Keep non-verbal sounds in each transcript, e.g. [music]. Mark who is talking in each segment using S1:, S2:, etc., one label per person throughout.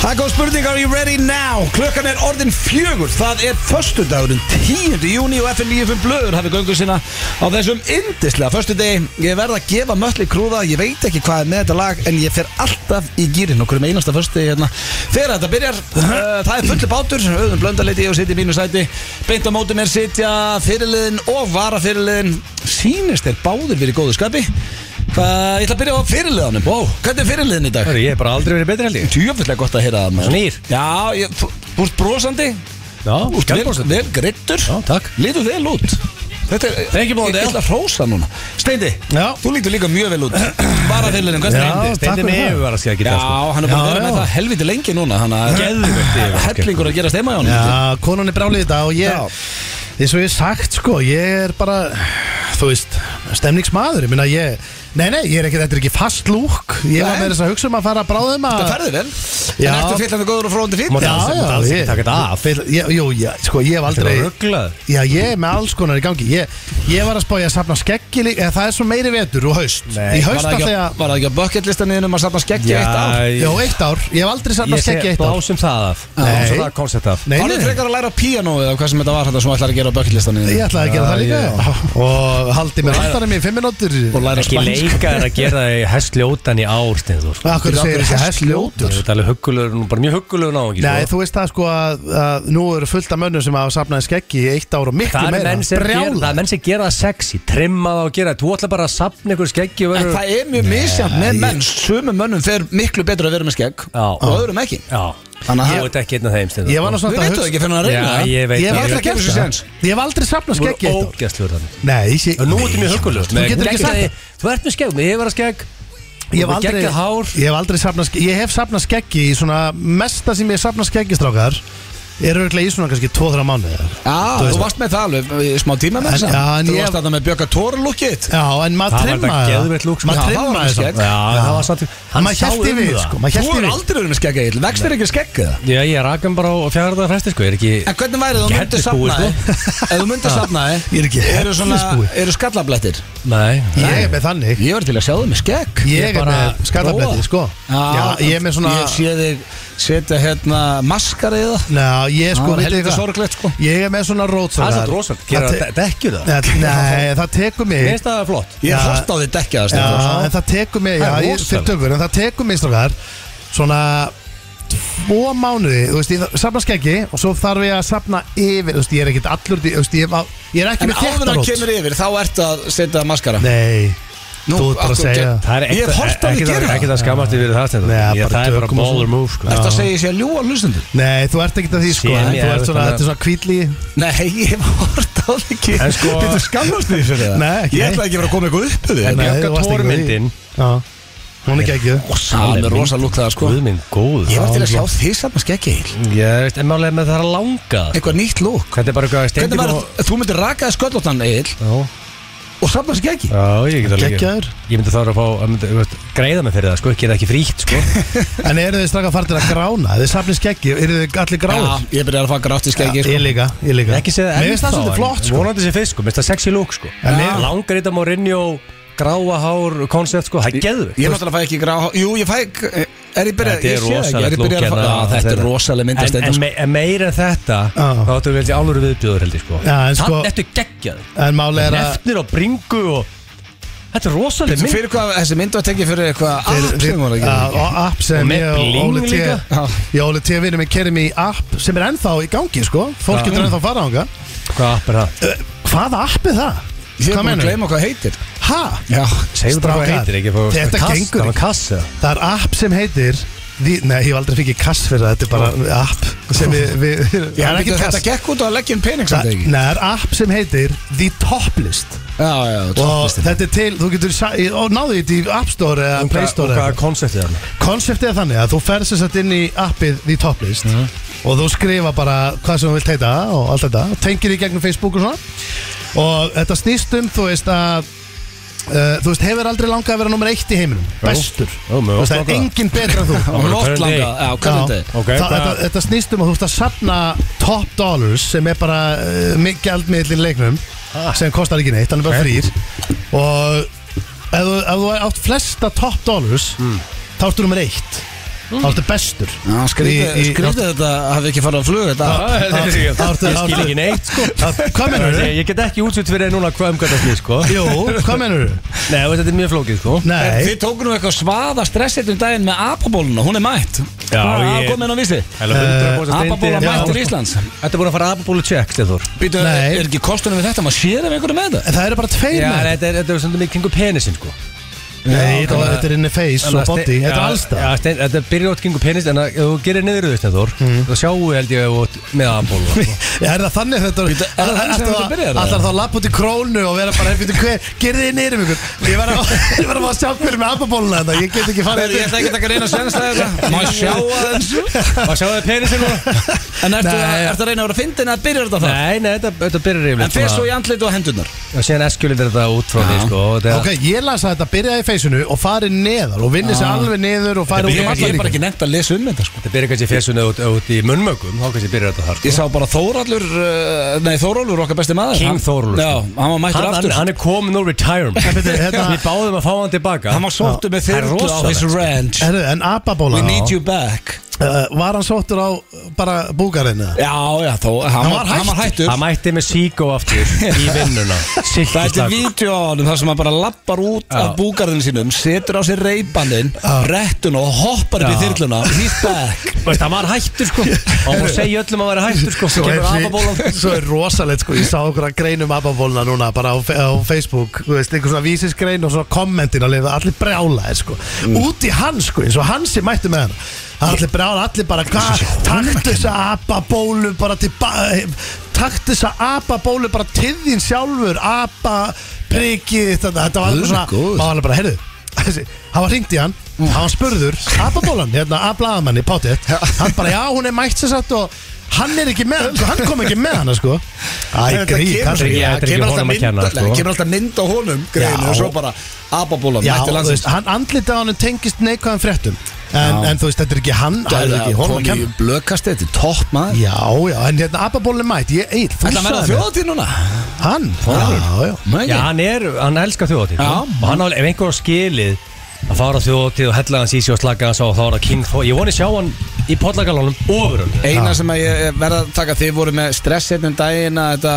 S1: Það kom spurning, are you ready now? Klukkan er orðin fjögur, það er föstudagurinn 10. júni og FN 95 blöður hafi gönguð sína á þessum yndislega föstudegi. Ég verð að gefa mölli krúða, ég veit ekki hvað er með þetta lag en ég fer alltaf í gýrin okkur með einasta föstudegi hérna. Þegar þetta byrjar, uh, það er fulli bátur, auðvitað blöndarleiti ég og sitja í mínu sæti. Beint á móti mér sitja fyrirliðin og varafyrirliðin. Sýnist er báðir verið í góðu skapi. Hvað, ég ætla að byrja á fyrirliðanum. Ó, hvernig er fyrirliðin í dag?
S2: Hörru, ég hef bara aldrei verið betri held ég
S1: Tjöfullega gott að heyra það maður
S2: Nýr.
S1: Já, ég- þú þú ert brosandi
S2: Já,
S1: Þú ert vel, vel grittur
S2: Já, takk.
S1: Lítur vel út Þetta er
S2: Thank you, Blondie.
S1: Ég ætla að hrósa núna Steindi
S2: Já.
S1: Þú lítur líka mjög vel út Bara fyrirliðin, hvað
S2: Steindi,
S1: steindi?
S2: Steindi
S3: fyrir
S2: með
S3: það.
S2: yfirvara sér ekki
S1: sko. Já, hann er búin að vera með það helviti lengi núna Þannig
S2: Geðveikt
S1: að
S2: yfirvara, sko.
S1: hellingur að gera steima hjá hann
S3: Já, konan er brálið í dag og ég eins og ég hef sagt sko, ég er bara þú veist, stemningsmaður ég minna ég, nei nei, ég er ekki, þetta er ekki fast lúk, ég var
S1: Nei.
S3: með þess að hugsa um að fara bráðum að
S1: Það ferði vel
S3: Já.
S1: En ertu fyrirliðin góður og fróðandi fyrir?
S2: Má-
S3: Já,
S2: Þú
S3: já,
S2: mátt alls ekki
S3: ég-
S2: taka þetta af.
S3: Fyll- ég- Jú, já, sko, ég hef
S2: Þetta
S3: aldrei
S2: er rugglað
S3: Já, ég er með alls konar í gangi Ég, ég var að spá ég að safna skeggi líka eða Það er svo meiri vetur og haust Í
S1: Var
S3: haust
S1: það
S3: alltaf
S1: ekki á-
S3: þegar
S1: var það ekki á bucketlistaninum að safna skeggi eitt ár?
S2: Já,
S3: Jó, eitt ár, ég hef aldrei safna
S2: ég sé
S3: skeggi eitt ár
S2: blásum það af
S3: Nei.
S2: Blásum það koncept af
S3: Nei,
S1: Árið
S3: nei,
S1: frekar að læra á píanóið eða hvað sem þetta var þetta sem þú ætlar að gera á bucketlistaninum
S3: ég ætlaði að gera
S2: Já,
S3: það líka
S2: ég-
S3: já. Og haldi mér alltarum í fimm minútur
S1: Og læra
S2: Ekki
S1: spænsku.
S2: leika er að gera það í hestljótan í ár Steindur
S3: Akkur segir þessi
S2: Þú
S3: hestljótur
S2: ert alveg huggulegur, nú bara mjög huggulegur náðungi
S3: Nei, þú veist það sko að, að nú eru fullt af mönnum sem hafa safnaði skeggi í eitt ár og miklu
S2: Það er
S3: meira
S2: menn sem gera- það er menn sem gera það sexy Trimma það og gera það Þú ætla bara að sapna ykkur skeggi og
S1: En
S2: verður-
S1: það er mjög misjant með menn Sumum mönnum fer miklu betur að vera með skegg
S2: Já.
S1: Og öðrum ekki
S2: Já
S1: Þannig að-
S2: Þú ert ekki einn af þeim Steindur
S3: Ég var nú
S1: Við
S3: svona
S1: veitum það ekki fyrir hann að reyna
S2: Já,
S1: það.
S2: ég veit
S3: Ég
S2: það.
S3: var
S1: ætla
S3: alltaf
S1: að gefa þessu séns
S3: Ég hef aldrei safnað skeggi
S2: Þú
S3: í eitt
S2: voru
S3: ár
S2: ógæstluður þannig
S3: Nei, ég sé
S2: Og Nú ertu mjög huggulegur
S3: Þú getur ekki sagt
S2: Þú ert með skegg, ég hef verið að skegg
S3: Ég hef
S2: Og
S3: aldrei,
S2: geggjað hár
S3: ég hef aldrei safnað skeggi Ég hef safnað skeggi í svona Mesta sem ég hef safnað skeggi strákar Er auðvitað í svona kannski 2-3 mánuði
S1: Já, þú varst með það alveg í smá tíma með
S3: En-
S1: þess
S3: já, en
S1: Þú
S3: ég-
S1: varst þarna með Björka Tóra lúkið
S3: Já, en
S2: Það
S3: maður
S2: var
S3: trimma
S2: þetta geðveikt lúk, sko.
S3: Maður
S1: Já, það var
S3: trimma
S1: með skegg.
S3: það
S2: Já, það var samt
S3: Maður
S2: um
S3: hjælti við, sko
S1: Þú
S3: Maður hjælti
S1: er
S3: við
S1: aldrei verið með skegg eil Vext þér ekki skegg eða?
S2: Já, ég rak hann bara á fjárða fresti, sko, ég er ekki
S1: En hvernig værið þú
S2: Ég
S1: myndir
S2: hellis búi,
S1: safna [laughs] þig Ef þú myndir safna þig
S3: Ég er ekki
S1: Eru svona,
S3: hellis búi.
S1: eru skallablettir
S2: Nei
S3: Ég er með þannig
S1: Ég var til að sjá þig með skegg
S3: Ég er
S2: bara
S3: með skallabletti, sko Já, ég er með svona
S1: Ég sé þig setja hérna maskar eða
S3: Ná, ég
S1: Það
S3: sko
S1: var
S3: veitir
S1: helviti Ah,
S3: hvað?
S1: sorglegt, sko.
S3: Ég er með svona rótsarar
S2: Það er samt rosalegt, gera það- dekkjur það? [laughs]
S3: Nei, það tekur mig
S2: Mér finnst það flott
S1: Ég
S3: Já.
S1: hótt á þig dekja það
S3: Já,
S1: Steindór.
S3: en það tekur mig, já,
S2: Það er
S3: ég
S2: rosalegt.
S3: fyrir tökur En það tekur mig strákar Svona Tvo mánuði, þú veist, ég þarf- safna skeggi Og svo þarf ég að safna yfir Þú veist, ég er ekkert allur Þú veist, ég, var- ég er ekki
S1: En
S3: með
S1: áður en
S3: þéttarót
S1: kemur yfir þá ertu að setja maskara
S3: Nei,
S1: Nú,
S3: þú ert bara að
S1: akkur-
S3: segja
S2: Það er
S1: Ég hef horft á þig
S2: ekki
S1: gera
S2: það
S1: það.
S2: Ekki það skamast yfir það stendur
S3: Nei,
S2: Ég-
S3: bara
S2: Það er bara
S3: tökum og
S2: baller
S3: svona.
S2: move, sko
S1: Ertu að segja ég sé að ljúa hlustundu?
S3: Nei, þú ert ekkert að því, sko
S2: Sé
S3: en
S2: mér,
S3: Þú ert
S2: þannig
S3: svona,
S2: að-
S3: þetta er svona kvíðli
S1: Nei, ég hef hort á þig ekki
S2: En sko-
S1: Þetta skammast þig fyrir það
S3: Nei, ekki.
S1: Ég ætla ekki að vera að koma eitthvað upp við
S2: En
S1: þig
S3: Nei,
S2: Björka
S3: þú varst ekki með því.
S2: Tor-myndin.
S3: Já, hún er geggjuð
S2: [laughs]
S1: Það er rosa lúk það sko
S2: Guð minn, góð
S1: Ég var til að sjá þig saman skekkið
S2: Ég veist, en málega með það er að langa
S1: Eitthvað nýtt lúk
S2: Hvernig er bara eitthvað að
S1: Hvernig
S2: stendur
S1: var Þú myndir raka þig sköllóttan eil
S2: Já,
S1: og saman skekkið
S2: já, ég get alveg
S3: Geggjaður.
S2: Ég myndi þára að fá, að myndi, veist, greiða mig fyrir það, sko, ekki það ekki frítt,
S3: [laughs]
S2: sko
S3: En eru þið strax að fara til að grána? Þið safnir skeggi, eru þið allir gráðir?
S1: Ég byrjar að fá grátt í sko. skekkið
S3: ég líka, ég líka
S2: Ekki segja
S3: Mér finnst það svolítið flott sko
S2: Vonandi sé fyrst, sko, minnst það sexy look, sko
S3: En mér-
S2: Langar í þetta Mourinho, gráa hár, koncept, sko, það er geðvikt
S1: Ég náttúrulega fæ ekki grá Jú, ég fæ Er ég byrjað
S2: Þetta er
S1: ég sé það ekki, er
S2: rosalegt hérna,
S1: ég byrjað að fá- Já, Þetta er sko- rosaleg myndast
S2: En, en, me, en meir en þetta
S3: Já.
S2: Þá áttu við held ég álur viðbjóður held ég sko
S3: Já, en sko-
S2: Þetta er geggjað
S3: En máli er að
S2: Nefnir og bringu og Þetta er rosaleg mynd
S1: Fyrir hvað þessi mynd var tekið fyrir eitthvað app
S3: Þeir- þeir-
S1: sem hún var að
S3: Já,
S1: gera
S3: og app
S2: Og
S3: sem
S2: með
S3: ég og
S2: bling
S3: Óli T
S2: líka.
S1: Já.
S3: Ég og Óli T vinum við kerum í app sem er ennþá í gangi sko Fólk
S2: Já.
S3: getur ennþá að fara ánga
S2: Hvað app er það?
S3: Hvaða app er það?
S1: Ég er
S3: Hvað
S1: búin að
S3: meinarðu?
S1: gleyma hvað heitir
S3: Ha?
S1: Já,
S2: Segðu bara hvað
S3: Strákar,
S2: heitir ekki fá-
S3: þetta
S2: kass,
S3: gengur
S2: Það var
S3: ekki.
S2: kass eða?
S3: Það er app sem heitir The- Nei, ég hef aldrei fikk í kass fyrir það Þetta er bara app sem við, við
S1: [laughs] Já,
S3: Það er
S1: býtu,
S3: ekki
S1: þetta
S3: kass
S1: gekk út á að leggja inn pening samt
S3: Það-
S1: ekki
S3: Nei, það er app sem heitir The Top List
S1: Já, já,
S3: og
S1: topplistinn.
S3: þetta er til, þú getur sa- í- og náðu þetta í App Store eða Play Store
S2: Hvað
S3: eða
S2: er konceptið hann?
S3: konceptið er þannig að þú ferð sér satt inn í appið því topplist
S2: Mhm.
S3: og þú skrifa bara hvað sem þú vilt heita og allt þetta og tengir í gegnum Facebook og svona og þetta snýst um, þú veist að Uh, þú veist, hefur aldrei langað að vera nummer eitt í heiminum Bestur
S2: Jú, mér
S3: Þú veist,
S2: varst
S3: Það er
S2: langað.
S3: enginn betra en þú
S2: [laughs]
S1: Það var lott
S2: Current
S1: langa,
S2: day.
S1: já,
S3: Já,
S1: hvernig þetta
S2: Ok,
S3: það,
S2: hvað-
S3: þetta, þetta snýst um að þú ert að safna top dollars sem er bara uh, gjaldmiðlin leiknum sem kostar ekki neitt, hann er bara
S2: Ok.
S3: frýr
S2: Hmm.
S3: og ef þú, ef þú átt flesta top dollars þá ertu nummer eitt þá ertu bestur
S1: Já, skrítið,
S3: Í- í-
S1: skrítið þetta hafi ekki farið á flug þetta
S2: Ég
S3: Ártu-
S2: skil
S3: ártu-
S2: ekki neitt sko
S3: Þá- Hvað menur
S2: Ég
S3: þú?
S2: ég get ekki útsett fyrir þér núna hvað um hvað það snýr sko
S3: Jú, hvað menur þú?
S2: Nei, veit, [laughs] þetta er mjög flókið sko
S3: Nei,
S1: Þið tókum nú eitthvað svaða stressið um daginn með apabóluna, hún er mætt
S2: Já,
S1: Hvað
S2: ég-
S1: komið inn á vísi?
S2: Æla, 100% steindi.
S1: Apabóla
S3: Já.
S1: mætt til Íslands
S2: Þetta er búin að fara apabólu check, Steindór
S1: Býtu,
S3: Nei.
S1: er ekki kostunum við þetta? Maður sér ef einhverju með þetta?
S3: en það eru bara tveir
S2: Já,
S3: menn
S2: þetta er, þetta er svona mikið kengur penisinn sko
S3: Nei, þetta var-
S2: þannig að-
S3: þetta er inni face
S2: Þannig
S3: og
S2: að
S3: body
S2: Stein-
S3: Þetta er
S2: Já,
S3: allstað
S2: Já, Stein- þetta byrjar átt kengur penis En að- ef þú gerir niður þau, Steindór
S1: Mm.
S2: Þá sjáum við held ég að þú átt með
S1: [laughs]
S2: apabólu sko.
S3: Já, [laughs] er það þannig þetta
S1: Býtu, er það þannig sem
S3: Ætlar-
S1: þetta byrjar, eða?
S3: Ætlar þá að lappa út í krónu og vera bara Býtu, hver, gerði þið niður um ykkur Ég var að, [laughs] ég var að fá að sjá hverju með apabóluna þetta Ég get ekki farið
S1: Ég ætla ekki að taka reyna að sensa þetta Má ég sjá aðeins
S2: Þá sjáum við penisinn núna
S1: En ertu
S2: Nei.
S1: ertu að reyna að vera að fyndin að byrja þetta það?
S2: [laughs] Nei, nei, þetta, þetta byrjar yfirleitt
S1: En fyrir
S2: svona-
S1: svo í andlit og hendurnar
S2: Og síðan eskjulir þetta út frá því
S1: Já.
S2: sko, og þetta-
S3: Ok, ég las að þetta byrjaði í feysinu og farið neðar og vinnið sér alveg neður og farið
S1: Ah.
S3: út
S1: Ég
S3: um
S1: ég er
S3: allar
S1: bara
S3: líka
S1: ekki nefnt að lesa um þetta sko
S2: Þetta byrjar kannski fjersuna út, út í munnmögum Þá kannski byrjar þetta þar
S1: Ég
S2: sko.
S1: sá bara Þóraldur, uh, nei Þórólfur okkar besti maður
S2: King
S1: Hann-
S2: Þórólfur, sko.
S1: Já, hann var mættur
S2: hann, hann,
S1: aftur
S2: hann er komin úr retirement
S3: byrju, hérna-
S2: Við báðum að fá hann tilbaka
S1: Hann var sóttu með
S2: Það er
S1: þyrlu á
S2: rosalegt,
S1: his
S2: sko.
S1: ranch
S3: Herru, en
S1: We
S3: apabóla
S1: need you back
S3: uh, Var hann sóttur á uh, bara búkarinn eða?
S1: Já, já, þó, hann, var, hann var hættur
S2: Hann mætti með Sigo aftur í vinnuna
S1: Það er til
S2: Silkislagur
S1: vídeo á honum þar sem hann bara lappar út af búgarðinu sínum Setur á sér reybannin, rettun og hoppar upp í
S2: Já.
S1: þyrluna He's back
S2: Veist, hann var hættur sko Og hann segi öllum að vera hættur sko
S3: Svo er,
S2: Kemur apabólan
S3: [laughs] svo er rosalegt sko, ég sá okkur að greinum apabóluna núna bara á, fe- á Facebook, þú veist, einhver svona vísisgrein og svona kommentin að lifa, allir brjálaðir sko,
S2: Mm.
S3: út í hann sko, eins og hann sem mættu með hann, allir brjálaðir, allir bara hvað, taktu þessa apabólu bara til, ba- eh, taktu þessa apabólu bara til þín sjálfur, apaprikið, þetta, þetta var
S1: Guð
S3: alveg svona,
S1: góður.
S3: maður alveg bara, heyrðu, þessi, hann var hringt í hann hann var spurður, apabólan, hérna ablaðamanni, pátið, hann bara já, hún er mætt sér satt og hann er ekki með sko, hann kom ekki með hana, sko Æ,
S1: Þetta
S3: grík,
S1: kemur-
S3: hann
S2: ekki-
S1: Já,
S2: þetta er ekki
S1: kemur
S2: honum
S1: alltaf
S2: að kenna,
S1: mynd-
S2: sko.
S1: nei, kemur alltaf mynd á honum greinu,
S3: Já.
S1: og svo bara ababólan
S3: já,
S1: mætti
S3: þú
S1: landsins
S3: veist, hann andlitið á hann tengist neikvæðan fréttum en, en þú veist, þetta er ekki hann hann er ekki honum
S1: kom
S3: að
S1: í
S3: kenna
S1: blökast þetta er topp maður
S3: já, já, en hérna ababólun er mætt, ég, Egill, þú
S1: Þetta verður
S3: sagðir mér-
S1: þjóðatíð núna
S3: hann, já, já
S2: Já, hann er, hann elskar þjóðatíð
S1: Já.
S2: Og hann, á- ef einhver á skilið að fara á þjóðatíð og hella hans í sig og slaka hans á þá er það King Thor, ég voni sjá hann í podlagalónum ofur hann
S1: Eina sem að ég verða að taka Þið voru með stress hérna um daginn að þetta,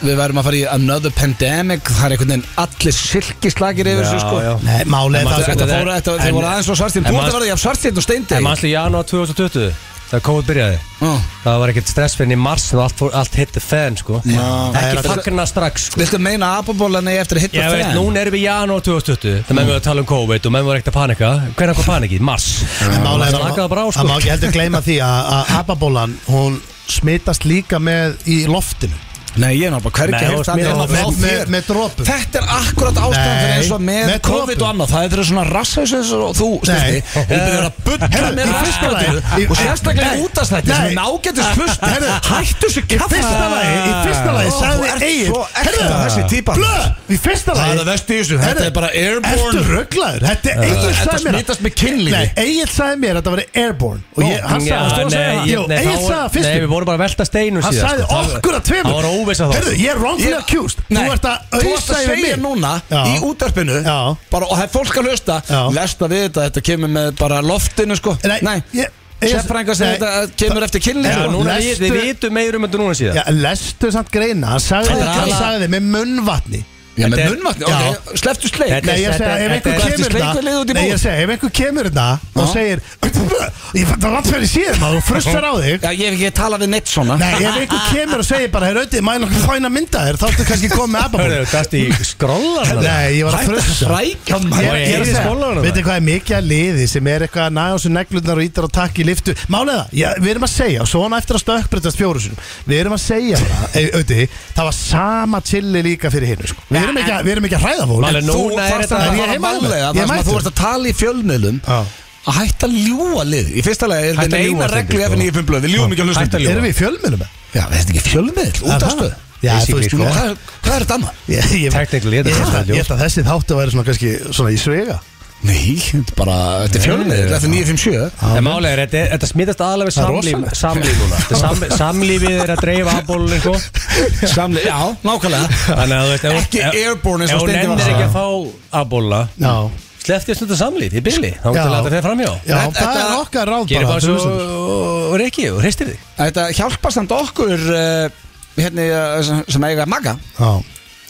S1: Við verðum að fara í another pandemic Það er einhvern veginn allir silkislagir yfir þessu sko
S3: Nei,
S2: En
S3: málið er það
S2: maður-
S3: sko
S1: Þetta fóru, þetta, þið
S2: En-
S1: voru aðeins svo svartinn
S2: en
S1: Þú ert
S2: maður-
S1: að verða jafn svartinn og steindi
S2: En mannstu í janúar 2020 þegar COVID byrjaði
S1: Já.
S2: það var ekkert stress fyrir í mars og allt, fór- allt hitti fan sko
S1: Nei,
S2: ekki
S1: þetta-
S2: fagna strax sko
S1: Viltu meina að apabólan eigi eftir að hitta
S2: Ég veit, núna erum við í janúar 2020
S1: Mm.
S2: það menn við að tala um COVID og menn voru ekkert að panika hvernig kom panikið? Mars
S3: En málið er
S2: Slakaðu bara á,
S3: að
S2: sko.
S3: það má ekki heldur gleyma því að að ababólan, hún smitast líka með í loftinu
S1: Nei, ég er náttúrulega hvergi
S2: Nei, þú
S1: heyrt
S2: veist,
S1: annað
S2: mér er
S1: en
S2: alveg-
S1: frá
S3: með, með,
S1: þér.
S3: með dropum
S1: Þetta er akkurat ástæðan fyrir
S3: Nei,
S1: eins og með,
S3: með
S1: COVID
S3: dropum.
S1: og annað Það er fyrir svona rassaðis eins og þú
S3: Nei.
S1: Steindi Þú byrjar að bulla
S3: Herðu,
S1: með
S3: í fyrsta lagi-
S1: rassaðinu
S3: í-
S1: Og sérstaklega
S3: Nei.
S1: út af þetta sem
S3: Nei.
S1: er nágættis fyrst
S3: Herðu,
S1: Hættu þessu
S3: Í
S1: kaffa
S3: fyrsta lagi, í fyrsta lagi sagði Egil
S1: Svo ekta þessi típa
S3: Blöð, í fyrsta lagi
S1: Það er það versta í þessu, þetta
S3: Herðu,
S1: er bara airborne.
S3: Ertu rugglaður, þetta er
S1: Þetta
S3: Egil sagði mér
S1: smitast með kynlífi.
S3: Nei, Egil sagði mér að þetta var airborne Og ég, hann
S2: Já,
S3: sagði, varstu að
S2: nei,
S3: segja það?
S2: ég-
S3: Jú,
S2: nei,
S3: Egil
S2: þá-
S3: sagði það
S2: Nei, við
S3: fyrstum
S2: vorum bara að velta steinum
S3: Hann
S2: síðan
S3: sagði
S2: sko. Það-
S3: okkur að
S2: Það
S3: tveimur
S2: var óvisa þá
S3: Herðu, ég er wrongfully accused Þú ert að
S1: þú ert
S3: auðsa
S1: að
S3: yfir
S1: segja
S3: mig
S1: núna
S3: Já.
S1: í útarpinu
S3: Já.
S1: bara, og það er fólk að hlusta
S3: Já.
S1: lesta við þetta, þetta kemur með bara loftinu sko.
S3: Nei, ég- Egil-
S1: sérfrænga
S3: Nei.
S1: segir þetta að kemur eftir kynlífi
S3: Já,
S1: sko.
S2: Já, núna
S3: Lestu-
S2: við- við vitum meir um þetta núna síðan
S3: Já, lestu samt greina Hann sagði,
S2: Þetta er
S3: hann
S2: alveg-
S3: sagði með munnvatni
S1: Já, með
S2: Þetta er-
S1: munnvatni,
S3: Já.
S1: ok, sleftu sleik
S2: Þetta
S3: Nei, ég
S2: Þetta-
S3: segi, ef
S2: þetta-
S3: einhver
S2: þetta-
S3: kemur
S1: þetta- sleikvilið út í
S3: þetta Nei,
S1: búð.
S3: ég segi, ef einhver kemur þetta og
S1: Já.
S3: segir Ég fann að landsverði síðan og frussar á þig
S1: Já, ég hef ekki talað við neitt svona
S3: Nei, ef einhver kemur og segir bara Herra, auðvitað, mæla okkur fæna mynda þér Þá ertu kannski komið með
S2: Hörðu,
S3: ababól
S2: dæst í skrollarna
S3: Nei, ég var að
S1: Hætt að
S3: frussa
S1: hrækja
S3: Ég,
S1: maður
S2: Og
S3: ég,
S2: ég
S3: ég,
S2: er í skólanum það.
S3: veitir hvað er mikið að liði sem er eitthvað að næja á sér neglurnar og ítar og takk í liftu Málega það, já, við erum að segja, og svona eftir að stökkbreytast fjóru sinum Við erum að segja bara, ey, auðvitað, það var sama chilli líka fyrir hinn sko. við, erum ekki að- við erum ekki að hræða fólk
S2: Málega,
S1: En þú
S2: Núna er
S1: þarft
S2: þetta-
S1: að
S3: Er ég
S1: fara
S3: heima alveg?
S1: varlega
S3: Ég
S1: þar sem að
S3: mættur.
S1: þú ert að tala í fjölmiðlum
S3: Já.
S1: að hætta að ljúa lið í fyrsta lagi er
S2: Hætta
S1: þetta
S2: að
S1: eina
S2: ljúga,
S1: reglu
S2: Steindi,
S1: ef
S2: sko.
S1: nýjum fjölmiðlum við ljúum ekki að hlusta
S2: Hætta að ljúga.
S3: Erum við í fjölmjölum?
S1: Já, er þetta ekki fjölmiðl,
S3: Er það?
S1: útastöð
S3: Já, þú veist, sko.
S1: Hvað hvað er þetta annað?
S3: Ég, ég,
S2: Technically,
S3: ég,
S2: þetta er
S3: held að-
S2: ljós.
S3: ég held að þessi þáttu væri svona kannski svona í svega
S1: Nei, þetta er bara, þetta er fjölmiðl, þetta er 957
S2: En málega er, þetta, þetta smitast aðalega við
S3: Það er
S2: samlíf,
S3: rosalegt.
S2: samlíf núna Þetta er sam,
S3: [laughs]
S2: Samlífið er að dreifa afbólun sko.
S1: Samli, já, nákvæmlega
S2: Þannig að þú veist ef-
S1: Ekki
S2: ef-
S1: airborne eins og
S2: Ef hún
S1: Steindi var
S2: nefnir
S1: að
S2: ekki að fá afbóla
S3: Já
S2: Sleftið stundu samlít í byrli Þá getur
S3: Já.
S2: látið þeir framjá
S3: Já,
S1: Þetta-
S3: það er
S1: þetta-
S3: okkar ráð
S2: Gerir
S3: bara,
S2: bara
S3: fyrir
S2: svo
S3: hlustendur.
S2: og reykið og hristir þig
S1: Þetta hjálpar samt okkur uh, hérna, uh, sem- sem eiga maga
S3: Já,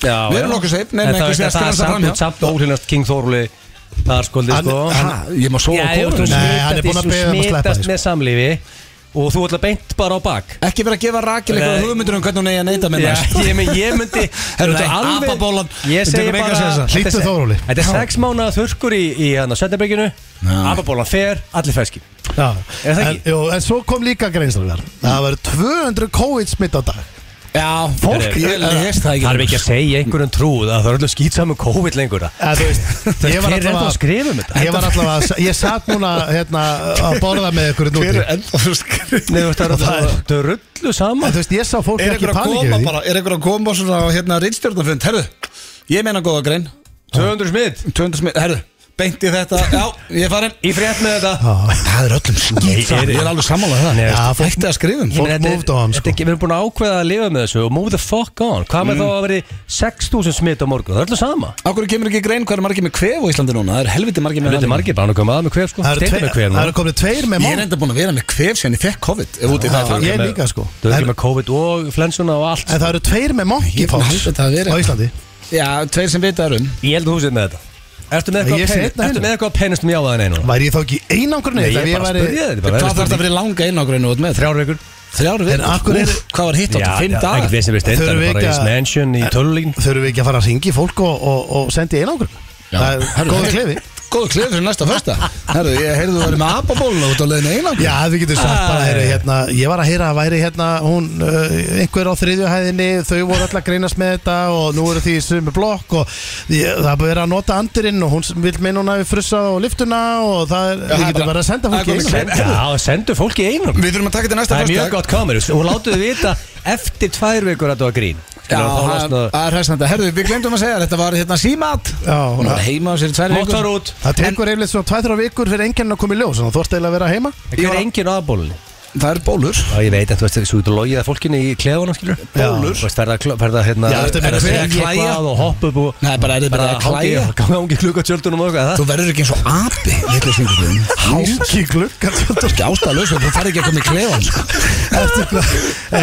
S2: Já,
S1: Við erum nokkuð sveip, nei, nei, ekki sé að
S2: það
S1: skræmsa
S2: er
S1: fram hjá.
S2: samt, samt óhrinast King Þorli Þar skoldi
S3: Hann-
S2: sko
S1: ha, Ég má sofa á
S2: Já, þú
S1: kórunum
S3: Nei, hann er búinn að
S2: smitast- þú
S3: biðja um að sleppa því,
S2: smitast
S3: sko.
S2: með samlífi Og þú ætla beint bara á bak
S1: Ekki vera að gefa rakil eitthvað
S2: Nei.
S1: hugmyndur um hvernig hún eigi að neyta með
S2: Já,
S1: næst
S2: ég, men, ég [laughs] myndi
S1: Herru,
S2: þetta er
S1: nei,
S2: alveg-
S1: apabólan,
S2: Ég
S1: við
S2: segi
S1: tökum engan
S2: bara
S1: sénsa.
S2: þetta er-
S3: Hlýddu Þóróli.
S2: Þetta er sex mánuða þurrkur í, í hérna Söndabrygginu Ababólan fer, allir fæski
S3: já
S2: Er það
S3: en,
S2: ekki?
S3: jú, en svo kom líka greinstrakar Það var 200 COVID smitt á dag
S1: Já, fólk,
S2: Herru,
S1: ég lest það ekki
S2: Þarf ekki að segja einhverjum trúð að það er öllu skýt saman COVID lengur að-
S3: Eða, þú veist,
S2: Hver
S3: [laughs] ég
S2: er ennþá
S3: var
S2: að
S3: allavega
S2: skrifa um þetta?
S3: Ég var allavega, ég satt núna hérna, að borða með ykkur núti
S1: enda þú skrið
S2: Nei, þú veist, það er-
S3: Það er-
S2: það er rullu
S3: En
S2: saman
S3: þú veist, ég sá fólk
S1: Er
S3: ekki
S1: einhver að
S3: panikið
S1: koma
S3: því
S1: bara, er einhver að koma svona á hérna rinnstjórnarfund, herðu, ég meina góða grein
S2: 200 smitt
S1: 200 smið, herðu, beint í þetta, já, ég er farin
S2: Í frétt með þetta
S1: Það er öllum skýt
S2: Nei, er-
S1: Ég er alveg sammálað það
S2: Nei,
S1: Já,
S3: veistu,
S1: Ætti að skrifum
S3: Fólk
S2: Ég meina, þetta er-
S3: moved on,
S2: þetta er
S3: sko. Mm.
S2: ekki- Við erum búin að ákveða að lifa með þessu og move the fuck on Hvað með þá að veri 6.000 smitt á morgun? Það er öllu sama
S1: Akkur kemur ekki í grein hvað er margir með kvef á Íslandi núna Það er helviti margir með
S2: Þetta er
S1: rafmagn.
S2: margir bara að koma að með hver sko
S3: Það eru
S2: Steindar
S3: tveir-
S2: með hver
S3: það eru komið tveir með
S1: Ég er
S3: mál
S1: enda búin að vera með kvef Sérna ég fekk COVID Ef úti í það
S3: Já,
S1: fór.
S3: ég líka sko
S2: Þú erum ekki
S3: En
S2: með COVID og flensuna og allt
S3: en það eru tveir með
S1: Ég held
S3: monkeypox
S1: að það hafi verið
S3: á Íslandi
S1: Já, tveir sem vita er um
S2: Ég held að þú sér með þetta Ertu með
S3: Ég
S2: eitthvað
S3: sé
S2: pen-
S3: einn af
S2: ertu
S3: hinum.
S2: með eitthvað að penast mjög á það neina?
S3: Væri ég þá ekki í einangrunni?
S2: Nei,
S3: Ef
S2: ég bara
S3: væri-
S2: spurði þetta
S1: Hvað
S2: bara
S1: þarf það að vera í langa einangrun út með?
S2: Þrjár vikur
S1: Þrjár
S3: En af
S1: vikur
S3: hverju
S1: Úff,
S3: er-
S1: Hvað var hitt átt? Fimm
S2: ekkert
S1: dagar?
S2: við sem við
S3: Þurfum
S2: steindar
S3: við
S2: bara
S3: ekki
S2: í
S3: að-
S2: Mansion í tölulín
S3: Þurfum við ekki að fara að ringi fólk og, og, og sendi í einangrun Það er
S1: Herru,
S3: góð
S1: hey.
S3: klefi
S1: Góðu klefið fyrir næsta fyrsta Herru, ég heyrðu þú verið með apabóluna út á leiðinu einangrun
S3: Já, við getum sagt bara, heyri, hérna, ég var að heyra að væri hérna, hún, uh, einhver á þriðju hæðinni, þau voru öll að greinast með þetta og nú eru því sem er blokk og ég, það er bara verið að nota andurinn og hún vil meina hún hafi frussað á lyftuna og það er,
S1: Já,
S3: við
S1: það er
S3: getum
S1: bara-
S3: bara að senda
S1: það
S3: fólki
S1: er
S3: inn.
S1: komið klefi.
S2: Já, sendu fólki í einum
S1: Við þurfum að taka þetta næsta
S2: Það er
S1: föstudag.
S2: mjög gott komur og láttu þið vita eftir tvær vikur að það var grín
S1: Já,
S2: Skilur, þá
S1: það
S2: losnar-
S1: það er hressandi Herru, við glemdum að segja Þetta var hérna símat
S3: Já,
S1: Hún var
S3: það-
S1: heima á sér í tvær
S2: Mátt
S1: vikur
S2: fara út
S3: Það tekur yfirleitt svona 2-3 vikur fyrir enginn að koma í ljós, þannig að þú ert eiginlega að vera heima.
S2: Það er engin aðbólunni
S1: Það er bólur
S2: Já, ég veit að þú veist, þú ert að logið að fólkinu í klefunum, skilur
S3: Bólur.
S2: Þú veist, verða að kl- verða hérna
S3: Já, ertu að
S2: verða
S3: meina
S2: segja
S1: hver? Klæja?
S2: eitthvað og hoppa upp og
S1: Nei, bara er þið bara að klæja
S2: [laughs] Gangi klukka tjöldunum og eitthvað,
S1: Þú verður ekki eins og api Lítið syngurinn Hálf
S3: Ekki glugga
S1: Ekki ástæðalaus Þú fari ekki að koma í klefan sko.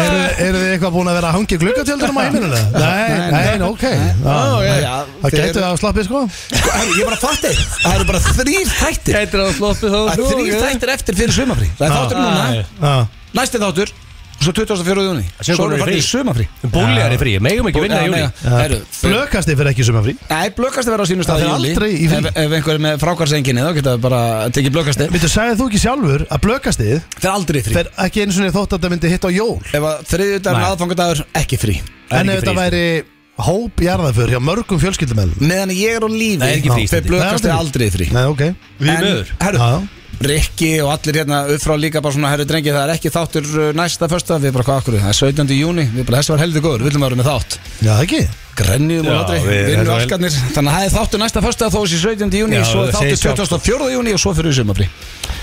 S3: Eru eru þið eitthvað búin að vera að hangi gluggatjöldunum á heimilinu? Nei,
S1: nei,
S3: nei, ok Já,
S1: Ó, já,
S3: nei.
S1: já,
S3: Það
S1: þið
S3: getur
S1: eru-
S3: það að slappi sko
S1: Sko, herru, Ég bara fatti Það eru bara þrýr
S2: það
S1: þættir
S2: Gætir að sloppi þá
S1: Það eru þrýr þættir eftir fyrir sumafrí Það
S2: Ah,
S1: er þáttur núna
S3: Já,
S1: Næsti þáttur Svo 24. júni
S2: Síðan
S1: Svo
S2: komum
S1: erum
S2: við
S1: við farið
S2: frí.
S1: í sumafrí
S2: Búljar er frí, megum ekki vinna í júni
S1: júni
S3: Blökast þið fyrir ekki sumafrí
S1: Nei, blökast er verið á sínum stað
S3: Það er
S1: júlí.
S3: aldrei í frí.
S1: Ef, ef einhver er með frákvarsenginni Þá geta við bara tekið blökast
S3: Myndu, sagði þú ekki sjálfur að blökast þið
S1: Það er aldrei í frí
S3: Fer ekki einu svona þótt að það myndi hitta á jól
S1: Ef að þriðjudagur
S2: Nei.
S1: aðfangadagur Ekki frí sko.
S2: Það er
S3: En
S2: ekki
S3: ef þetta
S2: frí,
S3: væri hóp jarðaför hjá mörgum fjölskyldumælum
S1: Meðan ég er á lífi
S2: Það er ekki frí,
S1: Fer
S2: Steindi.
S1: blökast er aldrei í frí
S3: Nei, ok
S2: Því
S1: En,
S2: miður.
S1: herru,
S3: Já.
S1: Rikki og allir hérna upp frá líka bara svona herru drengi það er ekki þáttur uh, næsta fyrsta við bara hvað akkur það er 17. júni við bara þessi var heldur góður við viljum að vera með þátt
S3: Já, ekki
S1: grenniðum og
S2: Já,
S1: aldrei
S2: við-
S1: vinnu
S2: þetta var-
S1: alkarnir þannig að það er þáttur næsta fyrsta þó þessi 17. júni
S2: Já,
S1: svo er
S2: það segir
S1: þáttur
S2: sjálft.
S1: 24. júni og svo fyrir sumafrí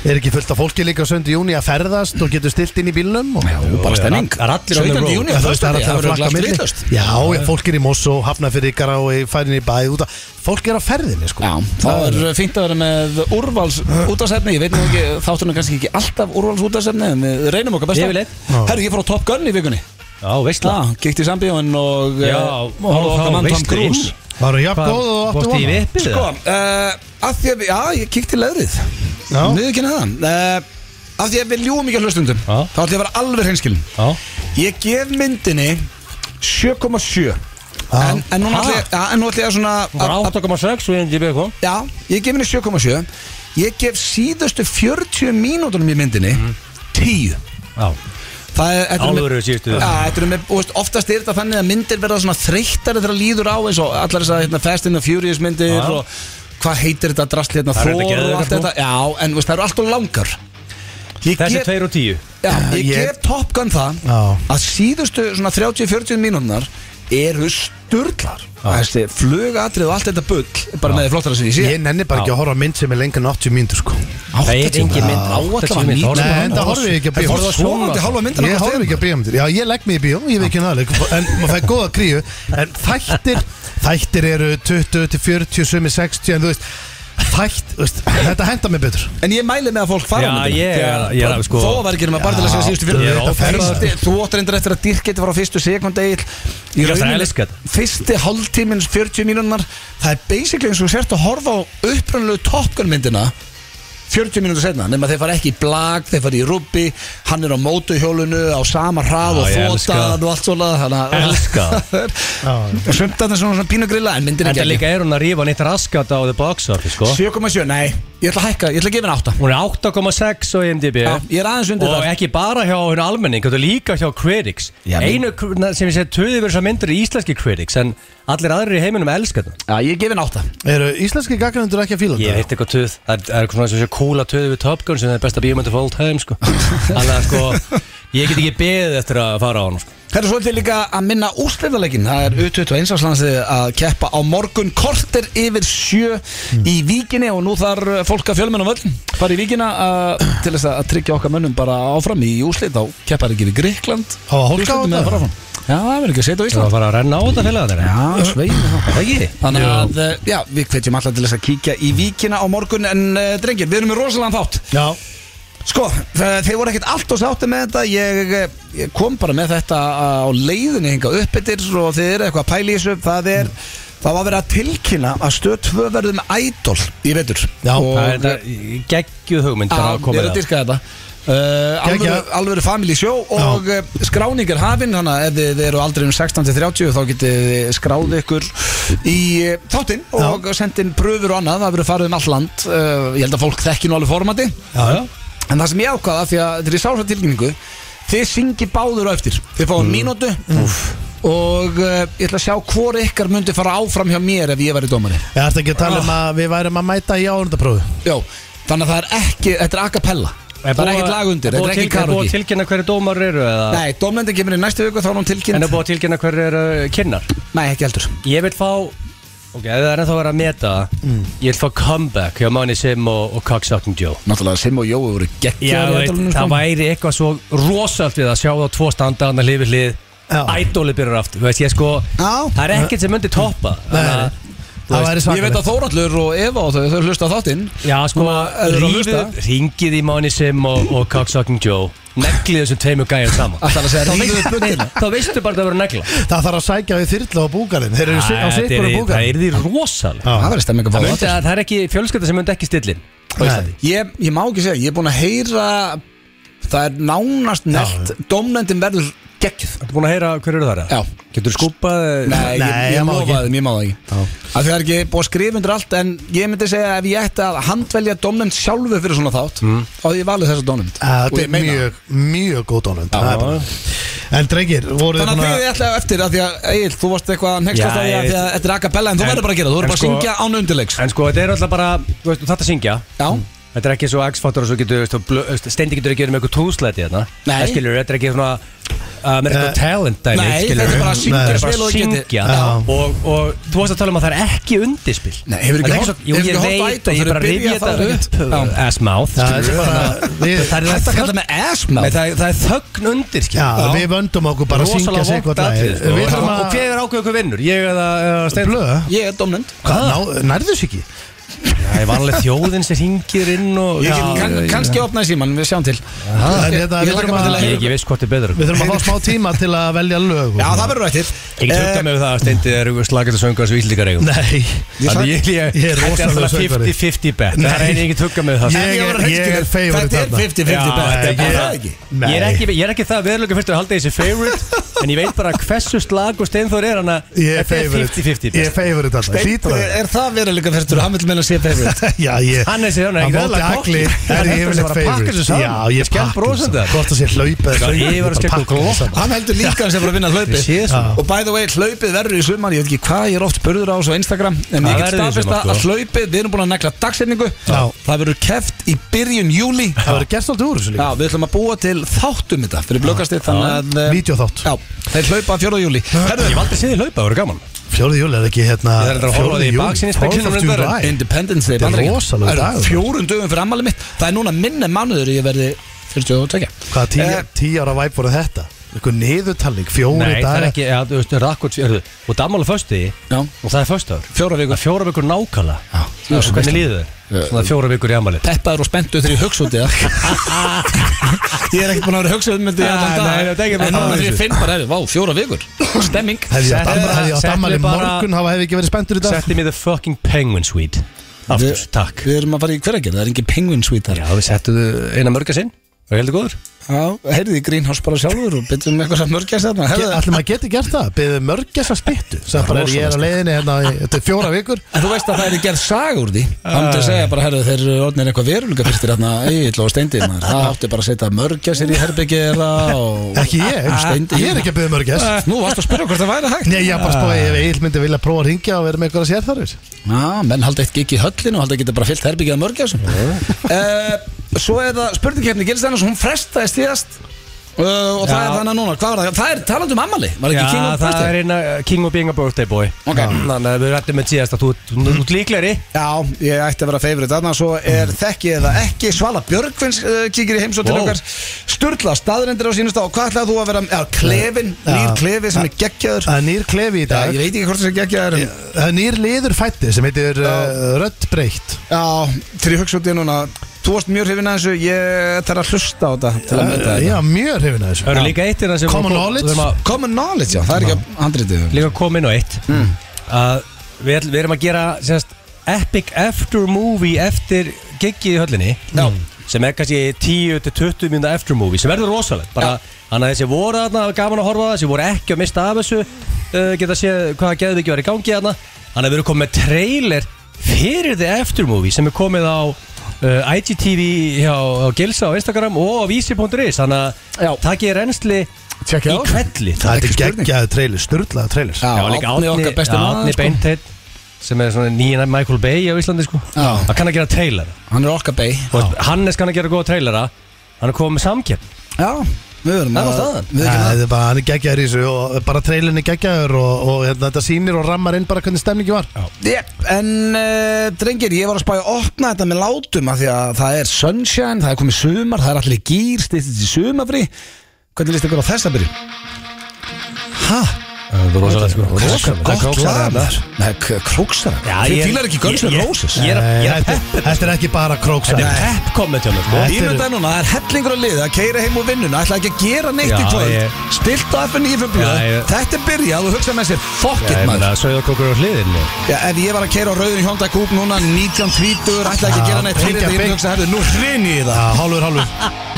S3: Er ekki fullt af fólki líka á söndi júni að ferðast og getur stilt inn í bílnum og...
S1: Já, bara
S2: já,
S1: stemning
S2: það er allir on the
S1: 17.
S2: road.
S1: júni
S3: Já,
S1: og
S3: þú veist, það er
S1: föstudag, það verður
S3: alltaf að flakka
S1: örugglega
S3: milli
S1: stríðlaust.
S3: Já, já, fólk er í Mosso, Hafnafyrir, Garái, færin í bæ út að Fólk er á ferðinni, sko
S1: Já, þá er fínt að vera með úrvals útasefni Ég veit nú ekki, þáttunum kannski ekki alltaf úrvals útasefni En við reynum okkar besta
S2: Yfirleitt.
S1: Herru, ég fór á Top Gun í vikunni
S2: Já, veistla
S1: Já, gekk í Ah, sambíóin og eh,
S2: Já,
S1: og okkar mann Tom Cruise
S3: Varu jafn góð og áttu
S2: Vostu í
S3: vona
S2: vippið
S1: Sko, uh, að því að við, já, ég kíkti leðrið
S3: Já.
S1: Miður ekki neða uh, Að því að við ljúum ekki að hlustundum
S2: Já.
S1: Þá ætlum ég að vera alveg hreinskilin
S2: Já,
S1: Ég gef myndinni 7,7 En, en núna
S2: Ha?
S1: ætlum ég, ja, en nú ætla ég að svona
S2: bara
S1: að- að-
S2: 8,6 og ég enn kom
S1: Já, ég gef henni 7,7 Ég gef síðustu 40 mínútunum í myndinni
S2: Mhm.
S1: 10
S2: Já,
S1: Það er, þetta er
S2: Álfur
S1: með-
S2: eru síðustu.
S1: Já, þetta er með, og veist, oftast er þetta þannig að myndir verða svona þreyttari þegar líður á eins og allar þess að hérna, Fast and the Furious myndir
S2: Já.
S1: og hvað heitir þetta drastli hérna,
S2: Það eru
S1: Thor
S2: þetta sko.
S1: og allt
S2: geðveikar,
S1: þetta Já, en veist, það eru alltaf langar Ég
S2: þessi
S1: gef,
S2: 2 og 10
S1: já, ég
S3: Ég-
S1: gef Top Gun það
S3: Já.
S1: að síðustu svona 30-40 mínúnar eru sturglar Þessi flugatrið og allt þetta bull bara með því flottara sem ég sé
S3: Ég nenni bara ekki að horfa á mynd sem er lengur en 80 mínútur, sko
S2: Það er engin mynd
S1: áallan var
S2: 80
S1: nýtt
S2: mínútur.
S3: Nei,
S2: Horfðu á
S3: en það
S2: hana.
S3: horfið ekki að
S1: En
S3: bíó
S1: horfðu á sofandi hálfa myndina
S3: Ég
S1: hvort
S3: horfið
S1: eð
S3: ekki að bíómyndir Já, ég legg mig í bíó, ég veit ekki náðaleg En maður fæði góða kríu En þættir, þættir eru 20 til 40, sumi 60 En þú veist Þætt, þú veist, þetta henda mér betur
S1: En ég mæli með að fólk fara
S2: Já,
S1: á myndina.
S2: ég er-
S1: Þegar-
S2: ég er- sko-
S1: Þó að vera ekki nema barðilega sem
S3: Já,
S1: síðustu
S3: ég er
S1: fyrir
S3: á ferð.
S1: fyrsti, Þú óttir endur eftir að dýrk geti var á fyrstu sekundi Egill. Í
S2: Ég ætla að
S1: rauninni-
S2: elska þetta.
S1: Fyrsti hálftímins 40 mínúnar Það er basically eins og þú sért að horfa á upprannlegu Top Gun myndina 40 mínútur setna, nema þeir fara ekki í blag þeir fara í rubbi, hann er á mótuhjólunu á sama hrað
S2: Já,
S1: og
S2: ég elska
S1: þótaðan
S2: það.
S1: og allt svolega þannig að-
S2: Elska
S1: [laughs] og sömndan er svona, svona pínu grilla en myndin er
S2: Þetta
S1: ekki
S2: líka er hún að rífa neitt raskat á The Box Office sko
S1: 7,7, nei, ég ætla að hækka, ég ætla að gefa henni 8
S2: Hún er 8,6 á IMDb
S1: Já, ég er aðeins undir
S2: Og
S1: þar.
S2: ekki bara hjá hún almenning, þetta er líka hjá critics
S1: Já,
S2: Einu kr- sem ég segi töði verið svo myndir í íslenski critics En allir aðrir í heiminum elska þetta
S1: Já, ég gefi henni 8
S3: Eru íslenski gaggrænundur ekki að fíla
S2: Ég
S3: þetta?
S2: veit eitthvað töð Það er- það er eitthvað svona sem sé kúla töði við Top Gun sem er besta bíómynd of all time [laughs] sko Þannig að sko, ég get ekki beðið eftir að fara á hann sko
S1: Það er svolítið líka að minna úrslitaleikin Það er U21 áslandsið að keppa á morgun korter yfir sjö í víkinni og nú þarf fólk að fjölmenn á völlin fara í víkina að, til þess að tryggja okkar mönnum bara áfram í úrslit á keppar ekki við Gríkland
S3: Á að hólka á þetta?
S1: Já, það verður ekki að setja á
S2: Það var
S1: Ísland
S2: að fara að renna á þetta félaga þeirra
S1: Já, sveinu það
S2: Það ekki?
S1: Þannig að, eh, já, við hvetjum alltaf til þess að kíkja í víkina á morgun En uh, drengir, við erum með rosalega þátt
S3: Já,
S1: Sko, þe- þeir voru ekkert allt og sátti með þetta ég, eh, ég kom bara með þetta á leiðinni hinga uppbyttir og þeir eru eitthvað að pæla í þessu það er, það var verið að tilkynna að stöð tvö verður með ædol í vetur
S3: Já,
S1: og,
S2: Það er þetta geggjuð hugmynd bara að
S1: að,
S2: koma
S1: ég er að
S2: það
S1: diska þetta hérna. Uh, alvöru,
S3: Geggjað.
S1: alvöru family show og uh, skráning er hafinn þannig að ef þið, þið eru aldrei um 16-30 þá getið þið skráð ykkur í uh, þáttinn og sendið inn pröfur og annað, það verður farið um allt land uh, ég held að fólk þekki nú alveg formati
S3: já, já
S1: En það sem ég ákvaða, því að þetta er í sása tilkynningu Þið syngi báður á eftir Þið fáum mm. mínútu Og uh, ég ætla að sjá hvori ykkar myndi fara áfram hjá mér ef ég væri dómari
S3: Ég ætti ekki að tala um að við værum að mæta í árundaprófi
S1: Jó, þannig að það er ekki, þetta er a cappella Það er ekkert lag undir, þetta er ekki
S2: Er búið að
S1: karaoke
S2: tilkynna hverju dómar eru eða?
S1: Nei, dómnefndin kemur í næstu viku þá er hún tilkynnt
S2: En er búið að tilkynna hverju eru uh, kynnar?
S1: Nei, ekki heldur
S2: Ég vil fá Ok, ef það er ennþá að vera að meta Ég vil fá comeback hjá Manny Sim og, og Cocksucking Joe
S1: Náttúrulega Sim og Jói voru
S2: Já,
S1: geggjað
S2: veit, það væri eitthvað svo rosalt við að sjá þá tvo standarna hlifi hlið
S3: Já.
S2: Ædóli byrjar aftur, veist ég sko
S1: Já.
S2: Það er ekkert sem myndi toppa þannig að- þú
S3: Það
S2: veist,
S3: væri
S1: Ég veit
S3: svakalegt
S1: að Þórallur og Eva og þau, þau hlusta á þáttinn
S2: Já, sko,
S1: Núna, ef þú eru að hlusta.
S2: rífið, ringið í Manny Sim og, og Cocksucking Joe Neglið þessum tveimur gæjar saman
S1: Alltaf að segja
S2: Þá
S1: rífið upp
S2: veistu-
S1: bundina
S2: [laughs] Þá veistu bara að það voru negla
S3: Það þarf að sækja við þyrla á búkarinn Þeir eru
S2: Æ,
S3: á um
S2: þetta er-
S3: sikkur á
S2: Það
S3: búkarinn
S2: er því rosalega
S1: Það verður stemming að fá
S2: Það
S1: þáttinn
S2: myndi að það er ekki fjölskylda sem myndi ekki stillin á
S3: Nei.
S2: Íslandi
S1: Ég, ég má ekki segja, ég er búin að heyra Það er nánast nelt Dómnendin verður geggð
S2: Ertu búin að heyra hverju eru þar? eða?
S1: Já
S2: Getur skúpað
S1: Nei, ég,
S3: Nei,
S1: ég,
S3: ég má
S1: lofa
S3: ekki.
S1: þeim, ég má það ekki Af því Það er ekki búið að skrifa undir allt En ég myndi segja ef ég ætti að handvelja domnend sjálfu fyrir svona þátt mm. Og ég valið þessa domnend
S3: Þetta er mjög, mjög góð dónund En drengir, voru þið
S1: Þannig að
S3: búin að
S1: þið ætlaði á eftir að því að Egil, þú varst eitthvað
S2: Já,
S1: nextast að því að
S2: ég-
S1: því að þetta er acapella en þú
S2: En-
S1: verður bara að gera, það, þú verður
S2: en
S1: bara að
S2: sko-
S1: syngja án undirleiks
S2: En sko, þetta er alltaf bara Þú veist, þetta syngja
S1: Já,
S2: Þetta er ekki svo X-faktor og svo getur, veist, þú blö- veist, Steindi getur ekki verið með eitthvað trúðslæti þarna
S1: Nei.
S2: Það skilur, þetta er ekki svona uh, með
S3: Eh,
S2: eitthvað talent dæmi,
S1: nei,
S2: skilurðu.
S1: þetta er bara að syngja
S2: Þetta er
S1: vel
S2: bara
S1: og
S2: að
S1: geti.
S2: syngja
S3: Já.
S2: og, og þú varst að tala um að það er ekki undirspil
S1: Nei, hefur
S2: Það
S1: ekki
S2: er
S1: hort-
S2: svo- Jú,
S1: hefur
S2: ég
S1: ekki hort á
S2: veit
S1: Idol fyrir
S2: að ég bara
S1: að byrja
S2: rifja
S1: það
S2: þetta upp
S1: upp. Já.
S2: uh, Ass mouth
S3: Já,
S2: skilurðu.
S3: þetta er bara- við-
S2: Það er
S1: Þetta
S2: þögn-
S1: kallar með
S2: Nei,
S1: asmouth
S2: það er- það er þögn undir
S3: Já,
S2: skilurðu.
S3: við vöndum okkur bara að syngja sig
S2: vont
S3: eitthvað
S2: atriði,
S3: lagið.
S2: sko.
S3: Við
S2: Og
S3: þurfum að
S2: hver er ákveð okkur vinnur? Ég eða eða Steinn?
S3: Blöð
S1: Ég er domnend
S3: Hvað, ná- nærðu sig ekki?
S2: Það er vanlega þjóðin sem hingir inn og
S1: Ég
S2: Ég
S1: get kann, kannski opnaði síman, við sjáum til
S2: hérna,
S3: en
S1: Ég,
S3: þetta-
S1: ég
S3: við
S1: lakka
S3: þurfum
S1: mig til
S3: að-
S1: að
S2: ég
S1: heyra
S2: ekki veist hvort er betra
S3: Við þurfum að fá smá tíma til að velja lög og-
S1: Já, það verður Eh, eftir
S2: Ég get hugga mig við það að Steindi er slagandi söngar sem Íslíkar eigum
S3: Eh. Nei
S2: Þannig ég, ég,
S3: Ég er
S2: þetta
S3: rosalegur
S2: alltaf
S3: söngvari.
S2: 50-50 bet Það er einu ég get hugga mig við það
S3: Ég er- ég er favorite
S1: Þetta er
S3: þarna.
S1: 50-50
S2: Já,
S1: bet,
S2: þetta
S1: er
S2: er-
S1: það ekki?
S3: Nei.
S2: Ég er, ekki, ég er ekki það veðlöku fyrst að halda þessi
S3: [laughs]
S2: favorite En ég veit bara hversu slag og Steinþór er hann að
S3: Ég er
S2: Þetta er
S3: favorite
S2: 50-50
S3: Ég er
S2: bet
S3: favorite alltaf Hlýtur að
S1: Er- eh, Er það veruleika fyrstur, hann vil meina sé favorite
S3: [laughs] Já, ég
S2: Hann er sér hann
S3: Hann
S2: ekki
S3: móti agli Það er yfirleitt favorite Já, ég
S2: skemmt brosandi
S3: saman Hvort það sé hlaupa eða
S2: Já,
S3: söngva,
S2: ég var að
S3: bara
S2: skella
S3: pakka
S2: glott.
S3: þessu saman.
S1: Hann heldur líka hans eftir að vinna hlaupið
S2: Ég sé svona.
S1: Og by the way, hlaupið verður í sumar Ég veit ekki hvað, ég er oft burður á þessu á Instagram En
S2: Það
S1: ég get
S2: verður í
S1: staðfesta
S2: sumar, sko.
S1: að hlaupið Við erum búin að negla dagsetningu
S3: Já.
S1: Það verður keft í byrjun júli
S3: Það verður gert alltaf úr þessu
S1: Já,
S3: líka
S1: við ætlum að búa til þáttum þetta Fyrir blökastir, þannig að eh,
S3: Vídeóþátt
S1: Já, þeir hlaupa 4. júli Herðu,
S2: Ég valdi að sé þið hlaupa, það voru gaman
S3: Fjóðið júli er ekki hérna
S2: Ég er að horfa á
S3: fjórði
S2: því í
S3: júlí,
S2: baksýnisspeglinum
S3: 12th of
S2: reyndar.
S3: July.
S1: Independence Day
S3: Þetta er
S1: Bandaríkjanna.
S3: rosalegur
S1: Það eru
S3: dagur.
S1: Fjórum dögum fyrir ammali mitt Það er núna minni mánuður ég verði 42 Eh.
S3: Hvaða tíu- tíu ára væp voru þetta? Eitthvað niðurtalning, fjóri
S2: Nei, það er ekki, ja, þú veist, rakkot Hörðu, og það er alveg föstu
S1: Já.
S2: Og það er föstu ár
S1: Fjóra vikur.
S2: Fjóra vikur nákvæmlega
S1: Já.
S2: Þú veist, Hvernig líður þér? Svona fjóra vikur í amalið
S1: Peppaður og spenntu þegar ég hugsa út í það [laughs] Ég er ekkert búin að vera hugsa út myndi ég
S2: Nei,
S1: allan dag
S2: nei, þetta er ekki bara
S1: En núna
S2: það
S1: þegar ég
S2: þessu.
S1: finn bara, herri, vá, fjóra vikur Stemming
S3: Hefði ég átt
S2: Settu
S3: afmæli- hefði ég átt
S2: bara-
S3: ammali
S2: settu bara-
S3: morgun, hafa hefði ekki verið spenntur í dag
S2: Setti mér the fucking penguin suite Aftur,
S1: Við-
S2: takk
S1: Við erum að fara í hverjargerð, það er engin penguin suite þar
S2: Já, við settum eina mörga sinn Var heldur góður?
S1: Já, heyrði í Greenhouse bara sjálfur og byttum eitthvað sem mörgjast þarna
S3: Ge-
S1: herðu.
S3: Ætli maður geti gert það, beðið mörgjast að styttu Sæði
S1: sko.
S3: bara, ég er á leiðinni hérna, í- þetta er fjóra vikur
S1: En þú veist að það er gerð saga úr því Það myndi að segja bara, herðu, þeir eru orðnir eitthvað veruleika fyrstir þarna Egil og Steindi maður. Það átti bara að setja mörgja sér í herbyggi eða og... Ah,
S3: Ekki ég,
S1: Steindi
S3: ég er ekki að beðið mörgjast
S1: um Nú varst að spyrja hvort það væri hægt
S3: Nei, ég er bara spóið, ef Egil myndi vilja prófa að ringja og vera með einhverja sérþarfis
S1: Já, menn haldi eitt gig í höllinu og haldi að geta bara fyllt herbyggið að mörgja sem Eh, Svo er það spurningkeppni Gilstæðan hún frestaði stíðast uh, og það
S2: Já.
S1: er þannig núna, hvað var það? Það er talandi um ammali, var
S2: Já,
S1: ekki King of
S2: það er
S1: Birthday?
S2: eina uh, King of Being a Birthday Boy
S1: Ok.
S2: Þannig að við rættum með síðast að þú þú- þú ert líklegri
S1: Já, ég ætti að vera favorit Þannig að svo er þekki eða ekki Svala Björgvins uh, kíkir í heimsó til
S2: Vó.
S1: okkar Sturla staðrendir á sínust á Og hvað ætlaði þú að vera Eh, Já, Eh, klefin,
S3: Já.
S1: nýr klefi sem er geggjaður
S3: Það er nýr klefi í
S1: Já,
S3: dag
S1: ég veit ekki hvort það er geggjaður en-
S3: Það er nýr liður fætti sem heitir uh, Rödd breytt
S1: Já, til ég hugsa út í núna Þú varst mjög hrifin að þessu Ég þarf að hlusta á þetta til að meta
S3: Uh, Já,
S1: þetta
S3: mjög hrifin að
S2: Það eru
S3: þessu
S2: líka eitt hérna sem
S3: Common
S2: við-
S3: knowledge.
S2: Við erum að
S1: Ah, Common knowledge, já, það er ekki að handritið
S2: líka koma inn á eitt
S1: Mm.
S2: Að við, ætl- við erum að gera sérst, Epic After Movie Eftir giggið í höllinni Mm.
S1: Já.
S2: Sem er kannski 10-20 minna After Movie Sem verður rosalegt bara, Þannig að þessi voru þarna hafa gaman að horfa á það Þessi voru ekki að mista af þessu uh, Geta séð hvaða geðviki var í gangi þarna Þannig að við erum komið með trailer Fyrir The After Movie sem er komið á uh, IGTV hjá, á Gilsa á Instagram og á vísi.is Þannig
S1: Já.
S2: að takið reynsli
S3: Tjekkið
S2: í
S3: á.
S2: kvelli
S3: Það er
S1: ekki spurning.
S3: geggjaðu trailer, sturlaðu trailer
S1: Já,
S2: Já, líka
S1: Árni
S2: Átni,
S1: okkar besti
S2: já,
S1: maður,
S2: Átni
S1: sko.
S2: Beinteinn sem er svona nýjan Michael Bay á Íslandi sko
S1: Já.
S2: hann kann að gera trailer
S1: Hann er okkar bei
S2: og Hannes kann að gera góða trailera hann er komið með samkjöp
S1: Já, við verum
S2: Það var staðan.
S1: við erum að-
S3: Það er bara, hann er geggjaður í þessu og bara trailerin er geggjaður og, og hérna, þetta sýnir og rammar inn bara hvernig stemningi var
S1: Yep, en uh, drengir, ég var að spája að opna þetta með látum af því að það er sunshine, það er komið sumar, það er allir í gýr, stýttist í sumafri Hvernig líst ykkur á þessa byrju? Hæ?
S2: það er rosalega sko
S1: Gott lagar Nei, króksar
S2: Já,
S1: Þið
S2: ég-
S1: fílar ekki Guns N'
S2: ég- ég-
S1: Roses
S2: Ég er að- ég er að
S3: Nei, þetta, þetta er ekki bara króks
S2: þetta er pepp komið til mér sko
S3: Nei.
S1: Ég veit að núna, það er hellingur að liða, að keira heim úr vinnuna, ætla ekki að gera neitt í
S2: Já,
S1: kvöld
S2: ég-
S1: Stilt á FN í FN
S2: Já, ég-
S1: Þetta er byrjað og hugsa með sér, fuck
S2: Já,
S1: it
S2: ég
S1: maður
S2: meina sögðarkokkur á hliðinni
S1: Já, ef ég var að keira á rauðin Honda Coupe núna 1920, ætla ekki að gera neitt fyrir
S3: hringja
S1: þetta, ég myndi
S3: beint.
S1: hugsa, herðu, nú hrinni ég í það [laughs]
S3: Hálfur, hálfur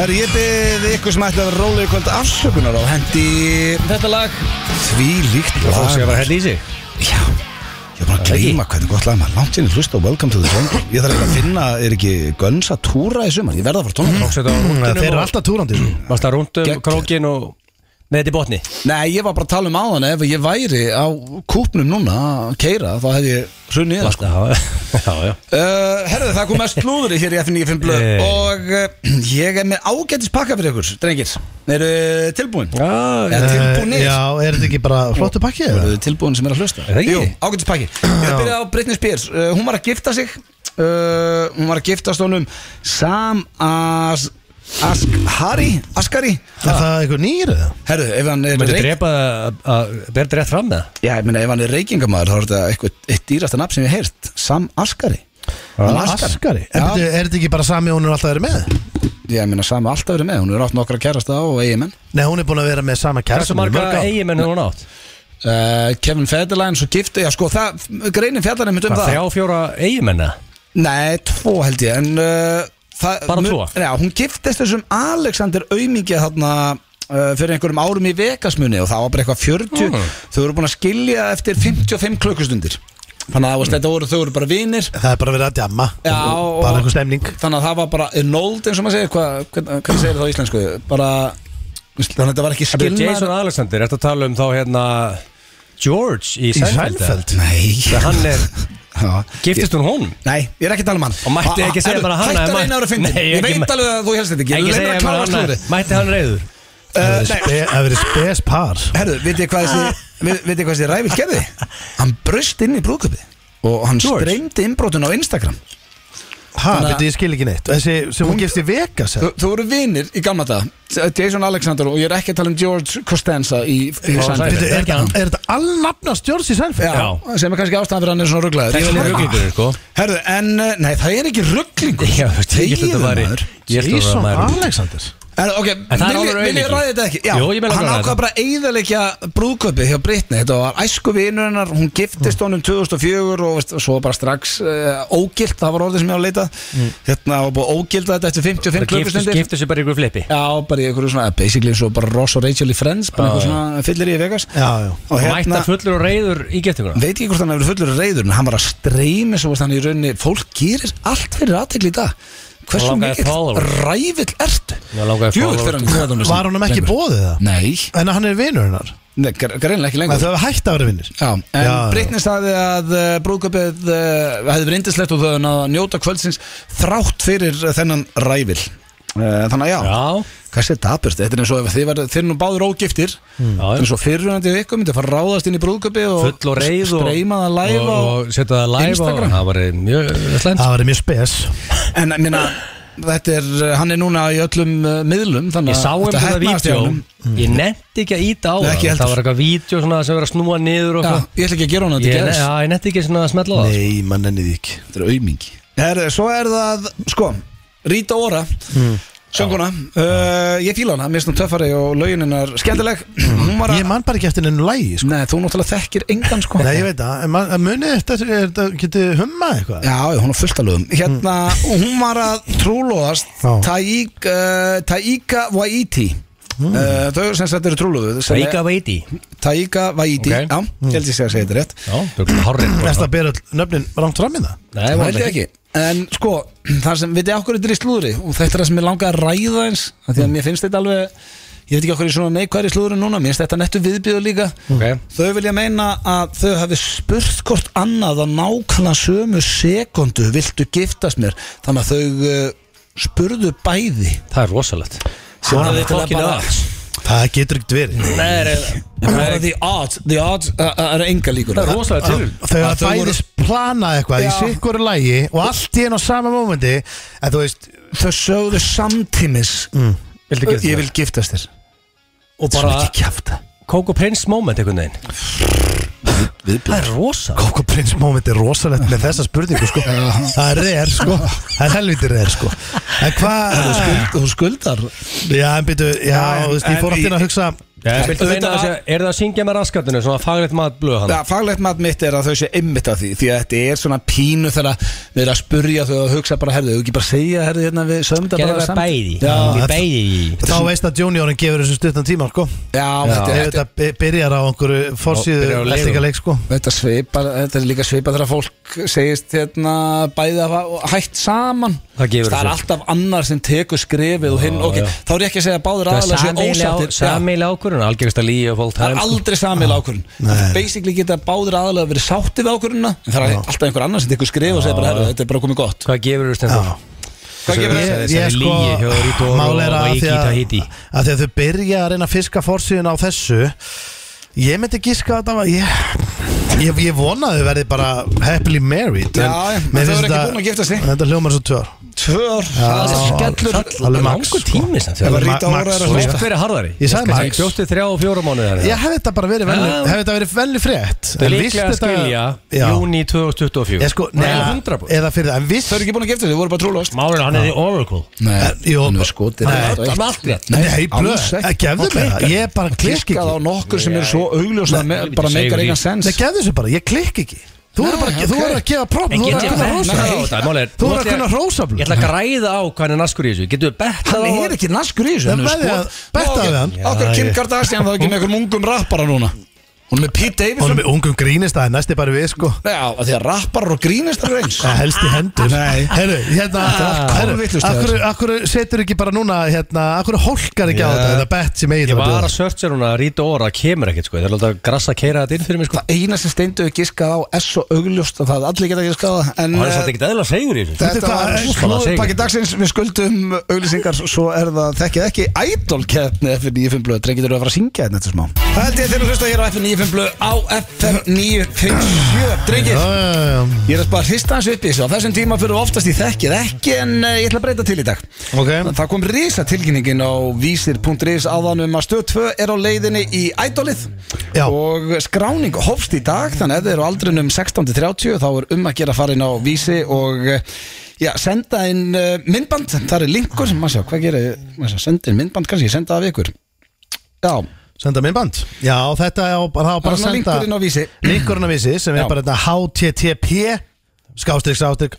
S1: Herru, ég byrði ykkur sem ætla að vera rólega í kvöld afsökunar á hendi
S2: þetta lag
S1: því líkt
S2: og fólk sem
S1: lag.
S2: var að hella í sig
S1: Já, hérna ég er bara að gleyma hvernig gott lag maður langt sinni hlusta og welcome to the jungle Ég þarf eitthvað að finna, er ekki gönns að túra í sumar, ég verða að fara tónum
S2: Tókst þetta á rúndunum
S3: Þeir eru
S2: og-
S3: alltaf túrandi
S1: Mm.
S3: sko.
S2: varst það rúndum
S1: Gegn-
S2: krókin og með þetta í botni
S1: Nei, ég var bara að tala um áðan ef ég væri á kúpnum núna að keira, þá hefði ég hrunnið það sko
S2: Já, já, já
S1: Uh, herðu, það kom mest slúðri hér í F95 blöð
S2: Hey.
S1: og uh, ég er með ágætis pakka fyrir ykkur, drengir Eru tilbúin?
S2: Já,
S1: Eða tilbúinir?
S3: Eh, Já, er þetta ekki bara flottu pakki? eða?
S1: Voruð þið tilbúin sem er að hlusta?
S2: Er það ekki?
S1: Jú, ágætispakki Ég er að byrja á Britney Spears uh, Hún var að gifta sig uh, Hún var að giftast honum Sam As Ask Hari Askari
S3: Er það eitthvað nýr eða?
S1: Herru, ef hann er
S2: Mættu
S1: reik,
S2: drepa að- að berða rétt fram með
S1: Já, ég meina, ef hann er reykingamæður þá er þetta eitthvað eitt dýrasta nafn sem ég hef heyrt Sam Askari Hann er
S3: Askari? Er,
S1: Já,
S3: byrju, er þetta ekki bara sami hún er alltaf verið með?
S1: ég meina, Sam er alltaf verið með Hún er átt nokkra kærasta á og eigimenn
S3: Nei, hún er búin að vera með sama
S2: Hversu
S3: kærast
S2: marga eigimenn hefur hún átt?
S1: uh, Kevin Federline, svo gifti Já, sko, það, greinin fjallarinn mitt um
S2: Hvað,
S1: það
S2: þrjá, fjóra eigimenna?
S1: Nei, tvo held ég en, uh, það,
S2: Bara tvo?
S1: Já, hún giftist þessum Alexander Aumingi þarna uh, fyrir einhverjum árum í Vegasmunni og það var bara eitthvað 40
S2: Ah.
S1: þau voru búin að skilja eftir 55 klukkustundir þannig að mm. þetta voru, þau voru bara vinir
S3: Það er bara verið að djamma
S1: Já, og-
S3: Bara einhver stemning
S1: þannig að það var bara enold eins og maður segir hvað hvern, hvernig segir það á íslensku bara þannig að þetta var ekki
S2: Það er Jason
S1: skilnaður
S2: Alexander, ertu að tala um þá hérna George í
S3: Í
S2: Seinfeld? eða?
S3: Sælfeld
S2: Þegar
S1: Nei
S2: hann er,
S1: Já.
S2: giftist hún honum?
S1: Nei, ég er ekki að tala um hann
S2: Og mætti ekki segja bara hana,
S1: Hættar
S2: mæ-
S1: einu ára fyndin
S2: Nei,
S1: Ég
S2: ekki
S1: veit
S2: mæ-
S1: alveg að þú helst þetta ekki Ég
S2: Ekki
S1: leifir
S2: segja
S1: að
S2: mér
S1: klára
S2: annað,
S1: slúðrið
S2: mætti hann reyður?
S3: Það
S1: Uh,
S3: er
S1: nei,
S3: spe- það er verið spes par
S1: Herru, veit ég hvað
S2: [laughs]
S1: þessi veit, veit ég hvað þessi ræfill gerði? Hann bröst inn í brúðköpi og hann
S2: George.
S1: streymdi innbrotin á Instagram
S3: Hæ,
S1: Þannig að-
S3: þetta ég skil ekki neitt Þessi sem hún gefst í Vegas eða?
S1: Þú, þú voru vinir í gamla dag Jason Alexander og ég er ekki að tala um George Costanza í, í
S2: Já,
S1: Seinfeld.
S3: Bíddu, Er þetta- er þetta allnafnast George í Seinfeld?
S1: Já, sem er kannski ástæðan fyrir að hann er svona rugglaður
S2: Þetta er ruglingur, sko
S1: hérna- Herðu, en, eh, nei, það er ekki rugglingur
S2: Já, þú veist, ég held að þetta væri- Ég held að þetta
S3: Jason
S2: væri
S3: Alexander
S1: En, ok,
S2: En það er
S1: vil ég-
S2: alveg
S1: vil ég
S2: raunin.
S1: ræða þetta ekki? Já,
S2: Jú, ég vil alveg
S1: hann
S2: ræða
S1: ákvað
S2: þetta.
S1: bara eigðalegja brúðköpi hjá Britni Þetta var æsku vinur hennar, hún giftist honum 2004 og veist, svo bara strax uh, ógilt, það var orðið sem ég var að leita
S2: Mm.
S1: Hérna var búið að ógilda þetta eftir 55
S2: Giftur
S1: klukkustundir
S2: giftur sér bara ykkur flipi
S1: Já, bara í einhverju svona, basically svo bara Ross og Rachel í Friends, bara einhver svona fyllir í Vegas
S3: Já, já
S1: Og hérna-
S2: Mætta fullur og reyður í giftinguna
S1: veit ekki hvort hann hefur fullur reyður en hann var að streymi svo varst hann í rauninni fólk gerir allt fyrir aðtegl í dag hversu
S2: Langaði
S1: mikill
S2: followers.
S1: rævill ertu
S2: Já, langaði
S1: djúvill
S2: followers.
S1: fyrir hann í kóðanum
S3: Var honum ekki bóðið það?
S1: Nei,
S3: En hann er vinur hennar
S1: nei gre- greinilega ekki
S3: Nei,
S1: lengur
S3: Það hefur hægt að vera vinnir
S1: Já, en
S3: Já, já.
S1: Britni staði að uh, brúðköpið uh, hefði verið indislegt og þau hefði náð að njóta kvöldsins þrátt fyrir uh, þennan rævill uh, Þannig að já,
S2: Já,
S1: hvað sé dapurst, þetta er eins og ef þið var, þeir eru nú báður ógiftir
S2: Já,
S1: þetta er eins og fyrirhundið ykkur myndi að fara að ráðast inn í brúðköpi og
S2: Mm. full og reyð og
S1: streyma það live
S2: og,
S1: á-
S2: og setja það live og
S1: Instagram.
S2: það var mjög slæmt
S3: Það var mjög spes
S1: En ég minna, þetta er, hann er núna í öllum uh, miðlum Þannig
S2: Ég
S1: að
S2: sá um
S1: þetta
S2: þetta
S1: heppnaðist hjá
S2: vídeo Mm.
S1: honum.
S2: Ég nefndi ekki að íta á
S1: Nei,
S2: það
S1: ekki heldur.
S2: Það var eitthvað vídeo svona sem verið að snúa niður og
S1: Já,
S2: eitthvað
S1: ég ætla ekki að gera hún að
S2: Ég,
S1: þetta
S2: ne-
S1: gerðis
S2: já, ég nefndi ekki svona að smetla á það
S3: Nei, mann enni því ekki
S1: Þetta er aumingi Herðu, svo er það, sko, Rita Ora Sönguna, uh, ég fíla hana, mér finnst hún töffari og löginin er skemmtileg Hún var
S3: Mm. Ég
S1: að,
S3: mann bara ekki eftir enn lægi sko.
S1: nei, þú náttúrulega þekkir engan, sko
S3: Nei, ég veit það En man- en munið þetta, er þetta getið hummað eitthvað?
S1: Já, já, hún er fullt að lögum Hérna, hún var að trúlóðast
S3: Mm. Já.
S1: Taík, uh, Taíka Waiti mm. uh, Þau sem sagt eru trúlóðu sem er-
S2: Veika veiti
S1: Taíka Waiti,
S2: Ok.
S1: já, ég held ég sé að segja þetta rétt
S2: Já, það er hárrið
S3: Næst að bera öll nöfnin rangt fram í það
S2: Nei,
S1: Það
S2: var
S1: held ég ekki En sko, það sem, veit ég okkur þetta er í slúðri og þetta er það sem ég langaði að ræða eins af
S2: Mm.
S1: því að mér finnst þetta alveg ég veit ekki okkur í svona neikværi slúðri núna mér finnst þetta nettu viðbjöðu líka
S2: Ok.
S1: Þau vilja meina að þau hafi spurt hvort annað á nákvæmlega sömu sekundu viltu giftast mér þannig að þau uh, spurðu bæði
S2: Það er rosalegt
S1: Svona
S2: Það
S1: þetta
S2: er
S1: er
S2: fokkin
S1: bara-
S2: öll
S3: Það getur ekkert verið
S2: Nei,
S1: Það er the odds, the odds uh, uh, er enga líkur
S2: það er rosalegt til
S3: Þau
S1: Að
S3: að
S1: þau voru-
S3: bæðis planað eitthvað í
S1: Já.
S3: sikkur lægi og allt í enn á sama mómenti en þú veist,
S1: Þau sögðu samtímis
S2: Viltu
S1: Ég
S2: ekki
S1: vil giftast þér
S2: Og
S1: Svo
S2: bara
S1: mikið kjafta
S2: Coco Prince moment einhvern veginn Það er rosalegt
S3: Coco Prince moment er rosalegt með þessa spurningu sko. það er reyðar sko það er helviti reyðar sko en hvað,
S1: Ah. Þú skuldar
S3: já en býtu já,
S1: Já, en-
S3: þú veist, ég fór
S1: en-
S3: aftur inn að hugsa
S2: Já, viltu
S1: Auðvitað
S2: meina að
S1: að-
S2: sé- Er það að syngja með raskatinu Svona faglegt mat blöð hann
S1: Já, faglegt mat mitt er að þau sé ymmit að því því að þetta er svona pínu þegar að við erum að spurja þau og hugsa bara, herðu, þau ekki bara segja herðu, hérna við sögum þetta
S2: Gerðu
S1: bara
S2: það bæði
S1: Já,
S2: Við
S3: það-
S2: bæði í-
S3: þá veist að juniorin gefur þessu stuttan tíma sko
S1: já, þetta,
S3: ef
S1: þetta,
S3: þetta bi- byrjar á einhverju
S2: byrjar á
S3: forsýðu
S2: leigu.
S3: lestingaleik sko
S1: þetta svipar þetta er líka svipar þegar fólk segist hérna bæði að hafa hætt saman
S2: Það gefur
S1: er
S2: þessu.
S1: alltaf annar sem tekur skrefið og hinn,
S2: Já,
S1: ok,
S2: já.
S1: þá er ég ekki að segja að báður
S2: Það
S1: aðalega
S2: er
S1: séu ósáttir Já,
S2: sammeil ákvörðun Algjörgsta líi og fólk
S1: Það er aldrei samil ákvörðun
S3: Nei.
S1: Basically geta báðir aðalega verið sáttið ákvörðuna en það er alltaf einhver annar sem tekur skref og segir bara, herru, þetta er bara komið gott
S2: Hvað gefur þú
S3: Já.
S2: stendur?
S1: Hvað gefurðu
S3: Ég-
S2: þessari-
S3: ég
S2: þessari
S3: sko,
S2: lygi hjá Rito Ora
S3: mál er
S2: og
S3: að
S2: Waiki
S3: því að,
S2: Tahiti?
S3: að því að þau byrja að reyna að fiska forsýðun á þessu ég myndi giska að það var ég, ég, ég vona að þau verði bara happily married en
S1: Já, já, en þau
S3: mér finnst
S1: eru ekki
S3: þetta-
S1: búin að giftast því.
S3: þetta hljómar svo tvör
S1: Tvö ár, það er skellur
S3: alveg
S2: Alveg
S3: max,
S2: langur
S3: sko.
S2: tími sem
S1: Ef að
S2: þetta
S1: Rita Ora
S3: Ma-
S1: er
S3: Max-
S1: að
S2: Þú
S1: hlusta
S2: veist verið harðari
S3: Ég sagði Max.
S2: Fjótti þrjá og fjóra mánuðar
S3: Ég hefði þetta bara verið vel,
S2: Já.
S3: hefði þetta verið velni frétt
S2: Það er
S3: En
S2: líklega að
S3: visst þetta-
S2: skilja
S3: Já.
S2: Júni 2024
S3: Ég sko,
S2: Nei,
S3: neða,
S2: 100%
S1: Eh,
S3: eða fyrir það En viss
S1: Þau eru ekki búin að gifta sig, þau voru bara trúlóst
S2: Málin, hann er í Oracle
S1: Nei,
S3: Jú,
S1: hann er skotið
S3: Eh, Nei,
S1: rétt og eitt.
S2: hann er allt rétt.
S3: Nei, blöð,
S1: alls ekki.
S3: gefðu
S1: Og
S3: mig það
S1: klikkað.
S3: Ég bara klikk
S1: klikkað á
S3: ekki
S1: nokkur sem eru svo augljós að me-
S2: helviti,
S1: bara
S2: segur
S1: meikar
S2: í.
S1: engan sens
S3: Nei, gefðu þessu bara, ég klikk ekki Þú
S1: Nei,
S3: verður bara,
S1: ok.
S3: þú verður að gefa próf
S2: En
S3: Þú verður
S2: getur
S3: að
S2: ég
S3: kunna
S2: bett
S3: rosa
S2: á þetta? Mál er-
S3: Þú
S2: nú
S3: verður að
S2: ætla ég-
S3: kunna rosa blöð.
S2: Ég ætla að græða á hvað hann er naskur í þessu Getur við bett á
S1: Hann er ekki naskur í þessu
S3: Nei, veðja- betta við hann.
S1: Okkur
S2: Já,
S1: Kim
S2: ég-
S1: Kardashian þá ekki með einhverjum ungum rappara núna Hún er með Pete
S3: Hún er
S1: Davidson
S3: með ungum grínist aðeins, næst er bara við sko
S1: Já, af því að rapparar og grínist eru eins
S2: Ah.
S3: Það helst í hendur
S1: Nei.
S3: Herru, hérna
S1: allt
S3: herru,
S1: kolvitlaust,
S3: akkur,
S1: þetta.
S3: akkur setur ekki bara núna hérna, Akkur hólkar ekki
S2: Já.
S3: á þetta Þetta bett sem eigið
S2: Ég var að searcha núna Rita Ora kemur ekkert sko Það er alltaf að grassa að keira þetta inn fyrir mig sko
S1: Það eina sem steindu er giskað á er svo augljóst að það allir geta giskað á það, en
S2: Og hann er
S1: eh,
S2: svolítið ekkert eðla segur í þessu
S3: Veitu
S1: Þetta
S3: hvað,
S1: var
S3: eh,
S1: slóðpakki dagsins Við skuldum auglýsingar Svo er hérna það þekkið ekki Idol keppni F95 blöð Drengitur að fara að syngja þetta eftir smá Það held ég þeirra hlusta hér á F95 9.5 blöð á FM 9.57 Drengir,
S3: Já, já, já.
S1: ég er að bara hrista hans upp í þessu á þessum tíma fyrir oftast í þekkið ekki en eh, ég ætla að breyta til í dag
S3: Ok.
S1: Það kom risa tilkynningin á vísir.is áðan um að stöð 2 er á leiðinni í ædolið
S3: Já.
S1: og skráning hófst í dag þannig að ef þið eru á aldrinum 16-30 þá er um að gera farin á vísi og eh, já, senda inn eh, myndband, það er linkur maður sjá, hvað gerir, maður sjá, senda inn myndband kannski, ég senda það af ykkur Já,
S3: Senda myndband Já, þetta er á- bara, það á bara að
S1: Þarna
S3: senda
S1: linkurinn á Vísi.
S3: Linkurinn á vísi sem
S1: Já.
S3: er bara þetta http skástrík, skástrík,